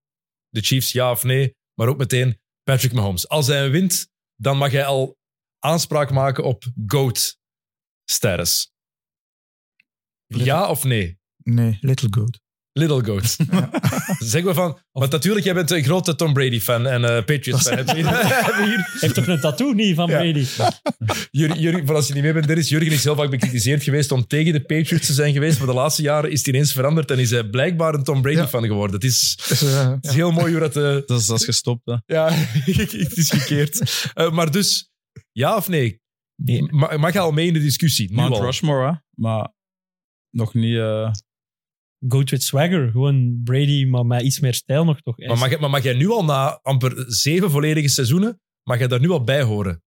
B: de Chiefs ja of nee, maar ook meteen Patrick Mahomes. Als hij wint, dan mag hij al aanspraak maken op GOAT status. Ja of nee?
D: Nee, Little Goat.
B: Little
D: <laughs>
B: Goat. Zeg maar van. Want natuurlijk, jij bent een grote Tom Brady-fan en eh, Patriots-fan. <laughs> Heb je- heb je hier-
E: Heeft toch een tattoo niet van
B: Ja.
E: Brady?
B: Jur- Jur- voor als je niet mee bent, Dennis, Jurgen is heel vaak bekritiseerd geweest om tegen de Patriots te zijn geweest. Maar de laatste jaren is het ineens veranderd en is hij blijkbaar een Tom Brady-fan geworden. Het is,
D: Dus, eh, ja.
B: het is heel mooi hoe dat... eh,
C: Dat is, dat is gestopt, hè.
B: ja, het is gekeerd.
D: <laughs>
B: Eh, maar dus, ja of nee?
E: Nee.
B: Ma- Mag je al mee in de discussie? Nu
C: Mount
B: al.
C: Rushmore, hè. Maar nog niet... eh,
E: Go with swagger. Gewoon Brady, maar met iets meer stijl nog toch.
B: Maar mag, maar mag jij nu al na amper zeven volledige seizoenen, mag jij daar nu al bij horen?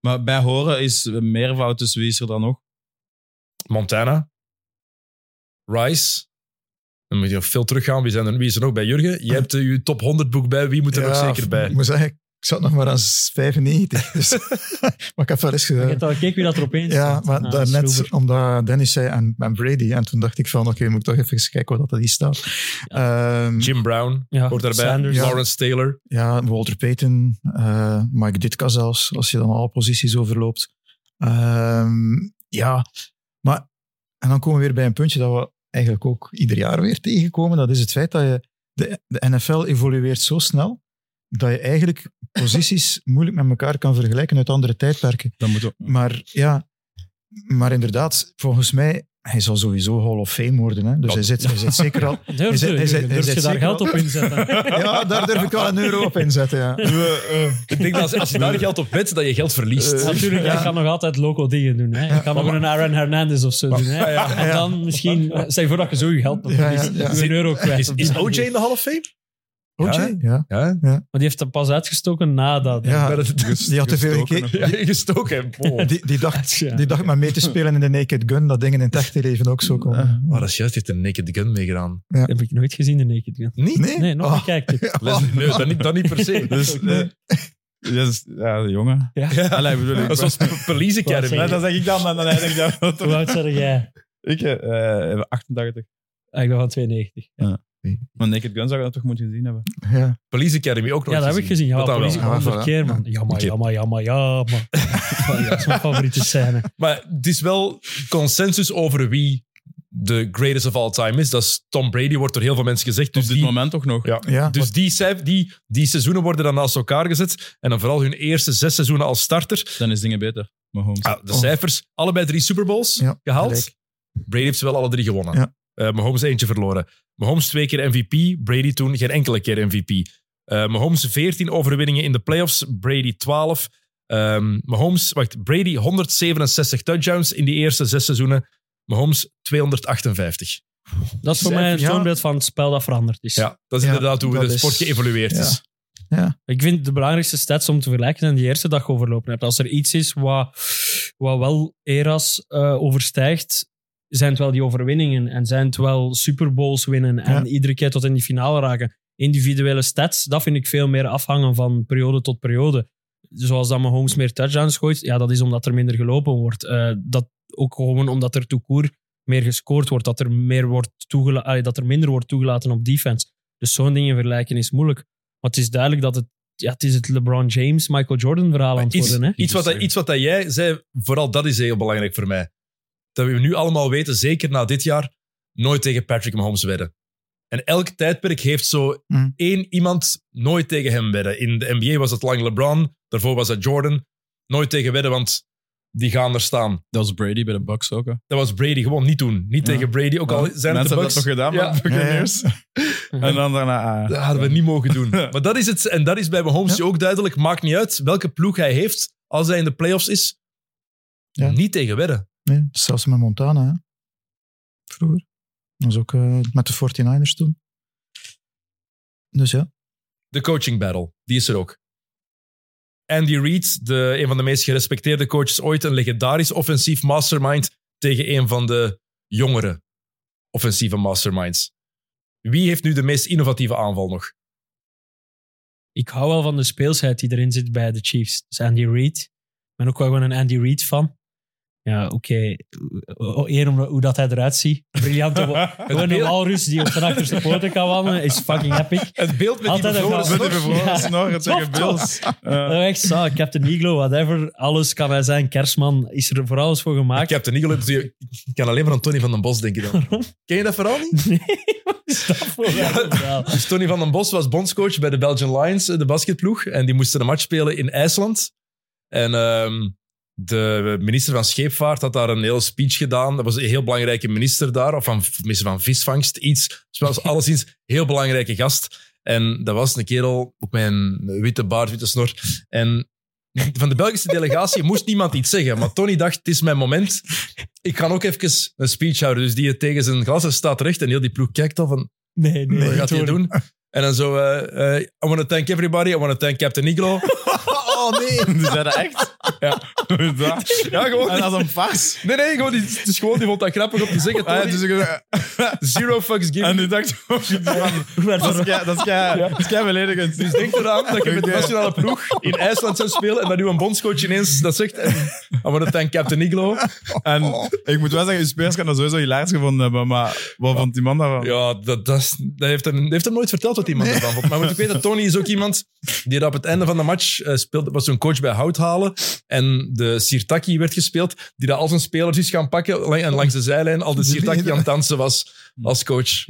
C: Maar bij horen is een meervoud, dus <laughs> wie is er dan nog?
B: Montana, Rice, Dan moet je nog veel teruggaan. Wie, zijn er, wie is er nog bij Jurgen?
D: <clears throat>
B: Je hebt eh, je top 100 boek bij. Wie moet er nog zeker bij?
D: Ik moet zeggen, ik zat nog maar aan 95. Dus, maar ik heb wel eens eh,
E: Ik
D: gezegd...
E: heb al gekeken wie dat er opeens Ah,
D: Ja, maar daarnet,
E: net
D: omdat Dennis zei en, en Brady, en toen dacht ik van, oké, moet ik toch even eens kijken wat dat hier staat. Ehm,
B: Jim Brown
E: Ja,
B: hoort daarbij.
E: Sanders.
D: Ja.
B: Lawrence Taylor.
D: ja, Walter Payton, eh, Mike Ditka zelfs, als je dan alle posities overloopt. Ehm, ja, maar... En dan komen we weer bij een puntje dat we eigenlijk ook ieder jaar weer tegenkomen. Dat is het feit dat je... De, de NFL evolueert zo snel dat je eigenlijk posities <laughs> moeilijk met elkaar kan vergelijken uit andere tijdperken.
C: Dan moeten we-
D: Maar ja, maar inderdaad, volgens mij, hij zal sowieso Hall of Fame worden. Hè? Dus
C: Dat-
D: hij, zit, hij zit zeker <laughs> al.
E: Durf
D: Is het-
E: je,
D: is het-
E: Jurgen?
D: is
E: Durf
D: het
E: je daar
D: zeker
E: geld op
D: wel?
E: inzetten?
D: <laughs> Ja, daar durf ik wel een euro op inzetten. Ja.
B: Ik denk dat als, als je daar geld op wet, dat je geld verliest.
D: Eh,
E: Natuurlijk,
D: Ja.
E: ik kan nog altijd local dingen doen. Hè. Ik kan nog een Aaron Hernandez of zo doen. Hè. En
D: ja.
E: dan misschien, eh, stel je voor dat je zo je geld nog
D: Ja, ja,
E: verliest.
D: ja.
E: Doe een euro kwijt.
B: is,
E: op
B: is
E: die
B: OJ
E: manier.
B: in de Hall of Fame?
D: OJ? Ja.
B: Ja.
E: Maar die heeft hem pas uitgestoken nadat.
D: Ja.
B: Maar dat-
C: Gest-
D: Die had te veel
C: gestoken.
D: gekeken.
B: Gestoken. Wow.
D: Die, die, dacht,
E: Ja.
D: die dacht maar mee te spelen in de Naked Gun, dat dingen in het echte leven ook zo komen.
B: Maar Oh, dat is juist, heeft een Naked Gun meegedaan.
E: Dat heb ik nooit gezien, de Naked Gun.
B: Niet?
D: Nee?
E: Nee, nog
D: Oh.
E: niet kijkt. het.
B: Les- nee, dat niet, dat niet per se.
C: Dus, eh, dat is- ja, de
B: <laughs>
C: jongen.
E: Ja.
C: Allee, bedoel ik.
B: Dat is zoals Police Academy.
C: Nee, dat zeg ik dan, maar dan denk ik dat.
E: Hoe oud zeg jij?
C: Ik eh, eh, 88.
E: Ah, ik ben van 92.
C: Maar Naked Gun zou je dat toch moeten gezien hebben?
D: Ja.
B: Police Academy ook nog
E: Ja, dat heb ik gezien. Ja,
B: Dat dan wel.
E: politie
D: Ah,
E: kwam
D: voilà.
E: verkeer, man.
D: Ja.
E: Jammer, jammer, jammer,
D: <laughs>
E: jammer. Ja, Dat is mijn favoriete scène.
B: Maar het is wel consensus over wie de greatest of all time is. Dat is Tom Brady, wordt door heel veel mensen gezegd. Dus
C: Tot dit
B: die,
C: moment toch nog.
B: Ja.
D: Ja.
B: dus die, cijf- die, die seizoenen worden dan naast elkaar gezet. En dan vooral hun eerste zes seizoenen als starter.
C: Dan is dingen beter. Mahomes.
B: Ah, de
D: Oh.
B: cijfers, allebei drie Super Bowls
D: Ja,
B: gehaald.
D: gelijk.
B: Brady heeft ze wel alle drie gewonnen.
D: Ja.
B: Eh, Mahomes eentje verloren. Mahomes twee keer MVP, Brady toen geen enkele keer MVP. Eh, Mahomes 14 overwinningen in de playoffs, Brady 12. Ehm, Mahomes, wacht, Brady 167 touchdowns in die eerste zes seizoenen. Mahomes 258.
E: Dat is voor
D: Cijfer,
E: mij een
D: ja.
E: toonbeeld van het spel dat veranderd is.
B: Ja, dat is
D: Ja,
B: inderdaad hoe
D: dat
B: de
D: is-
B: sport geëvolueerd
D: ja.
B: is.
E: Ik vind de belangrijkste stats om te vergelijken zijn die eerste dag overlopen hebt. Als er iets is wat, wat wel eras eh, overstijgt, zijn het wel die overwinningen en zijn het wel Super Bowls winnen en
D: Ja.
E: iedere keer tot in die finale raken. Individuele stats, dat vind ik veel meer afhangen van periode tot periode. Zoals dat Mahomes meer touchdowns gooit, ja, dat is omdat er minder gelopen wordt. Eh, dat ook gewoon omdat er toekoer meer gescoord wordt, dat er, meer wordt toegela- allee, dat er minder wordt toegelaten op defense. Dus zo'n dingen vergelijken is moeilijk. Maar het is duidelijk dat het, ja, het, is het LeBron James, Michael Jordan verhaal aan het
B: Iets,
E: worden. Hè?
B: iets, wat, dat- iets wat dat jij zei, vooral dat is heel belangrijk voor mij. Dat we nu allemaal weten, zeker na dit jaar, nooit tegen Patrick Mahomes wedden. En elk tijdperk heeft zo
D: Mm.
B: één iemand nooit tegen hem wedden. In de NBA was dat lang LeBron, daarvoor was dat Jordan. Nooit tegen wedden, want die gaan er staan.
C: Dat was Brady bij de Bucks ook. Hè.
B: Dat was Brady gewoon niet doen. Niet
C: Ja.
B: tegen Brady, ook al zijn het de
C: Mensen hebben dat
B: Bucks.
C: toch gedaan
B: Ja.
C: met de Buccaneers?
B: <laughs>
C: En dan daarna... ah. <laughs>
B: Dat hadden we niet mogen doen. Maar dat is het. En dat is bij Mahomes ook duidelijk. Maakt niet uit welke ploeg hij heeft. Als hij in de playoffs is,
D: Ja.
B: niet tegen wedden.
D: Nee, zelfs met Montana, hè. vroeger. Dat was ook eh, met de 49ers toen. Dus ja.
B: De coaching battle, die is er ook. Andy Reid, de, een van de meest gerespecteerde coaches ooit. Een legendarisch offensief mastermind tegen een van de jongere offensieve masterminds. Wie heeft nu de meest innovatieve aanval nog?
E: Ik hou wel van de speelsheid die erin zit bij de Chiefs. Dus Andy Reid. Ik ben ook wel gewoon een Andy Reid fan. Ja, oké. O- Eer om hoe dat hij eruit ziet.
B: <laughs>
E: Briljant. Gewoon een
B: beeld-
E: walrus die op zijn achterste poten kan wandelen. Is fucking epic.
B: Het beeld met
E: Altijd
B: die
E: een
B: bevroren
E: goal.
C: Met die
B: snor.
C: bevroren snorren
E: Ja.
C: tegen
E: Top, top.
C: Bills. Eh,
E: Oh, echt zalig. Captain Iglo, whatever. Alles kan hij zijn. Kerstman is er voor alles voor
B: Ik
E: gemaakt.
B: heb de Eagle, dus je- ik kan alleen maar aan Tony van den Bos denken
E: <laughs>
B: dan. Ken je dat verhaal niet?
E: Nee, wat is <laughs> dat voor een verhaal?
B: <laughs> Dus Tony van den Bos was bondscoach bij de Belgian Lions, eh, de basketploeg. En die moesten een match spelen in IJsland. En ehm, de minister van Scheepvaart had daar een hele speech gedaan. Dat was een heel belangrijke minister daar, of van, minister van Visvangst, iets. Dus alleszins heel belangrijke gast. En dat was een kerel, ook met een witte baard, witte snor. En van de Belgische delegatie moest niemand iets zeggen. Maar Tony dacht, het is mijn moment. Ik ga ook even een speech houden. Dus die tegen zijn glazen staat terecht. En heel die ploeg kijkt al van,
E: Nee, nee.
B: wat
E: niet
B: gaat hij
E: hoor.
B: doen? En dan zo, eh, eh, I want to thank everybody, I want to thank Captain Iglo.
D: Oh nee!
C: <laughs> Die zei dat echt. Ja, gewoon. En dat is een farce.
B: <laughs> Nee, nee, gewoon, die, het is gewoon, die vond dat grappig om te zeggen.
C: Ah, ja,
B: Tony.
C: dus ik-
B: Zero fucks
C: en
B: given.
C: die dacht ook iets van, dat is kei- dat is kei- dat is kei beledigend.
B: Dus denk eraan dat je met de nationale ploeg in IJsland zou spelen en dat nu een bondscoach ineens dat zegt. En dan wordt het dan Captain Iglo.
C: En ik moet wel zeggen, je spelers kan dat sowieso hilarisch gevonden hebben, maar wat vond die man daarvan?
B: Ja, dat, dat, is- dat heeft, hem, dat heeft hem nooit verteld wat iemand ervan vond. Maar moet ik weten, Tony
E: <laughs>
B: is ook iemand die er op het einde van de match eh, speelde, was zo'n coach bij Houthalen. En de Sirtaki werd gespeeld, die dat als een speler is gaan pakken. lang- En langs de zijlijn al de Sirtaki aan het dansen was als coach.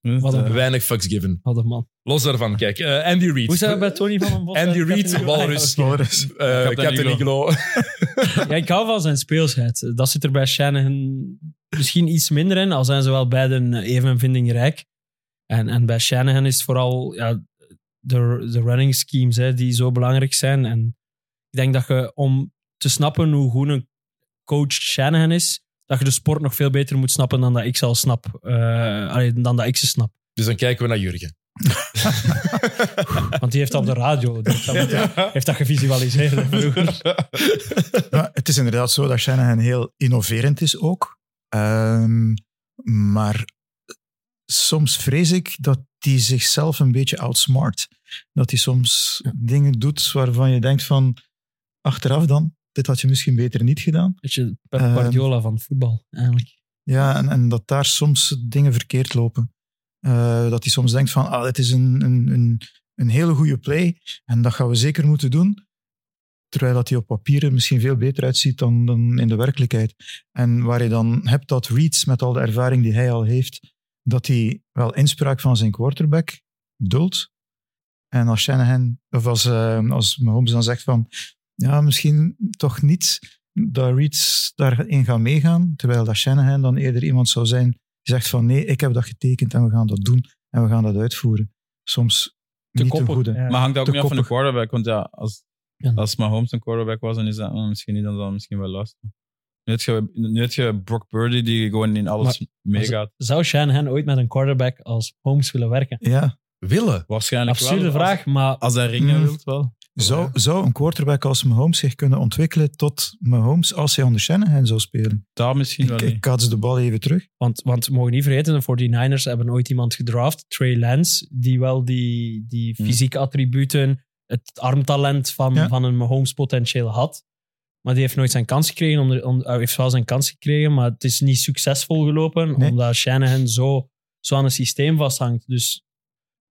B: Eh,
E: Wat
C: eh,
E: een-
B: Weinig fucks given.
E: Wat een man.
B: Los daarvan, kijk. eh, Andy Reid.
E: Hoe zijn we bij Tony van den Bos?
B: Andy
E: en
B: Reid,
E: Captain Iglo?
B: Walrus.
E: Ah, ja, oké.
D: Walrus.
B: Eh, Captain,
C: Iglo.
B: Iglo. <laughs>
E: Ja, ik hou van zijn speelsheid. Dat zit er bij Shanahan misschien iets minder in, al zijn ze wel beiden even vindingrijk. En, en bij Shanahan is het vooral ja, de, de running schemes hè, die zo belangrijk zijn. En ik denk dat je om te snappen hoe goed een coach Shanahan is, dat je de sport nog veel beter moet snappen dan dat ik ze al snap. Eh, allee, dan dat ik ze snap.
B: Dus dan kijken we naar Jurgen.
E: Want die heeft dat op de radio. Die heeft, dat, heeft dat gevisualiseerd hè, vroeger.
D: Ja, het is inderdaad zo dat Shanahan heel innoverend is ook. Ehm, maar soms vrees ik dat hij zichzelf een beetje outsmart. Dat hij soms dingen doet waarvan je denkt van... Achteraf dan, dit had je misschien beter niet gedaan.
E: Beetje Pep
D: Ehm.
E: Guardiola van het voetbal, eigenlijk.
D: Ja, en, en dat daar soms dingen verkeerd lopen. Eh, dat hij soms denkt van, ah, dit is een, een, een, een hele goede play en dat gaan we zeker moeten doen. Terwijl dat hij op papier er misschien veel beter uitziet dan, dan in de werkelijkheid. En waar je dan hebt dat Reeds, met al de ervaring die hij al heeft, dat hij wel inspraak van zijn quarterback duldt. En als Shanahan, of als, eh, als Mahomes dan zegt van, ja, misschien toch niet dat Reeds daarin gaat meegaan, terwijl dat Shanahan dan eerder iemand zou zijn die zegt van nee, ik heb dat getekend en we gaan dat doen en we gaan dat uitvoeren. Soms
E: Te
D: niet
E: koppig,
D: ten goede.
E: ja.
C: Maar hangt dat ook
D: Te
C: niet af van de
D: koppig.
C: quarterback, want ja, als,
E: Ja.
C: als Mahomes een quarterback was, dan is dat eh, misschien niet, dan zal hij misschien wel luisteren. Nu heb je, nu heb je Brock Purdy die gewoon in alles meegaat.
E: Zou Shanahan ooit met een quarterback als Holmes willen werken?
D: Ja.
B: Willen.
C: Waarschijnlijk wel.
E: Absurde
C: Als-
E: vraag, maar
C: Als hij ringen
D: Mm.
C: wilt, wel.
D: Zou, zou een quarterback als Mahomes zich kunnen ontwikkelen tot Mahomes als hij onder Shanahan zou spelen?
C: Daar misschien wel
D: Ik, ik
C: niet.
D: kaats de bal even terug.
E: want, want we mogen niet vergeten, de 49ers hebben ooit iemand gedraft, Trey Lance, die wel die, die
C: Hmm.
E: fysieke attributen, het armtalent van,
D: Ja.
E: van een Mahomes potentieel had. Maar die heeft nooit zijn kans gekregen, om, er- om- eh, heeft wel zijn kans gekregen, maar het is niet succesvol gelopen,
D: Nee.
E: omdat Shanahan zo, zo aan een systeem vasthangt. Dus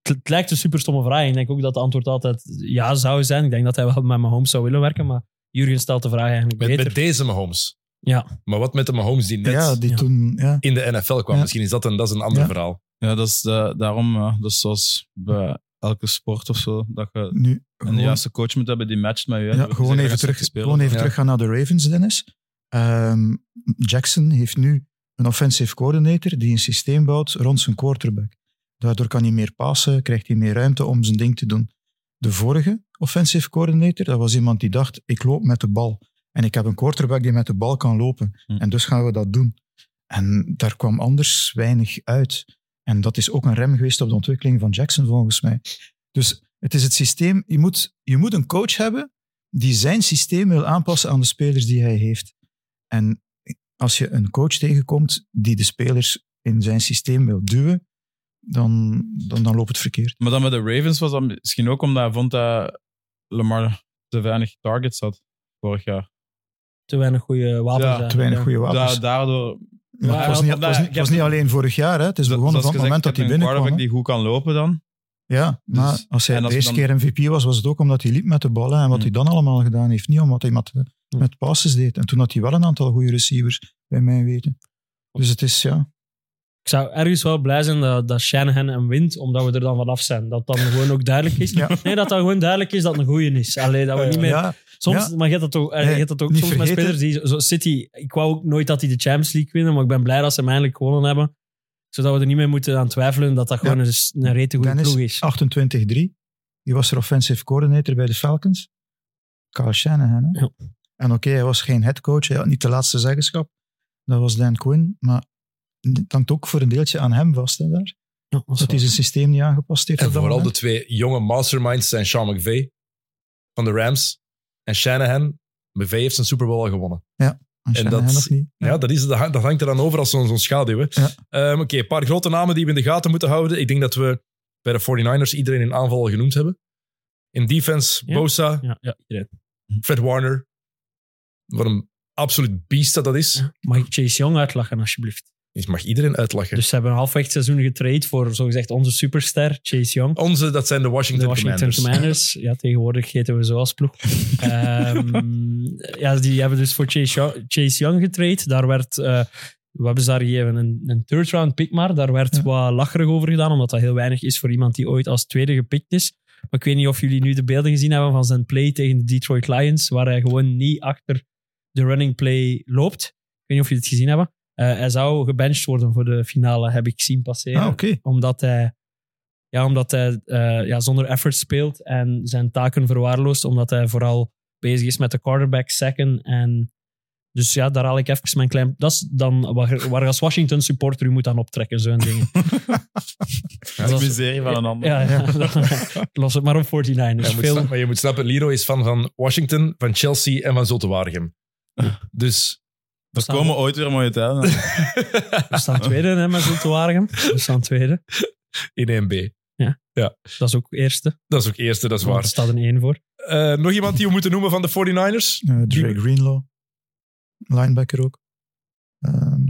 E: het, het lijkt een super stomme vraag. Ik denk ook dat het antwoord altijd ja zou zijn. Ik denk dat hij wel met Mahomes zou willen werken, maar Jurgen stelt de vraag eigenlijk
B: Met,
E: beter.
B: met deze Mahomes.
E: Ja.
B: Maar wat met de Mahomes die net
D: ja, die
E: ja.
D: toen... Ja.
B: in de NFL kwam?
D: Ja.
B: Misschien is dat een, dat is een ander
D: Ja.
B: verhaal.
C: Ja, dat is eh, daarom, eh, dat is zoals bij elke sport of zo, dat je
D: Nu,
C: een
D: gewoon,
C: juiste coach moet hebben eh, die matcht met je.
D: ja, gewoon even, terug, gewoon even
B: Ja.
D: teruggaan naar de Ravens, Dennis. Ehm, Jackson heeft nu een offensive coordinator die een systeem bouwt rond zijn quarterback. Daardoor kan hij meer passen, krijgt hij meer ruimte om zijn ding te doen. De vorige offensive coordinator, dat was iemand die dacht, ik loop met de bal. En ik heb een quarterback die met de bal kan lopen.
C: Hm.
D: En dus gaan we dat doen. En daar kwam anders weinig uit. En dat is ook een rem geweest op de ontwikkeling van Jackson, volgens mij. Dus het is het systeem. Je moet, je moet een coach hebben die zijn systeem wil aanpassen aan de spelers die hij heeft. En als je een coach tegenkomt die de spelers in zijn systeem wil duwen, dan, dan, dan loopt het verkeerd.
C: Maar dan met de Ravens was dat misschien ook omdat hij vond dat Lamar te weinig targets had vorig jaar.
E: te weinig goede wapens.
C: Ja,
E: hè.
D: Te weinig
E: Ja.
D: goede wapens.
C: Da- daardoor
D: Maar
E: Ja,
D: het was niet, het was niet, het was niet alleen vorig jaar. Hè. Het is
C: Zo-
D: begonnen van
C: zoals
D: het
C: gezegd,
D: moment
C: je
D: dat hij
C: hebt een
D: binnenkwam.
C: quarterback
D: hè.
C: die goed kan lopen dan.
D: Ja,
C: Dus-
D: maar als hij
C: en
D: de
C: als we
D: eerste
C: dan-
D: keer MVP was, was het ook omdat hij liep met de bal. hè, En wat
C: Hmm.
D: hij dan allemaal gedaan heeft. Niet omdat hij met, met passes deed. En toen had hij wel een aantal goede receivers, bij mijn weten. Dus het is, ja...
E: Ik zou ergens wel blij zijn dat, dat Shanahan hem wint, omdat we er dan vanaf zijn. Dat dan gewoon ook duidelijk is.
D: <laughs> Ja.
E: Nee, dat dat gewoon duidelijk is dat het een goeie is. Alleen dat we niet meer...
D: ja
E: soms, Maar je hebt dat ook, eh, je hebt dat ook
D: Nee,
E: soms
D: niet
E: met
D: vergeten.
E: spelers die... Zo City, ik wou ook nooit dat die de Champions League winnen, maar ik ben blij dat ze hem eindelijk gewonnen hebben. Zodat we er niet meer moeten aan twijfelen dat dat gewoon een, een rete goede
D: Dennis, Ah,
E: ploeg is.
D: 28-3. Die was er offensive coordinator bij de Falcons. Carl Shanahan. Hè?
E: Ja.
D: En oké, hij was geen headcoach. Hij had niet de laatste zeggenschap. Dat was Dan Quinn. Maar het hangt ook voor een deeltje aan hem vast. Hè, daar.
E: Ja, dat is
D: Dat hij zijn systeem niet aangepast heeft.
B: En
D: op dat
B: vooral de
D: moment.
B: twee jonge masterminds zijn Sean McVay van de Rams en Shanahan McVay heeft zijn Super Bowl al gewonnen.
D: En
B: dat-
D: dat nog niet.
B: Ja, dat, is, dat, hangt, dat hangt er dan over als zo'n zo'n schaduw. hè.
D: Ja.
B: Ehm, Oké, een paar grote namen die we in de gaten moeten houden. Ik denk dat we bij de 49ers iedereen in aanval al genoemd hebben. In defense,
E: Ja.
B: Bosa,
E: Ja, ja, iedereen.
B: Fred Warner. Wat een absoluut beest dat dat is.
E: Mag ik Chase Young uitlachen, alsjeblieft?
B: Je mag iedereen uitlachen.
E: Dus ze hebben halfweg het seizoen getraind voor zogezegd onze superster, Chase Young.
B: Onze, dat zijn de Washington,
E: De Washington
B: Commanders.
E: Commanders. Ja, tegenwoordig heten we zo als ploeg. Ehm, ja, die hebben dus voor Chase Young, Chase Young getraind. Daar werd, eh we hebben ze daar gegeven, een, een third round pick maar. Daar werd
D: Ja.
E: wat lacherig over gedaan, omdat dat heel weinig is voor iemand die ooit als tweede gepikt is. Maar ik weet niet of jullie nu de beelden gezien hebben van zijn play tegen de Detroit Lions, waar hij gewoon niet achter de running play loopt. Ik weet niet of jullie het gezien hebben. Eh, hij zou gebenched worden voor de finale, heb ik zien passeren
D: Ah, oké.
E: omdat hij, ja, omdat hij eh, ja, zonder effort speelt en zijn taken verwaarloost, omdat hij vooral bezig is met de quarterback sacken. En dus ja, daar haal ik even mijn klein... Dat is dan waar, waar als Washington supporter u moet aan optrekken, zo'n ding.
C: Dat is miserie van een ander.
E: Ja, ja, los het maar op 49ers.
B: Ja, je moet
E: Veel,
B: snappen- maar je moet snappen, Leroy is fan van Washington, van Chelsea en van <laughs> Zottewaardigem. Dus
C: Er komen ooit weer mooie tijden.
D: <laughs>
E: we staan tweede hè, met Zultuarigem. We staan tweede.
B: in 1B.
E: Dat is ook eerste.
B: Dat is ook eerste, dat is
E: Waar
B: waar.
E: staat een één voor?
B: Eh, nog iemand die we moeten noemen van de 49ers?
D: Eh, Dre Greenlaw. Linebacker ook. Ehm,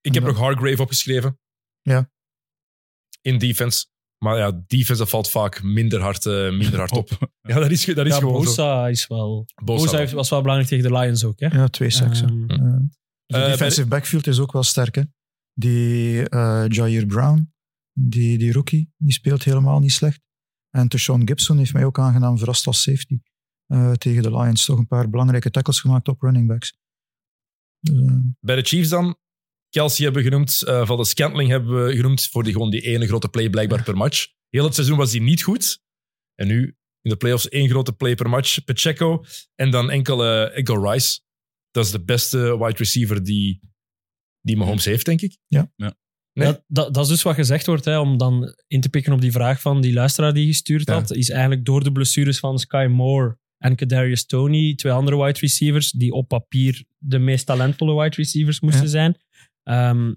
B: Ik heb
D: Ja.
B: nog Hargrave opgeschreven.
D: Ja.
B: In defense. Maar ja, defense dat valt vaak minder hard, eh, minder hard op.
C: <laughs>
B: Ja, dat is, ge- dat is
E: Ja,
B: gewoon zo.
E: Bosa is wel...
B: Bosa.
E: Bosa heeft- was wel belangrijk tegen de Lions ook, hè?
D: ja, twee sacks. hè.
E: Ehm,
D: Eh, De
B: Eh, bij
D: defensive backfield is ook wel sterk. Hè? Die eh, Jair Brown, die, die rookie, die speelt helemaal niet slecht. En Tashawn Gibson heeft mij ook aangenaam verrast als safety. eh, tegen de Lions toch een paar belangrijke tackles gemaakt op running backs. Dus, eh,
B: Bij de Chiefs dan. Kelsey hebben we genoemd. eh van de Scantling hebben we genoemd. Voor die, gewoon die ene grote play blijkbaar per match. Heel het seizoen was die niet goed. En nu in de playoffs één grote play per match. Pacheco. En dan enkel, eh, enkel Rice. Dat is de beste wide receiver die, die Mahomes heeft, denk ik. Nee.
E: Ja, dat, dat is dus wat gezegd wordt, hè, om dan in te pikken op die vraag van die luisteraar die gestuurd
B: Ja.
E: had. Is eigenlijk door de blessures van Sky Moore en Kadarius Tony, twee andere wide receivers, die op papier de meest talentvolle wide receivers moesten
D: Ja.
E: zijn, ehm,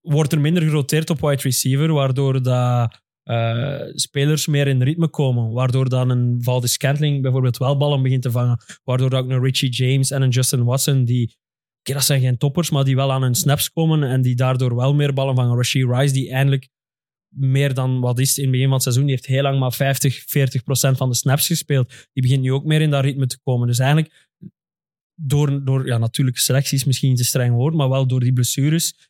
E: wordt er minder geroteerd op wide receiver, waardoor dat, eh, spelers meer in ritme komen. Waardoor dan een Valdez Scantling bijvoorbeeld wel ballen begint te vangen. Waardoor dat ook een Richie James en een Justin Watson, die Oké, dat zijn geen toppers, maar die wel aan hun snaps komen en die daardoor wel meer ballen vangen. Rashid Rice, die eindelijk meer dan wat is in het begin van het seizoen, die heeft heel lang maar 50, 40 procent van de snaps gespeeld. Die begint nu ook meer in dat ritme te komen. Dus eigenlijk, door, door ja, natuurlijk selectie is misschien te streng woord, maar wel door die blessures,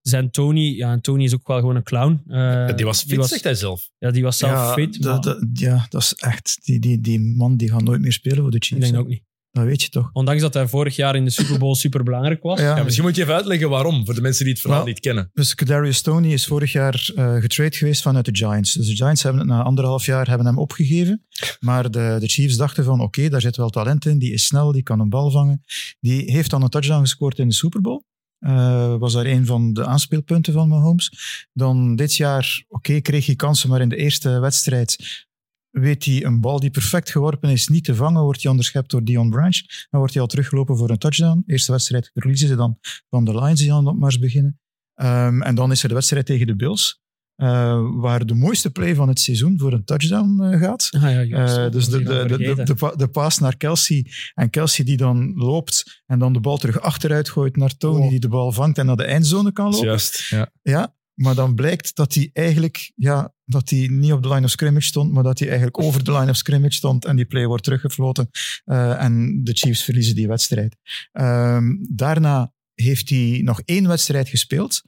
E: zijn Tony, ja, en Tony is ook wel gewoon een clown. Eh,
B: die was fit, zegt hij zelf.
E: Ja, die was zelf
D: ja,
E: fit, maar
D: dat, dat- ja, dat is echt. Die, die, die man die gaat nooit meer spelen voor de
E: ik
D: Chiefs.
E: denk
D: hè.
E: dat ook niet.
D: Dat weet je toch?
E: Ondanks dat hij vorig jaar in de Super Bowl <laughs> super belangrijk was.
D: Ja,
B: Ja, misschien moet je even uitleggen waarom. Voor de mensen die het verhaal
D: Wel,
B: niet kennen.
D: Dus Kadarius Tony is vorig jaar eh getrade geweest vanuit de Giants. Dus de Giants hebben het na anderhalf jaar hebben hem opgegeven. Maar de, de Chiefs dachten van oké, daar zit wel talent in. Die is snel, die kan een bal vangen. Die heeft dan een touchdown gescoord in de Super Bowl. Eh, was daar een van de aanspeelpunten van Mahomes. Dan dit jaar, oké, kreeg hij kansen, maar in de eerste wedstrijd weet hij een bal die perfect geworpen is niet te vangen, wordt hij onderschept door Dion Branch. Dan wordt hij al teruggelopen voor een touchdown. Eerste wedstrijd verliezen ze dan van de Lions die aan de opmars beginnen. Ehm, en dan is er de wedstrijd tegen de Bills, eh, waar de mooiste play van het seizoen voor een touchdown eh, gaat.
E: Ah, ja, juist.
D: Eh, dus
E: Dat
D: de,
E: was ik
D: de,
E: al
D: de, de,
E: vergeten.
D: de, pa- de paas naar Kelsey. En Kelsey die dan loopt en dan de bal terug achteruit gooit naar Tony,
E: Oh.
D: die de bal vangt en naar de eindzone kan lopen.
B: Juist. Ja.
D: Ja, maar dan blijkt dat hij eigenlijk ja, dat hij niet op de line of scrimmage stond, maar dat hij eigenlijk over de line of scrimmage stond en die play wordt teruggefloten eh, en de Chiefs verliezen die wedstrijd. Ehm, daarna heeft hij nog één wedstrijd gespeeld.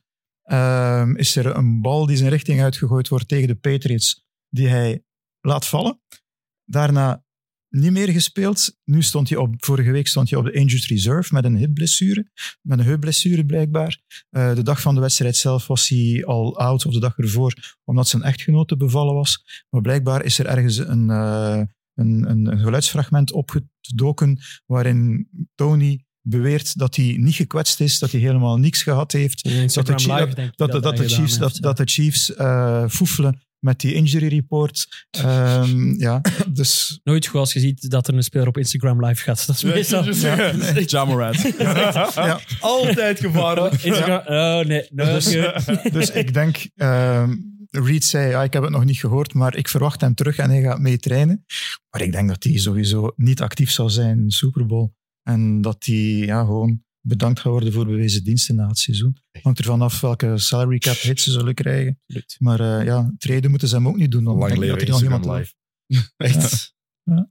D: Ehm, is er een bal die zijn richting uitgegooid wordt tegen de Patriots, die hij laat vallen. Daarna niet meer gespeeld. Nu stond hij op, vorige week stond hij op de injured reserve met een hipblessure. Met een heupblessure blijkbaar. Eh, de dag van de wedstrijd zelf was hij al oud, of de dag ervoor, omdat zijn echtgenote bevallen was. Maar blijkbaar is er ergens een, eh, een, een, een geluidsfragment opgedoken waarin Tony beweert dat hij niet gekwetst is, dat hij helemaal niks gehad heeft.
E: In Instagram
D: dat de Chi-
E: Live, denk ik
D: Dat, dat, dat,
E: hij
D: de,
E: gedaan
D: Chiefs, dat,
E: heeft,
D: dat de Chiefs eh foefelen met die injury report. Ehm, ja, dus
E: Nooit goed als je ziet dat er een speler op Instagram live gaat. Dat is meestal...
D: <laughs>
C: Jammerant.
D: ja.
B: Altijd gevaarlijk.
E: Instagram... Oh, nee. no,
D: Dus-
E: je-
D: Dus ik denk, ehm, Reed zei, ja, ik heb het nog niet gehoord, maar ik verwacht hem terug en hij gaat mee trainen. Maar ik denk dat hij sowieso niet actief zal zijn in de Super Bowl. En dat hij ja, gewoon bedankt gaat worden voor bewezen diensten na het seizoen. Hangt ervan af welke salary cap hit ze zullen krijgen.
C: Absoluut.
D: Maar eh, ja, treden moeten ze hem ook niet doen. Dan
B: Lang
D: denk ik
B: leven
D: dat hij nog
B: Instagram
D: iemand
B: live. Echt.
D: Ja.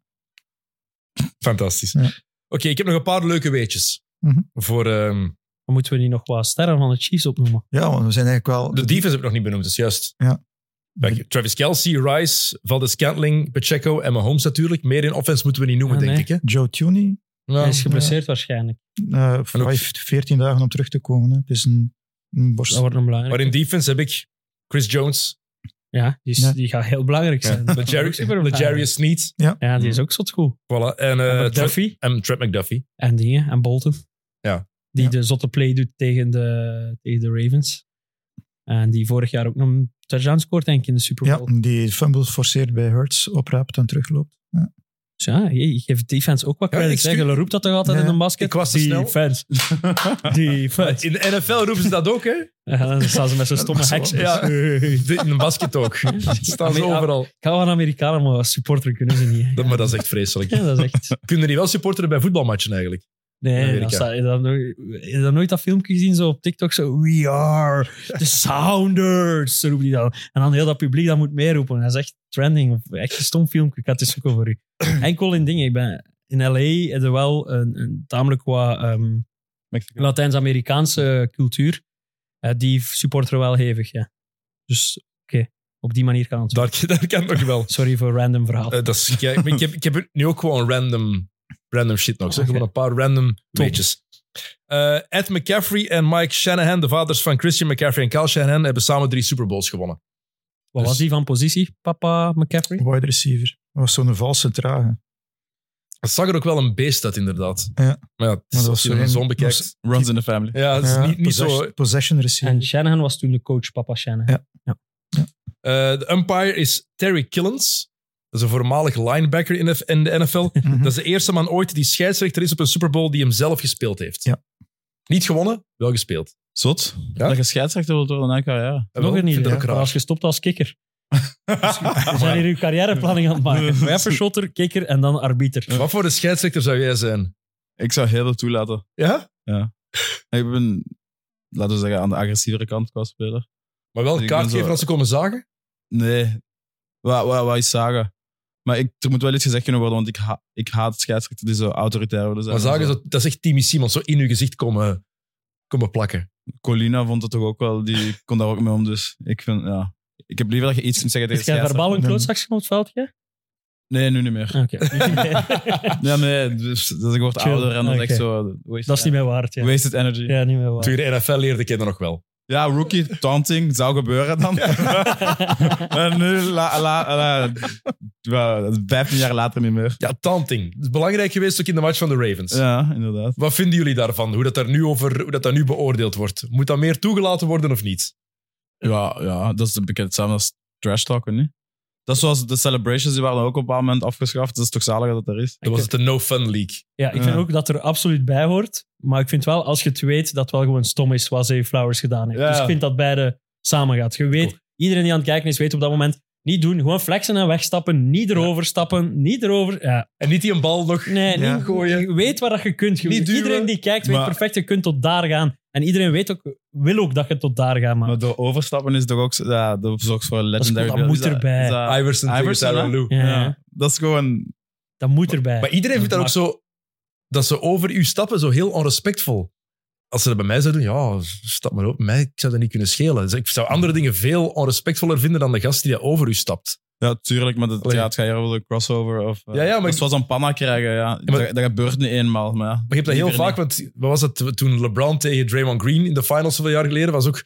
B: Fantastisch.
D: Ja.
B: Oké, ik heb nog een paar leuke weetjes.
D: Mhm.
B: Voor, ehm,
E: Dan moeten we niet nog wat sterren van de Chiefs opnoemen.
D: Ja, want we zijn eigenlijk wel...
B: de defense heb ik nog niet benoemd, dus juist.
D: Ja.
B: Dank je. Travis Kelsey, Rice, Valdez Scantling, Pacheco en Mahomes natuurlijk. Meer in offense moeten we niet noemen,
E: Ah,
B: denk
E: nee.
B: ik. Hè?
D: Joe Tooney,
B: Ja.
E: Hij is geblesseerd waarschijnlijk.
D: eh
B: En ook-
D: vijf- 14 dagen om terug te komen. Hè. Het is een, een borst.
E: Dat wordt een
B: Maar
E: belangrijk.
B: in defense heb ik Chris Jones,
E: Ja, die, is-
D: Ja.
E: die gaat heel belangrijk zijn.
B: de
E: Ook super belangrijk.
B: Jarius Sneed.
E: Ja, die is ook zot goed.
B: Voilà. En, eh,
E: En
B: Tra-
E: Duffy
B: en Trent McDuffie.
E: en dingen en Bolton.
B: Ja.
E: Die
D: Ja.
E: de zotte play doet tegen de, tegen de Ravens. En die vorig jaar ook nog een touchdown scoort, denk ik, in de Super
D: Ja,
E: Bowl.
D: die fumble forceert bij Hurts, opraapt en terugloopt.
E: Dus ja, je, je geeft defense ook wat
B: Ja,
E: credit.
B: ik
E: Ja,
B: stuur-
E: je roept dat toch altijd
D: Ja,
E: in een basket?
B: ik was te snel. <laughs>
E: defense. defense.
B: <laughs> In de NFL roepen ze dat ook, hè?
E: Ja, dan staan ze met zo'n stomme
D: was wel-
E: heks.
B: Ja. <laughs> In een basket <laughs> ook. Staan ze
E: Ja, maar-
B: overal.
E: Ik hou van Amerikanen, maar als supporter kunnen ze niet.
B: Dat, maar dat is echt vreselijk.
E: Ja, dat is echt...
B: Kunnen die wel supporteren bij voetbalmatchen eigenlijk?
E: Nee,
B: Amerika.
E: dan sta, dan, heb je dan nooit dat filmpje gezien zo op TikTok? Zo, we are the Sounders, zo roept hij dan. En dan heel dat publiek dat moet meeroepen. Dat is echt trending, of echt een stom filmpje. Ik ga het eens zoeken
B: <clears throat>
E: voor u. Enkel in dingen. Ik ben, in L.A. heb je wel een, een tamelijk wat ehm, Latijns-Amerikaanse cultuur. Eh, die supporteren wel hevig, ja. Dus, oké, op die manier kan het.
B: Daar, <laughs> daar kan het nog wel.
E: Sorry voor random verhaal.
B: Eh, dat is, ik, ik, ik heb, ik heb nu ook gewoon random, random shit nog. Zeg
E: Oké.
B: gewoon een paar random weetjes. Eh, Ed McCaffrey en Mike Shanahan, de vaders van Christian McCaffrey en Kyle Shanahan, hebben samen drie Super Bowls gewonnen.
E: Wat was
B: dus-
E: die van positie, papa McCaffrey?
D: Wide receiver. Dat was zo'n valse trage.
B: Het zag er ook wel een beest uit, inderdaad.
D: Ja.
B: Maar ja, het is- als
D: dat was
B: je een
D: zo
B: zon
D: een-
B: bekijkt.
D: was-
C: Runs in the family.
B: Ja, het is
D: Ja,
B: niet, niet
D: possession,
B: zo.
D: Possession receiver.
E: En Shanahan was toen de coach, papa Shanahan.
B: Eh, De umpire is Terry Killens. Dat is een voormalig linebacker in de, in de NFL.
D: Mhm.
B: Dat is de eerste man ooit die scheidsrechter is op een Super Bowl die hem zelf gespeeld heeft.
D: Ja.
B: Niet gewonnen, wel gespeeld.
C: Zot.
B: Ja?
C: Dat je scheidsrechter wilt worden na elk jaar, ja.
B: Eh, wel,
E: Nog een
B: ik vind
E: idee.
B: dat
E: Maar
B: ook Ah,
E: als je stopt als
B: <laughs>
E: kikker. We zijn hier uw carrièreplanning aan het maken. Wijvershotter, kikker en dan arbiter.
B: raar. Wat voor een scheidsrechter zou jij zijn?
C: Ik zou heel veel toelaten.
B: Ja?
C: Ik ben, laten we zeggen, aan de agressievere kant qua speler.
B: Maar wel
C: Ik
B: een
C: ben
B: kaart
C: zo-
B: geven als ze komen zagen?
C: Nee. Wat, wat, wat is zagen? Maar ik, er moet wel iets gezegd kunnen worden, want ik, ha- ik haat scheidsrechten die zo autoritair willen zijn.
B: Maar zagen,
C: en zo.
B: dat, dat is echt Timmy Simons, zo in uw gezicht komen, komen plakken.
C: Colina vond dat toch ook wel,
E: <laughs>
C: die kon daar ook mee om. Dus ik vind, ja. Ik heb liever dat je iets moet zeggen
E: Is
C: tegen
E: jij verbaal een
D: Nee.
E: klootzakje op
B: <laughs>
E: het veldje?
C: Nee, nu niet meer.
E: Oké. <laughs>
C: Ja, nee, dus, dus ik word
E: Ah. Chill. Ah,
C: ouder en dat is echt
E: Oké.
C: zo... Wasted,
E: Dat is niet meer waard, ja.
C: Wasted energy.
E: Ja, niet meer waard.
B: Toen je de NFL leerde kennen nog wel.
C: Ja, rookie, taunting, zou gebeuren dan. <laughs>
E: <laughs>
C: en nu, la, la, la, wel, dat is 15 jaar later niet meer.
B: Ja, taunting. Dat is belangrijk geweest ook in de match van de Ravens.
C: Ja, inderdaad.
B: Wat vinden jullie daarvan? Hoe dat, daar nu over, hoe dat daar nu beoordeeld wordt? Moet dat meer toegelaten worden of niet?
C: Ja, ja dat is een bekend hetzelfde als trash talken, niet? Dat is zoals de celebrations, die waren ook op een bepaald moment afgeschaft. Dat is toch zaliger dat er is.
B: Dat was het de no-fun league.
E: Ja, ik vind
C: Ja.
E: ook dat er absoluut bij hoort. Maar ik vind wel, als je het weet, dat het wel gewoon stom is wat Zee Flowers gedaan heeft.
C: Ja.
E: Dus ik vind dat beide samen gaat. Je weet, iedereen die aan het kijken is, weet op dat moment... Niet doen, gewoon flexen en wegstappen. Niet erover stappen, niet erover... Ja,
B: En niet die een bal nog...
E: Nee,
D: Ja.
E: niet gooien. Je weet waar dat je kunt. Je-
B: Niet duwen.
E: iedereen die kijkt weet
C: Maar-
E: perfect, je kunt tot daar gaan. En iedereen weet ook, wil ook dat je tot daar gaat. Maar,
C: Maar door overstappen is toch ook... Ja, dat zorgt voor een
E: is goed,
C: legendary...
E: dat moet
C: is is
E: erbij.
C: dat-
B: Iverson,
C: Iverson,
B: tegen Tyronn
C: hè?
B: Lue.
E: ja,
C: ja, dat is gewoon...
E: dat moet erbij.
B: Maar iedereen vindt dat ook zo... Dat ze over u stappen, zo heel onrespectvol. Als ze dat bij mij zouden doen, ja, stap maar op. Mij, ik zou dat niet kunnen schelen. Dus ik zou andere dingen veel onrespectvoller vinden dan de gast die daar over u stapt.
C: Ja, tuurlijk, maar dat,
B: Allee.
C: ja, het gaat hier over de crossover. Of, eh,
B: Ja, ja, maar
C: dat
B: ik-
C: is zoals een panna krijgen, ja.
B: maar-
C: dat, dat gebeurt niet eenmaal, maar ja.
B: Maar je hebt dat heel
C: Liever
B: vaak, want wat was het toen LeBron tegen Draymond Green in de finals zoveel jaar geleden, was ook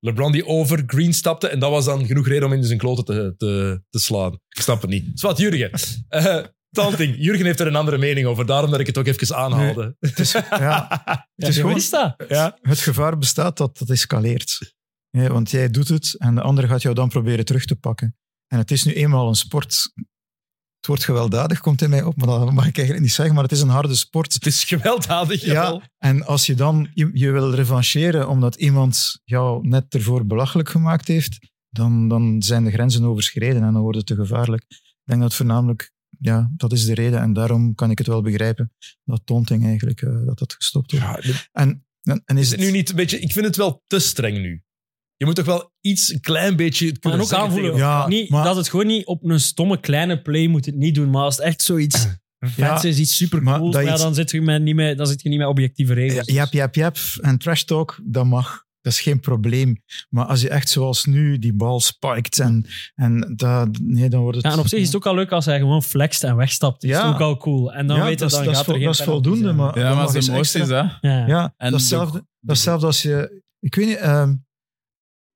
B: LeBron die over Green stapte en dat was dan genoeg reden om in zijn kloten te, te, te slaan. Ik snap het niet. Zwat, Jurgen. <laughs> Eh Tanting, Jurgen heeft er een andere mening over, daarom dat ik het ook even aanhaalde. <laughs>
D: Het is, ja,
E: Ja,
D: is
E: ja,
D: gewoon-
E: wat is dat?
D: het gevaar bestaat dat dat escaleert. Ja, want jij doet het en de ander gaat jou dan proberen terug te pakken. En het is nu eenmaal een sport. Het wordt gewelddadig, komt in mij op, maar dat mag ik eigenlijk niet zeggen. Maar het is een harde sport.
B: Het is gewelddadig,
D: Ja.
B: jawel.
D: En als je dan je, je wil revancheren omdat iemand jou net ervoor belachelijk gemaakt heeft, dan, dan zijn de grenzen overschreden en dan wordt het te gevaarlijk. Ik denk dat voornamelijk, ja, dat is de reden. En daarom kan ik het wel begrijpen dat Tonting eigenlijk, eh, dat dat gestopt wordt.
B: Ja, dit-
D: En, en, en is,
B: is het nu niet een beetje... Ik vind het wel te streng nu. Je moet toch wel iets, een klein beetje... het
E: Maar
B: kunnen
E: ook
B: zeggen
E: aanvoelen.
B: tegen-
D: Ja,
E: niet,
D: maar-
E: Dat het gewoon niet op een stomme kleine play moet het niet doen. Maar als het echt zoiets vets is, iets super
D: maar
E: cool,
D: dat
E: ja,
D: iets-
E: dan, zit je met niet met, dan zit je niet met objectieve
D: Ja,
E: regels.
D: Jap, jap, jap. En trash talk, dat mag. Dat is geen probleem. Maar als je echt zoals nu die bal spiked en, en dat, nee, dan wordt het...
E: Ja, en op zich is het ook al leuk als hij gewoon flext en wegstapt. Dat
D: Ja.
E: is ook al cool. En dan
D: Ja,
E: weet je,
D: dat is-
E: dan
D: dat is
E: gaat er
D: vol-
E: geen
D: dat is
E: penalty
D: voldoende,
E: zijn.
D: maar-
C: Ja,
D: Dan
C: maar
D: mag
C: dat is
D: eens
C: de mooiste is
D: extra.
C: dat.
E: Ja.
D: Ja,
C: En
D: datzelfde, datzelfde als je... Ik weet niet, ehm,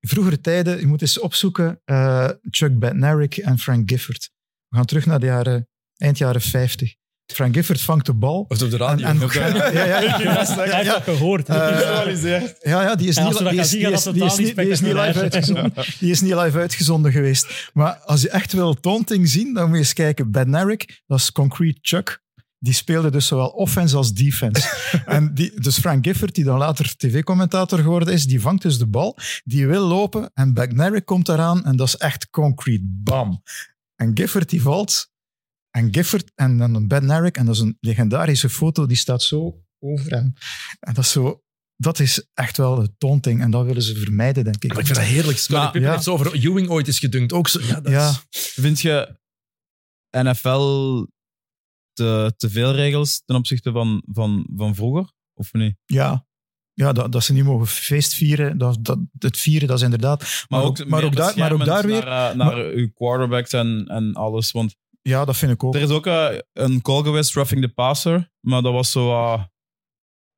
D: vroegere tijden, je moet eens opzoeken, eh, Chuck Bednarik en Frank Gifford. We gaan terug naar de jaren, eind jaren 50. Frank Gifford vangt de bal.
B: Of op de
D: En,
B: radio.
D: en,
C: Oké.
D: <laughs> ja, ja, ja, ja,
E: Hij heeft dat gehoord. hè.
D: Eh,
C: Visualiseert.
D: ja, ja, die is
E: En
D: niet
E: als we dat
D: die
E: gaan
D: is-
E: zien,
D: die
E: gaat
D: is-
E: dat
D: die is
E: totaal
D: niet-
E: niet
D: die is niet live
E: spectaculair zijn.
D: uitgezonden. Die is niet live uitgezonden geweest. Maar als je echt wil taunting zien, dan moet je eens kijken. Ben Eric, dat is Concrete Chuck. Die speelde dus zowel offense als
E: <laughs>
D: defense. en die, dus Frank Gifford, die dan later tv-commentator geworden is, die vangt dus de bal, die wil lopen en Bagnarik komt eraan en dat is echt concrete. Bam. En Gifford die valt en Gifford en dan Bagnarik en dat is een legendarische foto, die staat zo over hem. En dat is zo... Dat is echt wel de taunting en dat willen ze vermijden, denk ik.
B: Maar ik vind dat heerlijk. Scottie
C: Maar-
B: Pippen
D: ja.
B: heeft zo over Ewing ooit is gedunkt. Ook zo, ja, dat
D: Ja.
B: is-
C: Vind je NFL te, te veel regels ten opzichte van, van, van vroeger? Of niet?
D: Ja, ja dat, dat ze niet mogen feestvieren. Dat, dat, het vieren, dat is inderdaad. Maar, ook, maar,
C: meer
D: ook daar, maar ook daar
C: beschermend
D: weer.
C: Naar, eh, naar uw quarterbacks en, en alles. Want
D: Ja, dat vind ik ook.
C: er is ook eh, een call geweest, roughing the passer. Maar dat was zo eh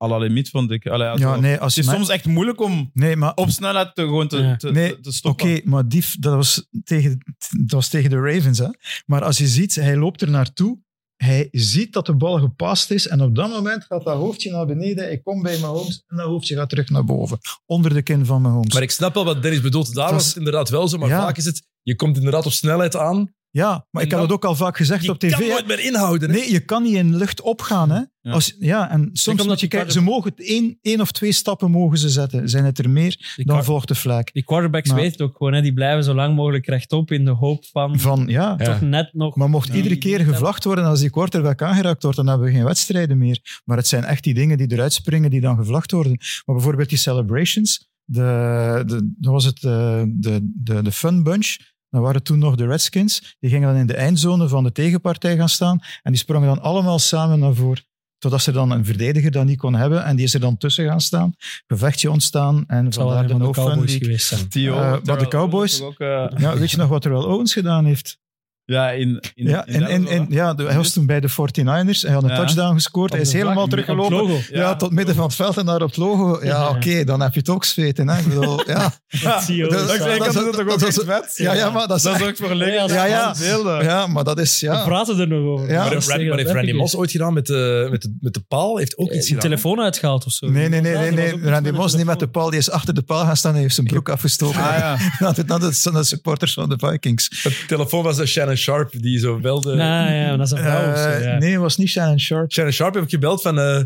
C: à la limiet, vond ik. Allee, ja, zo-
D: Ja, nee, als
C: het is
D: maar-
C: soms echt moeilijk om
D: Nee, maar
C: op snelheid te, gewoon te,
E: Ja.
C: te,
D: Nee,
C: te- te
D: Oké,
C: stoppen.
D: maar die, dat, was tegen, dat was tegen de Ravens. Hè? Maar als je ziet, hij loopt er naartoe. Hij ziet dat de bal gepast is. En op dat moment gaat dat hoofdje naar beneden. Hij komt bij Mahomes. En dat hoofdje gaat terug naar boven. Onder de kin van Mahomes.
B: Maar ik snap wel wat Dennis bedoelt. Daar
D: Dat
B: was
D: is-
B: het inderdaad wel zo. Maar
D: Ja.
B: vaak is het... Je komt inderdaad op snelheid aan.
D: ja, maar
B: En
D: ik
B: dan-
D: had het ook al vaak gezegd
B: Je
D: op tv.
B: kan
D: hè.
B: nooit meer inhouden. hè.
D: Nee, je kan niet in lucht opgaan. Hè?
C: Ja.
D: Als, ja, en soms
E: omdat
D: moet je
E: die
D: kijken,
E: quarter-
D: ze mogen het één, één of twee stappen mogen ze zetten. Zijn het er meer,
E: Die,
D: dan
E: quar-
D: volgt de vlak.
E: die quarterbacks
D: Maar-
E: weten het ook gewoon. Hè. Die blijven zo lang mogelijk rechtop in de hoop van,
D: Van, ja.
B: Ja.
E: toch net nog...
D: Maar mocht
E: Ja.
D: iedere
E: Die- die-
D: keer gevlacht worden als die quarterback aangeraakt wordt, dan hebben we geen wedstrijden meer. Maar het zijn echt die dingen die eruit springen die dan gevlacht worden. Maar bijvoorbeeld die celebrations, de, de, dat was het, eh, de, de, de Fun Bunch. Dat waren toen nog de Redskins. Die gingen dan in de eindzone van de tegenpartij gaan staan. En die sprongen dan allemaal samen naar voren. Totdat ze dan een verdediger dat niet kon hebben. En die is er dan tussen gaan staan. Gevechtje ontstaan. En
E: Het zal wel
D: vandaar de
E: een
D: No
E: van de
D: Fun
E: Cowboys
D: League.
E: geweest zijn.
C: Theo,
D: Eh, wat
C: Terrell
D: de Cowboys-
C: Owens ook, eh,
D: Ja, weet je nog wat Terrell Owens gedaan heeft?
C: ja, in, in,
D: Ja,
C: in
D: en, en,
C: Dallas,
D: en, ja, de- hij was toen bij de 49ers. Hij had een
C: Ja.
D: touchdown gescoord.
E: Op
D: Hij is
E: de vlag,
D: helemaal
E: op het
D: teruggelopen.
E: logo.
C: hè?
D: Ja, tot midden van het veld en naar op het logo. Ja,
E: Ja.
D: oké, dan heb je het ook zweten. Hè? Ik bedoel, ja.
E: <laughs> Dat zie je ook.
D: Dat-
C: Dat,
D: dat-
C: dat,
D: dat-
C: dat,
D: dat-
C: dat,
D: dat- Ja, ja, maar dat is,
C: dat is eh,
D: echt-
C: ook voor legers.
D: Ja, ja.
C: Beelden.
D: ja, maar dat is...
E: We
D: Ja.
E: praten er nog over.
D: Ja.
B: maar
E: Dat
B: heeft,
E: is
B: Ran-
E: echt
B: maar
E: wel
B: heeft Randy
E: epic.
B: Moss ooit gedaan met de, met de, met de paal? Heeft ook iets
E: Die
B: gedaan.
E: Eh, telefoon uitgehaald of zo.
D: Nee, nee, nee, nee. nee.
E: Er was ook
D: Randy
E: iets
D: Moss niet met de
E: telefoon.
D: paal. Die is achter de paal gaan staan en heeft zijn broek afgestoken.
C: Ah, ja.
D: <laughs> Dat het- dat zijn de supporters van de Vikings.
B: De telefoon was de Shannon Sharp die zo belde.
E: Nou ja, maar dat is een vrouw of zo,
D: Eh,
E: ja.
D: Nee, het was niet Shannon Sharp.
B: Shannon Sharp heb ik gebeld van, eh,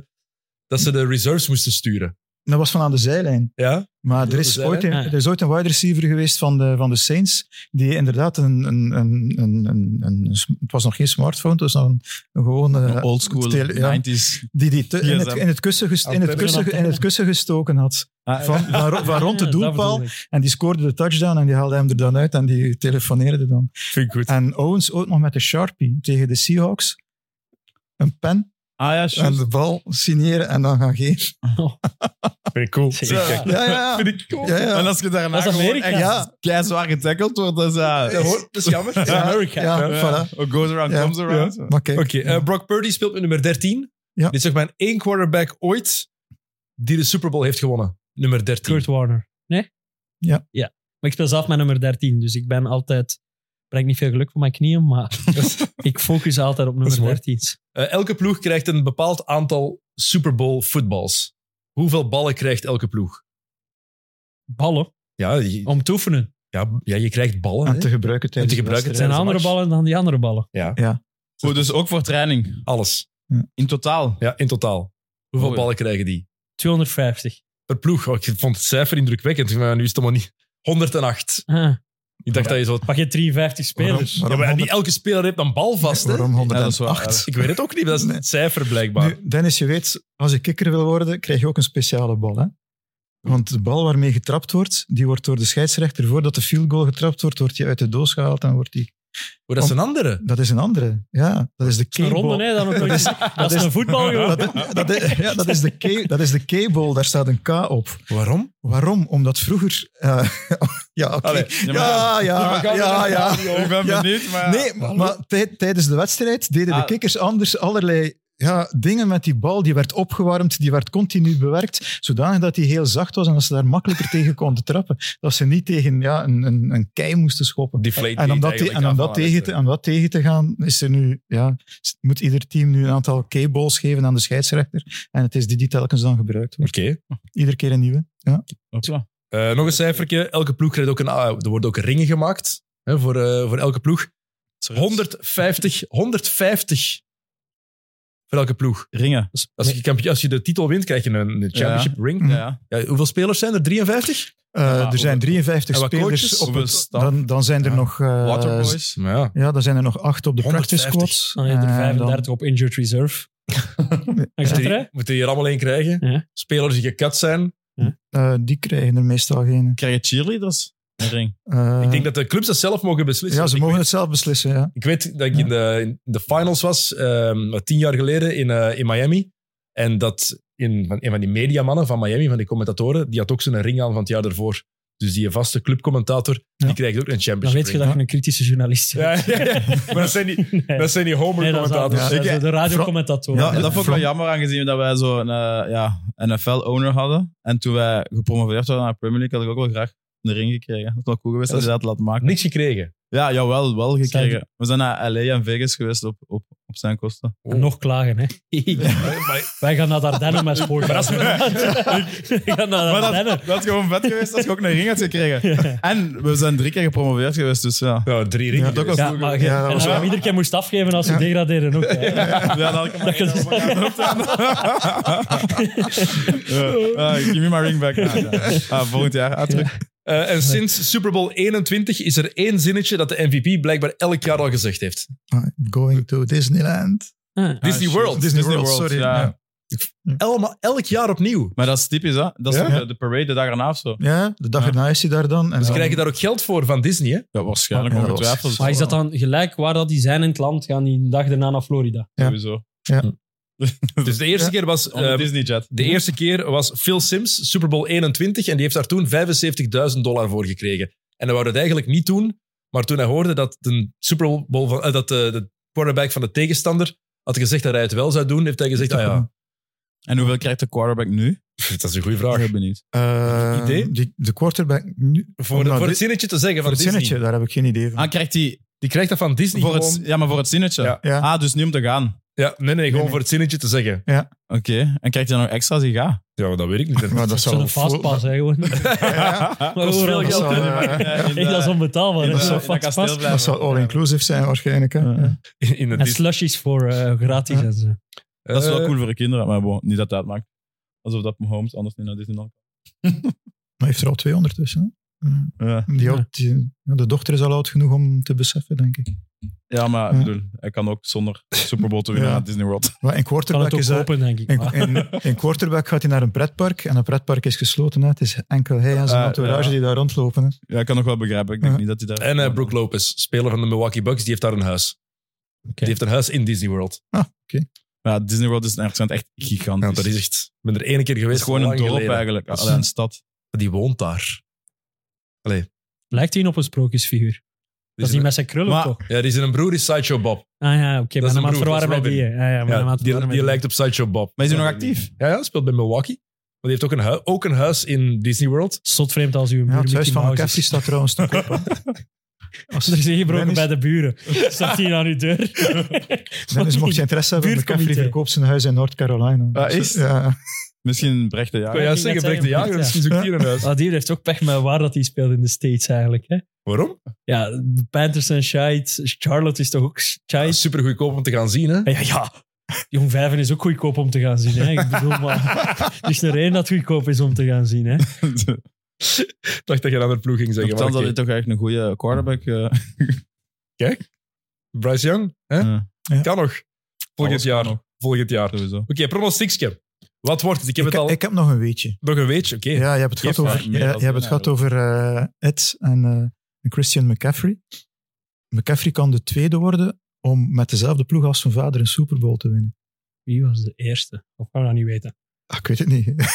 B: dat ze de reserves moesten sturen.
D: Dat was van aan de zijlijn.
B: Ja?
D: Maar er
B: Dat
D: is,
B: is hij,
D: ooit een,
E: hè? Ah, ja.
D: er is ooit een wide receiver geweest van de, van de Saints, die inderdaad een, een, een, een, een, een- Het was nog geen smartphone, het was nog een, een gewone...
C: Een Old school,
D: tele- ja,
C: 90s.
D: die die te- in, het,
C: GSM.
D: in, het kussen gest- in, het
B: Antenne.
D: kussen, in het kussen gestoken had. Van, van, ro- van rond
E: <laughs>
D: de
E: Ja, dat
D: doelpaal.
E: bedoel ik.
D: En die scoorde de touchdown en die haalde hem er dan uit en die telefoneerde dan.
B: Vind ik goed.
D: En Owens ook nog met de Sharpie tegen de Seahawks. Een pen
C: Ah ja,
D: en
C: juist.
D: de bal signeren en dan gaan geven.
B: Vind ik cool.
E: Zeker.
B: Kijk,
D: Ja, ja, ja.
C: Vind ik cool.
D: Ja, ja.
C: En als je daarna
E: Dat is
C: gewoon
E: Amerika.
C: echt
D: Ja. dus
C: keizwaar getackled wordt, dat is... eh,
B: Dat hoort- dat is jammer.
D: <laughs> Ja,
E: America.
D: Ja, voilà.
C: What goes around
D: Ja,
C: comes around.
D: Maar kijk,
B: Oké, eh, Brock Purdy speelt met nummer 13.
D: Ja.
B: Dit is zeg maar één quarterback ooit die de Super Bowl heeft gewonnen. Nummer 13.
E: Kurt Warner. Nee?
D: Ja.
E: ja. Maar ik speel zelf met nummer 13, dus ik ben altijd... Brengt niet veel geluk voor mijn knieën,
D: <laughs>
E: maar ik focus altijd op
B: is
E: nummer
B: mooi.
E: 13.
B: Eh, elke ploeg krijgt een bepaald aantal Super Bowl footballs. Hoeveel ballen krijgt elke ploeg?
E: Ballen.
B: Ja, je,
E: Om te oefenen.
B: ja, ja, je krijgt ballen.
D: En
B: hè.
D: Ah, te gebruiken
B: eh, En te
D: tijdens de
B: gebruiken
E: Het
D: wedstrijd.
E: zijn
B: Tijdens de
E: andere
B: match.
E: ballen dan die andere ballen.
B: Ja,
C: Goed, dus ook voor training.
B: alles.
C: In totaal.
B: Ja, in totaal. Hoeveel
C: Mooi.
B: ballen krijgen die?
E: 250.
B: Per ploeg. Oh, ik vond het cijfer indrukwekkend. Ik dacht, Maar nu is het allemaal niet... 108.
E: Ah,
B: Ik dacht dat je zo...
E: pak je 53
D: Waarom-
E: spelers.
B: Ja,
D: waarom
B: maar niet
D: 100
B: elke speler heeft een bal vast. Hè?
D: Waarom
C: Ja, dat is waar.
D: 108?
B: Ik weet het ook niet, maar dat is
D: Nee.
B: het cijfer blijkbaar.
D: Nu, Dennis, je weet, als je kikker wil worden, krijg je ook een speciale bal. Hè? Want de bal waarmee getrapt wordt, die wordt door de scheidsrechter, voordat de field goal getrapt wordt, wordt die uit de doos gehaald en wordt die...
B: Oh, dat is een andere.
D: Dat is een andere. Ja, dat is de
E: Een ronde,
D: K-ball.
E: hè? Dan ook nog eens. Dat is een
C: Oh,
E: voetbal, joh.
D: Dat, is- dat is- ja, dat is de K- dat is de K-ball, daar staat een K op.
B: Waarom?
D: Waarom? Omdat vroeger... eh, <laughs> ja, oké.
B: Allee,
C: ja, maar-
D: ja, ja, ja, ja.
C: <laughs> Ik ben
D: Ja.
C: benieuwd, maar...
D: Nee, maar, maar tij- tijdens de wedstrijd deden de
C: Ah.
D: kikkers anders allerlei ja, dingen met die bal. Die werd opgewarmd, die werd continu bewerkt, zodanig dat die heel zacht was en dat ze daar makkelijker <laughs> tegen konden trappen. Dat ze niet tegen ja, een, een, een kei moesten schoppen.
B: Deflate
D: En om dat, te- en om dat, tegen, te, om dat tegen te gaan, is er nu, ja, s- moet ieder team nu een aantal K-balls geven aan de scheidsrechter. En het is die die telkens dan gebruikt wordt.
B: Oké.
D: Iedere keer een nieuwe. Ja.
C: Hopla.
B: Eh, nog een cijfertje. Elke ploeg krijgt ook een... ah, er worden ook ringen gemaakt hè, voor, eh, voor elke ploeg. 150. 150 voor elke ploeg.
C: Ringen.
B: Als je, kampioen- als je de titel wint, krijg je een, een championship
D: Mm.
B: ring.
C: Ja, ja.
B: Ja, hoeveel spelers zijn er? 53?
D: Eh, er zijn 53
B: en wat
D: spelers.
B: coaches?
D: Op
C: Hoeveel
D: het,
C: staf?
D: dan, dan zijn er
C: Ja.
D: nog eh,
C: Waterboys.
B: Nou ja.
D: Ja, dan zijn er nog acht op de practice
B: 150.
D: squad.
E: Dan heb je er
D: En eh,
E: 35 op injured reserve. Ik zat
B: Moeten
E: er,
B: die,
E: hè?
B: moeten die er allemaal één krijgen?
E: Ja.
B: Spelers die gekut zijn.
D: eh, die krijgen er meestal geen.
C: Krijg je cheerleaders? Een ring.
D: Eh,
B: Ik denk dat de clubs dat zelf mogen beslissen.
D: ja,
B: Want
D: ze
B: ik
D: mogen het zelf beslissen. Ja.
B: Ik weet dat ik in de, in de finals was, ehm, wat tien jaar geleden, in, eh, in Miami. En dat in, van, een van die mediamannen van Miami, van die commentatoren, die had ook zijn ring aan van het jaar daarvoor. Dus die vaste clubcommentator,
D: Ja.
B: die krijgt ook een
E: Dan
B: championship
E: weet je dat je een kritische journalist
B: ring.
E: bent.
B: Ja, ja, ja. Maar dat zijn die,
E: <laughs> Nee.
B: dat zijn die
E: Nee, dat is
B: homer-commentators.
E: anders. Dat
D: Ja.
E: zijn de radiocommentator.
C: Ja, dat vond ik wel
D: From-
C: jammer, aangezien dat wij zo'n eh, ja, NFL-owner hadden. En toen wij gepromoveerd werden naar de Premier League, had ik ook wel graag een ring gekregen. Dat is wel cool geweest
B: Dat
C: dat
B: is-
C: je dat laat maken.
B: Niks gekregen.
C: Ja, jawel, wel
E: Zijn-
C: gekregen. We zijn naar LA en Vegas geweest op, op, op zijn kosten.
E: En Oh. nog klagen, hè.
B: Maar,
E: <laughs> Wij gaan naar Ardennen met sport.
B: Maar als we-
E: Wij gaan naar Ardennen.
C: <laughs> dat is gewoon vet geweest als je ook een ring had gekregen. En we zijn drie keer gepromoveerd geweest, dus ja.
B: nou, drie ringen.
C: dat ook wel
E: Ja,
C: cool
E: maar
C: geweest.
E: je,
D: Ja, dat
E: en
D: was
E: dat je
D: wel-
E: hem iedere keer moest afgeven als ze degraderen ook. hè.
C: <laughs> <laughs> Ja, dan had ik hem
E: <laughs> Dat je-
C: Ja, give me my ring back. Ah, ja. Ah, volgend jaar. Ah, terug.
B: Eh, en sinds Super Bowl 21 is er één zinnetje dat de MVP blijkbaar elk jaar al gezegd heeft.
D: I'm Ah, going to Disneyland.
E: Ah.
B: Disney World.
D: Disney World, sorry,
C: ja.
D: ja.
B: Elma, elk jaar opnieuw.
C: Maar dat is typisch, hè? Dat is
D: Ja?
C: toch de, de parade de dag erna of zo?
D: Ja, de dag
C: Ja.
D: erna is hij daar dan. En
B: Ze
D: dan-
B: krijgen daar ook geld voor van Disney, hè?
C: Ja, waarschijnlijk
D: Ja, dat
C: ongetwijfeld.
D: was-
E: Maar is dat dan gelijk waar dat die zijn in het land? Gaan die een dag daarna naar Florida?
D: Ja.
C: Sowieso. Hm. <laughs>
B: Dus de eerste
D: Ja.
B: keer was...
C: Onder
B: eh,
C: Disney Jet.
B: de eerste keer was Phil Sims, Super Bowl 21, en die heeft daar toen 75.000 dollar voor gekregen. En hij wou dat eigenlijk niet doen, maar toen hij hoorde dat de, Super Bowl van, eh, dat de, de quarterback van de tegenstander had gezegd dat hij het wel zou doen, heeft hij gezegd, ah ja,
C: En hoeveel krijgt de quarterback nu?
B: <laughs> dat is een goede
C: Ik
B: vraag.
C: ben benieuwd.
D: Eh,
B: Idee?
D: die, de quarterback. Nu,
B: Voor,
D: Nou,
B: voor
D: dit-
B: het zinnetje te zeggen
D: voor
B: van
D: het
B: Disney.
D: zinnetje, daar heb ik geen idee van.
C: Ah, krijgt hij...
B: Die krijgt dat van Disney
C: Voor het,
B: gewoon.
C: ja, maar voor het zinnetje.
B: Ja.
D: Ja.
C: Ah, dus niet om te gaan.
B: Ja, nee, nee, gewoon
D: nee.
B: voor het zinnetje te zeggen.
C: Oké. En krijgt hij nog extra als hij <laughs> gaat?
B: Ja, maar dat weet ik niet.
D: maar dat zou
E: Zo'n fastpass, hè, gewoon.
C: <laughs>
E: <laughs>
D: Ja,
E: Maar overal-
B: veel geld.
E: dat zal-
D: zou, eh,
E: Echt, dat is onbetaalbaar.
C: in
E: hè,
C: de-
E: zo'n
C: in dat
E: fastpass.
C: kasteel
D: dat
C: blijven.
D: zou all-inclusive zijn waarschijnlijk. Hè?
C: Ja.
D: Ja.
B: In, in het
E: En
B: Disney-
E: slushies voor eh, gratis. en zo.
C: Dat is wel
B: Eh,
C: cool voor de kinderen, maar bon, niet dat dat uitmaakt. Alsof dat Mahomes anders niet naar Disneyland
D: Maar heeft er al twee ondertussen.
C: kan. Ja,
D: hè. Die oud- die- ja, de dochter is al oud genoeg om te beseffen, denk ik.
C: ja maar
D: Ja.
C: ik bedoel, hij kan ook zonder Super Bowl te winnen
D: Ja.
C: naar Disney World. <laughs>
D: Maar in
E: Kan
D: quarterback
E: het
D: is eh,
E: ook
D: daar,
E: open, denk ik.
D: In,
E: maar.
D: in, in quarterback gaat hij naar een pretpark en een pretpark is gesloten. Hè. Het is enkel hij en zijn
C: Eh,
D: entourage
C: ja.
D: die daar rondlopen. Hè.
C: Ja, ik kan nog wel begrijpen. Ik denk
D: Ja.
C: niet dat hij daar...
B: En eh, Brook Lopez, speler van de Milwaukee Bucks, die heeft daar een huis. Die heeft een huis in Disney World.
C: Ja, Disney World is in Erkzand echt gigantisch.
B: Ja, dat is echt... Ik ben er één keer
C: Het
B: geweest.
C: is gewoon een
B: lang
C: dorp
B: geleden.
C: eigenlijk. Allee, een stad.
B: Die woont daar.
E: Lijkt hij op een sprookjesfiguur? Dat is die met zijn krullen,
C: Maar-
E: toch?
B: Ja, die zijn een broer is Sideshow Bob.
E: Ah ja, oké.
B: is
E: maar
B: een
E: dan
B: broer, dat
E: maat
B: is
E: verwarren met die.
B: Robin.
E: hè. Ah, Ja, ja, maar dan
B: Ja,
E: maat
B: die
E: verwarren
B: die
E: met
B: lijkt op Sideshow Bob.
C: Maar is hij nog actief?
B: Ja, ja, speelt bij Milwaukee. Maar die heeft ook een, hui- ook een huis in Disney World.
E: Zotvreemd als u een
D: Ja,
E: muur
D: het huis
E: Mickey
D: van
E: Mouse
D: McCaffrey
E: is.
D: staat trouwens te koop. hè. Als
E: Er is ingebroken
D: Dennis-
E: bij de buren. Staat hij aan uw deur?
D: Dennis mocht je interesse hebben,
E: Buurtcomité.
D: McCaffrey verkoopt zijn huis in Noord-Carolina.
C: Ah, is-
D: Ja.
C: Misschien Brecht de
B: Ik wil
C: Jager.
B: juist
E: Ah, ik ging
B: zeggen, Brecht
E: net
B: de
E: zeggen,
B: Jager, misschien zoekt hier een huis.
E: Ah, die heeft ook pech met waar dat hij speelt in de States eigenlijk. Hè?
B: Waarom?
E: Ja, de Panthers en Shite. Charlotte is toch ook
B: Ja,
E: Shite?
B: super goedkoop Ah, om te gaan zien, hè?
E: Ja, ja, ja. Jong Vijven is ook goedkoop om te gaan zien. Hè? Ik bedoel, maar <laughs> het is er één dat goedkoop is om te gaan zien. Hè?
C: <laughs>
B: Ik dacht dat je een andere ploeg ging zeggen.
C: Nochtans
B: maar
C: had
B: oké.
C: hij toch eigenlijk een goede quarterback. eh,
B: Bryce Young, hè?
C: Ja.
D: Ja.
B: Kan nog. Volgend
C: Alles kan
B: jaar.
C: nog.
B: Volgend jaar. Oké,
C: sowieso.
B: pronostiekje. Wat wordt het? Ik heb
D: Ik,
B: het al...
D: ik heb nog een weetje.
B: Nog een weetje, oké.
D: Ja, je hebt het
B: Geef
D: gehad over,
C: maar meer
D: ja,
C: dan
D: je hebt het
C: een
D: gehad over eh, Ed en eh, en Christian McCaffrey. McCaffrey kan de tweede worden om met dezelfde ploeg als zijn vader een Super Bowl te winnen.
E: Wie was de eerste? Of kan we dat niet weten?
D: Ah, ik weet het niet. Ik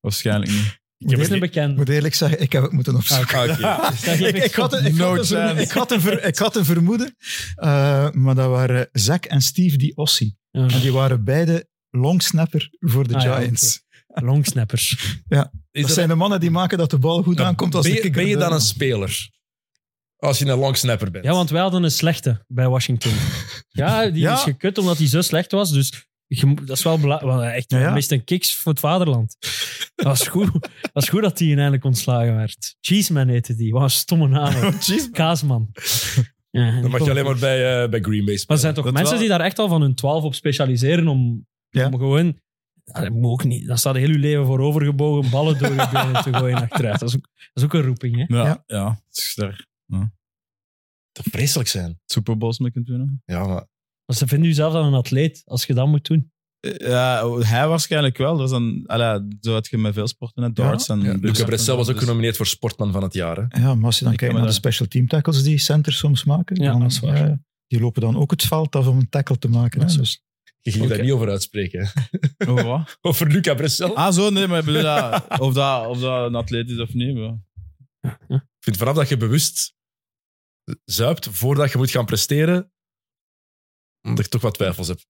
C: Waarschijnlijk niet.
D: moet,
E: Eerste
D: eerlijk,
E: bekende.
D: moet eerlijk zeggen, ik heb het moeten opzoeken.
B: Ah, oké.
E: <laughs> Dus daar geef
D: ik, ik, had een, ik,
C: No
D: had een, vermoeden-
C: chance.
D: ik, had een ver- ik had een vermoeden, eh, maar dat waren Zack en Steve DiOssi.
E: Ja.
D: En die waren beide longsnapper voor de
E: Ah, ja,
D: Giants.
E: Longsnappers.
B: Is
D: Dat
B: dat-
D: zijn de mannen die maken dat de bal goed aankomt als
B: ben,
D: de
B: je,
D: kicker
B: ben je dan
D: erbij
B: een
D: is.
B: speler? Als je een longsnapper bent.
E: Ja, want wij hadden een slechte bij Washington. Ja, die
D: Ja.
E: is gekut omdat hij zo slecht was. Dus je moet- dat is wel belangrijk. Wel, Echt,
D: Ja, ja.
E: hij mist een kicks voor het vaderland. Dat was goed, dat, was goed dat hij uiteindelijk ontslagen werd. Cheeseman heette die. Wat een stomme
D: <laughs> Oh,
E: naam.
D: Jeez.
E: Kaasman. Ja, en
B: Dan mag
E: die
B: je alleen
E: kon-
B: maar
E: <laughs>
B: bij, eh, bij Green Bay
E: Maar
B: spelen.
E: er zijn toch
C: Dat
E: mensen
C: wel.
E: die daar echt al van hun twaalf op specialiseren om,
D: Ja.
E: om gewoon... Ja, dat moet ook niet. Dan staat heel je leven voor overgebogen ballen door je benen te gooien achteruit. Dat is ook, dat is ook een roeping, hè?
C: Ja,
D: Ja.
C: ja. het is daar
B: Dat vreselijk zijn.
C: Super Bowls mee kunt winnen.
B: Ja, maar...
E: Want ze vinden jezelf dan een atleet als je dat moet doen.
C: Eh, Ja, hij waarschijnlijk wel. Dat is een, allee, zo had je met veel sporten, hè, darts en...
B: Ja, Mm, Luca
C: en
B: Bressel
C: zo,
B: was ook
C: dus-
B: genomineerd voor Sportman van het jaar. Hè?
D: Ja, maar als je dan
C: Ik
D: kijkt
C: kan
D: naar
C: me
D: de special team tackles die centers soms maken,
E: Ja,
D: dan,
E: dat is waar.
D: ja, die lopen dan ook het veld af om een tackle te maken. Hè?
C: Dat
D: Dus,
B: Je ging daar
C: Oké.
B: niet over uitspreken. hè. <laughs>
C: Over Oh, wat?
B: Over Luca Bressel.
C: Ah, zo, nee, maar ik bedoel, ja, of, dat, of dat een atleet is of niet. maar-
B: Ik vind vanaf dat je bewust zuipt voordat je moet gaan presteren, omdat ik toch wat twijfels
C: Dus
B: heb.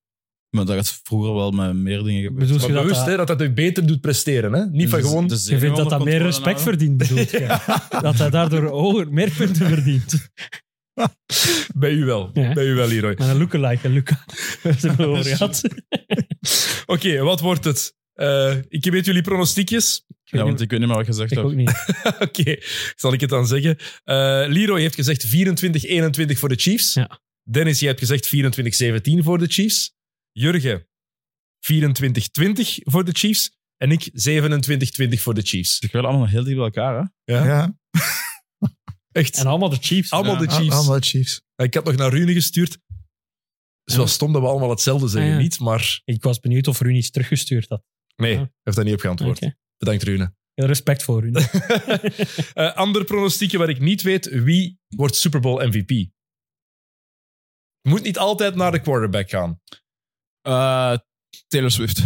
C: Maar dat gaat vroeger wel met meer dingen gebeuren.
E: Bedoel
B: Maar
E: je dat
B: bewust
E: dat-
B: hè, dat dat je beter doet presteren. Hè? Niet van
C: Dus-
B: gewoon...
C: dus
E: Je vindt dat
C: onder
E: dat meer
C: controle
E: respect
C: houden.
E: verdient, bedoelt je? <laughs> Dat hij daardoor hoger, meer punten verdient.
B: Bij u wel.
E: Ja.
B: Bij u wel, Leroy.
E: Met een lookalike, een Luca. We hebben het erover gehad.
B: Oké, wat wordt het? Eh, ik weet jullie pronostiekjes.
C: Ja, want ik weet niet meer wat je gezegd
E: Ik ook
C: hebt.
E: niet.
B: <laughs> Oké, zal ik het dan zeggen. Eh Leroy heeft gezegd 24-21 voor de Chiefs.
E: Ja.
B: Dennis, jij hebt gezegd 24-17 voor de Chiefs. Jurgen, 24-20 voor de Chiefs. En ik 27-20 voor de Chiefs.
C: Ik wil allemaal nog heel dicht bij elkaar, hè.
B: Ja.
D: ja,
B: Echt,
E: En allemaal de Chiefs.
B: allemaal de Chiefs.
D: allemaal Chiefs.
B: Ik had nog naar Rune gestuurd. Het is wel stom dat we allemaal hetzelfde zeggen,
E: Ah, ja.
B: niet? Maar
E: Ik was benieuwd of Rune iets teruggestuurd had.
B: nee,
E: Ah.
B: hij heeft daar niet op geantwoord.
E: Oké.
B: Bedankt, Rune.
E: Heel respect voor Rune.
B: <laughs> Eh, ander pronostiekje waar ik niet weet, wie wordt Super Bowl MVP? Moet niet altijd naar de quarterback <laughs> gaan.
C: Eh, Taylor Swift.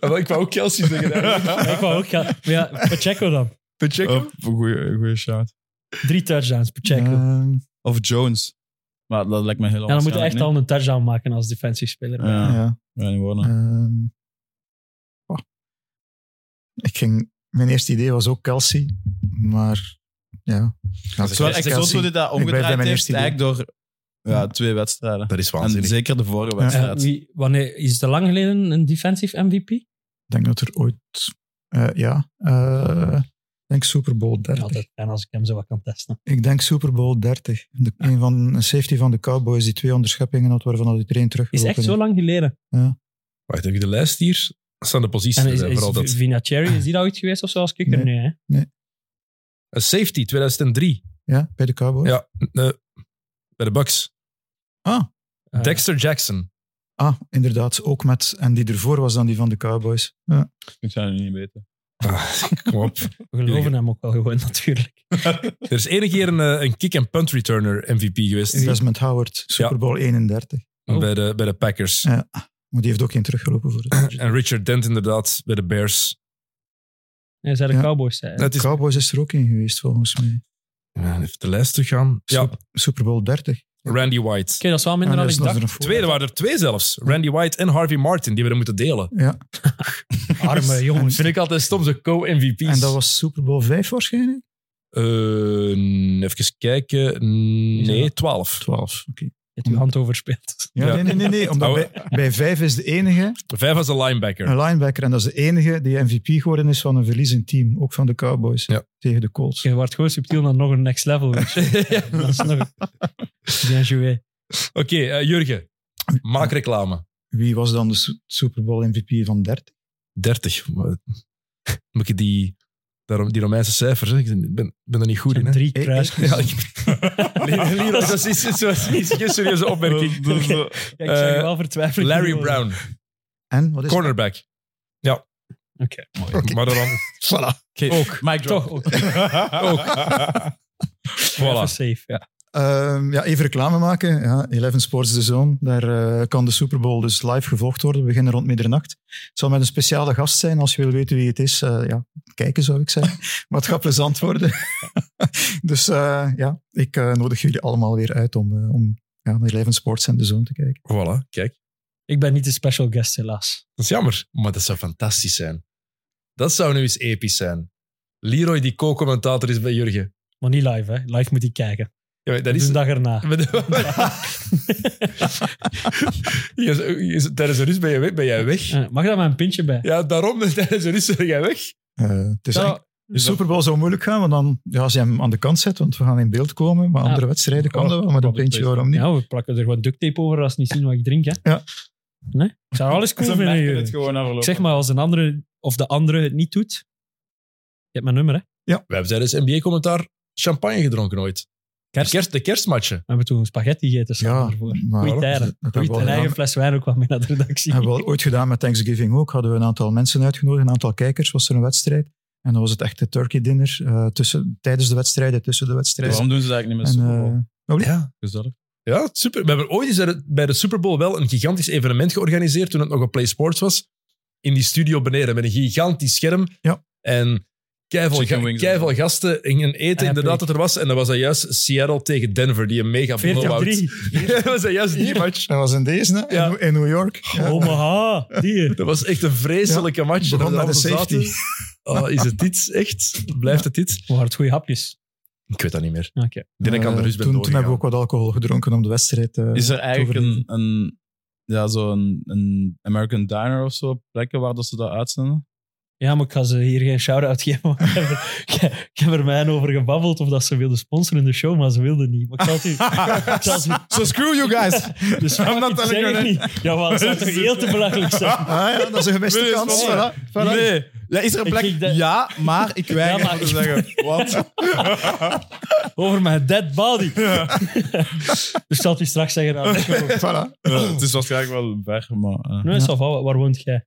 B: Wel, ik wou ook Kelsey zeggen. <laughs>
E: Maar ik wou ook gaan. Maar ja, Pacheco dan.
B: Pacheco?
C: Op, goeie, goeie shout.
E: Drie touchdowns, Pacheco.
D: Ehm,
C: Of Jones. Maar dat lijkt me heel
E: ja, dan moet je echt
C: onwaarschijnlijk,
E: al een touchdown maken als defensief speler.
C: nee? Ja,
D: ja,
C: ja, niet worden.
D: ehm, oh. ik ging, mijn eerste idee was ook Kelsey, maar ja.
C: Het is wel echt zot hoe dit dat
D: Ik blijf bij
C: omgedraaid
D: mijn
C: heeft,
D: eerste idee.
C: eigenlijk door ja,
D: Ja.
C: twee wedstrijden.
B: Dat is
C: En
B: waanzinnig.
C: zeker de vorige
D: Ja.
E: Eh,
C: wedstrijd.
E: wie, wanneer, is het lang geleden een defensief MVP?
D: Ik denk dat er ooit, eh, ja, eh, ik denk Super Bowl 30.
E: Ja, dat kan als ik hem zo wat kan testen.
D: Ik denk Super Bowl 30. De, een van een safety van de Cowboys die twee onderscheppingen had, waarvan hij er één
E: Is
D: teruggelopen
E: echt zo lang geleden.
B: Wacht, heb ik de lijst hier? Dat staan de posities.
E: En is,
B: eh,
E: is
B: vooral dat.
E: Vinatieri, is die daar ooit geweest of zo als kicker?
D: Nee.
E: Nee, hè?
B: Eh, safety, 2003.
D: Ja, bij de Cowboys.
B: Ja. Eh, bij de Bucks.
E: Eh,
B: Dexter Jackson.
D: Ah, inderdaad. Ook met, en die ervoor was dan die van de Cowboys. Ja.
C: Ik zou het niet weten.
B: Ah, kom op.
E: we geloven hem ook wel gewoon, <laughs> natuurlijk.
B: Er is enige keer een, eh, een kick-and-punt returner MVP geweest.
D: Investment Howard, Super Bowl 31.
E: Oh.
B: Bij, de, bij de Packers.
D: Ja. Maar die heeft ook geen teruggelopen
C: <clears throat>
D: voor het.
B: En Richard Dent inderdaad, bij de Bears.
E: Nee, zijn de
D: Ja.
E: Cowboys. Hè?
B: Het
D: De
B: is,
D: Cowboys is er ook in geweest, volgens mij.
B: Ja, even de lijst teruggaan. Ja,
D: Super, Super Bowl 30.
B: Randy White.
E: Oké, dat is wel minder dan
D: En
E: ik
D: er is nog
E: dacht.
D: een voor-
B: Tweede waren er twee zelfs. Randy White en Harvey Martin, die we er moeten delen.
D: Ja.
B: <laughs>
E: Arme
B: Dat
E: jongens.
B: vind ik altijd stom, zo co-MVP's.
D: En dat was Super Bowl 5 waarschijnlijk?
B: Eh, even kijken. Nee, twaalf.
D: 12. Oké.
E: hebt uw hand overspeeld.
D: Ja,
B: Ja.
D: Nee, nee, nee. nee omdat
B: Oh.
D: bij, bij vijf is de enige,
B: Vijf was een linebacker.
D: een linebacker, en dat is de enige die MVP geworden is van een verliezend team. Ook van de Cowboys
B: Ja.
D: tegen de
E: <laughs>
D: Colts.
E: Je wordt gewoon subtiel naar nog een next level. Dus
B: <laughs>
E: dat is nog... Bien joué.
B: <laughs> Oké, eh, Jurgen. Maak reclame.
D: Wie was dan de Su- Super Bowl MVP van 30?
B: 30. Maar- Moet je die, daarom, die Romeinse cijfers, hè? ik ben, ben er niet goed in. Hè?
E: Drie
D: Eh,
E: kruisjes.
B: Ja, ik- nee, nee, Leroy, <laughs> dat is- is- is- is- is geen serieuze opmerking.
C: Dat is, eh,
E: <laughs> Ja, <laughs> ik zou je
B: eh,
E: wel vertwijfelen.
B: Larry Brown,
D: En wat is
B: cornerback. Ja.
E: Oké.
B: Maar dan
D: Voilà.
C: oké,
B: ook.
C: mic drop.
E: Toch ook.
C: <laughs>
B: Ook.
E: Even
B: Voilà.
E: safe. Ja.
D: Ehm, ja, even reclame maken. Ja, Eleven Sports The Zone. Daar eh, kan de Super Bowl dus live gevolgd worden. We beginnen rond middernacht. Het zal met een speciale gast zijn. Als je wil weten wie het is, eh, ja, kijken zou ik zeggen. <laughs> Maar het gaat plezant worden. <laughs> dus eh, ja, ik eh, nodig jullie allemaal weer uit om, eh, om ja, naar Eleven Sports en The Zone te kijken.
B: Voilà, kijk.
E: Ik ben niet de special guest, helaas.
B: Dat is jammer. Maar dat zou fantastisch zijn. Dat zou nu eens episch zijn. Leroy die co-commentator is bij Jurgen.
E: Maar niet live, hè. Live moet ik kijken.
B: Ja, maar dat
E: Dat is
B: is... <laughs>
E: een dag erna.
B: Je is- je is- Tijdens de rust ben jij weg. Ben jij weg.
E: Eh, Mag daar maar een pintje bij?
B: Ja, daarom. <laughs> Tijdens de rust ben jij weg.
D: Eh, het is
E: Ja, dus
D: eigenlijk- de Super Bowl zou moeilijk gaan, want dan, ja, als je hem aan de kant zet, want we gaan in beeld komen. Maar
E: Ja.
D: andere wedstrijden kan
C: Oh,
D: dat wel, maar dan
C: public
D: vind je waarom niet.
E: ja, we plakken er gewoon duct tape over als ze niet zien wat ik drink, hè.
D: Ja.
E: Nee? Ik zou alles cool
C: Ze
E: vinden,
C: merken
E: Jurgen.
C: het gewoon na verloop.
E: Ik zeg maar, als een andere of de andere het niet doet, je hebt mijn nummer, hè.
B: We hebben tijdens NBA-commentaar champagne gedronken ooit.
E: Kerst.
B: De, kerst, de kerstmatchen.
E: We hebben toen spaghetti gegeten
D: Ja,
E: samen ervoor.
D: maar- dus
E: Goeie tijden.
D: Dat
E: Goeie
D: hebben we
E: tijden. Een eigen
D: gedaan.
E: fles wijn ook wel mee naar de redactie.
D: Hebben we al ooit gedaan met Thanksgiving ook. Hadden we een aantal mensen uitgenodigd, een aantal kijkers, was er een wedstrijd. En dan was het echt een turkey dinner eh, tussen, tijdens de wedstrijden, tussen de wedstrijden.
C: Waarom doen ze dat eigenlijk niet
D: En,
C: met Super Bowl?
D: eh,
B: Ja.
C: Gezellig.
B: Ja, super. We hebben ooit eens bij de- bij de Super Bowl wel een gigantisch evenement georganiseerd toen het nog op Play Sports was. In die studio beneden met een gigantisch scherm.
D: Ja.
B: En keivel,
C: Chicken
B: ga,
C: wings.
B: keivel gasten gingen eten,
D: Ah
E: Epic.
B: inderdaad, dat er was. En dat was dat juist Seattle tegen Denver, die een mega <laughs> blowout.
E: 40-3.
B: dat was dat juist die match.
D: dat was in deze, hè?
B: Ja.
D: In, in New York. Ja.
E: Omaha, Oh, die.
B: Dat was echt een vreselijke match.
D: Begon
B: En dan
D: met een
B: zaten-
D: safety.
B: Oh, is het iets? Echt? Blijft het iets?
E: Maar het goede hapjes.
B: Ik weet dat niet meer.
E: Oké.
B: Ik denk dat ik aan de
D: Eh,
B: rust ben
D: toen, toen
B: doorgegaan.
D: hebben we ook wat alcohol gedronken om de wedstrijd eh,
C: Is er eigenlijk
D: overleven.
C: een, een, ja, zo een, een American Diner of zo, plekken waar dat ze dat uitzenden?
E: Ja, maar ik ga ze hier geen shout-out geven. want Ik heb, er, ik heb- ik heb er mij over gebabbeld of dat ze wilden sponsoren in de show, maar ze wilden niet. Maar ik zal het u...
C: <laughs>
E: ik zal het u-
C: So screw you guys!
E: <laughs> Dus ik
C: I'm not
E: zeg
C: telling
E: het
C: you
E: niet. Ja, maar dat zou toch heel te belachelijk
C: <laughs>
E: zijn.
D: Ah ja, dat is een gemiste
C: Wil je
D: kans.
C: sponsoren?
D: voilà, voilà.
C: Nee, ja, is er een
E: Ik
C: plek?
E: ging dat-
C: Ja, maar ik weiger
E: Ja, maar
C: om te
E: ik-
D: <laughs>
C: zeggen. Wat?
E: Over mijn dead body. <laughs> Dus ik zal het u straks zeggen. aan de show.
D: Voilà.
C: Ja,
D: dus
C: het is waarschijnlijk wel weg, maar... eh,
E: Nee, ça va, waar woont jij?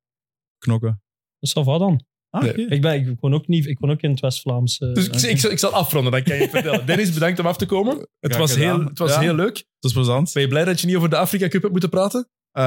C: knokken.
E: Ça va dan.
C: Ah,
B: Nee.
C: oké.
E: Ik, ben, ik, woon ook niet, ik woon ook in het West-Vlaams. eh,
B: Dus ik, ik, zal, ik zal afronden, dan <laughs> kan je het vertellen. Dennis, bedankt om af te komen. Het
C: Graag
B: was,
C: gedaan.
B: heel, het was
C: Ja.
B: heel leuk.
C: Dat is plezant.
B: Ben je blij dat je niet over de Afrika Cup hebt moeten praten?
C: Eh,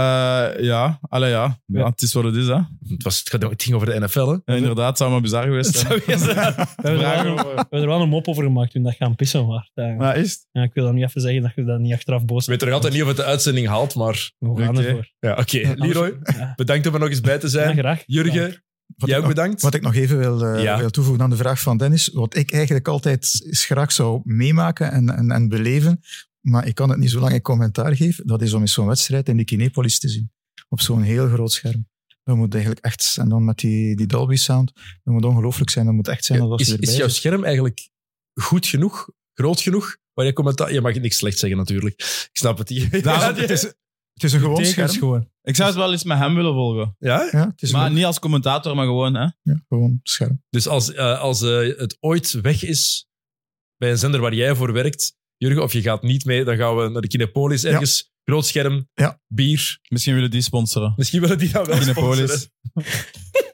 C: ja, allee ja. ja.
E: Ja.
C: Het is wat het is, hè.
B: Het, was, het ging- het ging over de NFL, hè?
C: Ja, inderdaad, het zou maar bizar geweest <laughs>
B: Dat
C: zijn.
B: <laughs> zou je zeggen.
E: We hebben, er
C: Vragen
E: wel, een-
C: over-
E: we hebben er wel een mop over gemaakt toen dat gaan pissen was. Ja,
C: Maar is het?
E: ik wil dan niet even zeggen dat je dat niet achteraf boos
B: Ik weet
E: bent.
B: er altijd niet of het de uitzending haalt, maar...
E: We gaan
C: Oké.
E: ervoor.
B: Ja, oké. Leroy,
E: Ja.
B: bedankt om er nog eens bij te
E: Ja,
B: zijn.
E: graag.
B: Jurgen, jij
D: Wat ik
B: ook
D: nog-
B: bedankt.
D: Wat ik nog even wil, eh,
B: Ja.
D: wil toevoegen aan de vraag van Dennis, wat ik eigenlijk altijd is graag zou meemaken en, en, en beleven, maar ik kan het niet zolang ik commentaar geef, dat is om eens zo'n wedstrijd in de Kinepolis te zien. Op zo'n heel groot scherm. Dat moet eigenlijk echt, en dan met die, die Dolby sound, dat moet ongelooflijk zijn, dat moet echt zijn dat
B: Is,
D: je erbij
B: is jouw
D: zit.
B: scherm eigenlijk goed genoeg? Groot genoeg? Waar je commentaar... Je mag niks slecht zeggen, natuurlijk. Ik snap het. Ja,
C: Daarom-
B: ja.
D: Het is, het is een gewoon scherm.
E: Tekens gewoon.
C: Ik zou het wel eens met hem willen volgen.
B: <laughs> Ja?
D: Ja, het is
C: Maar
D: een
C: niet als commentator, maar gewoon, hè.
D: ja, gewoon scherm.
B: Dus als, eh, als eh, het ooit weg is bij een zender waar jij voor werkt, Jurgen, of je gaat niet mee, dan gaan we naar de Kinepolis ergens. Groot scherm,
D: Ja.
B: bier.
C: Misschien willen die <laughs> sponsoren.
B: Misschien willen die dat wel
C: Kinepolis.
B: sponsoren.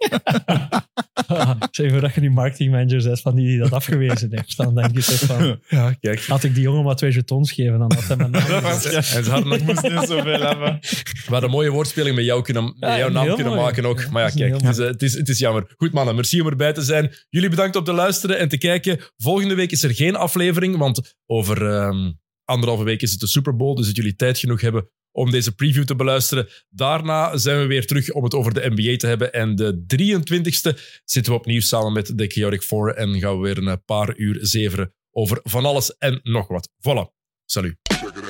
E: <laughs> Zeg even dat je die marketingmanager bent van die, die dat afgewezen heeft. Dan denk je toch van,
B: Ja, kijk.
E: had ik die jongen maar twee jetons geven, dan had hij mijn naam
C: Dat was-
E: gezet.
B: En ze hadden nog-
C: moest niet zoveel hebben.
B: we hadden een mooie woordspeling met, jou kunnen, met
E: Ja,
B: jouw naam
E: heel
B: kunnen
E: mooi.
B: maken ook.
E: Ja,
B: Maar ja,
E: dat is
B: kijk,
E: heel
B: het is, eh, het, is, het is jammer. Goed mannen, merci om erbij te zijn. Jullie bedankt om te luisteren en te kijken. Volgende week is er geen aflevering, want over ehm, anderhalve week is het de Super Bowl, dus dat jullie tijd genoeg hebben om deze preview te beluisteren. Daarna zijn we weer terug om het over de NBA te hebben. En de 23e zitten we opnieuw samen met de Chaotic Four en gaan we weer een paar uur zeveren over van alles en nog wat. Voilà. Salut.
A: Check it out.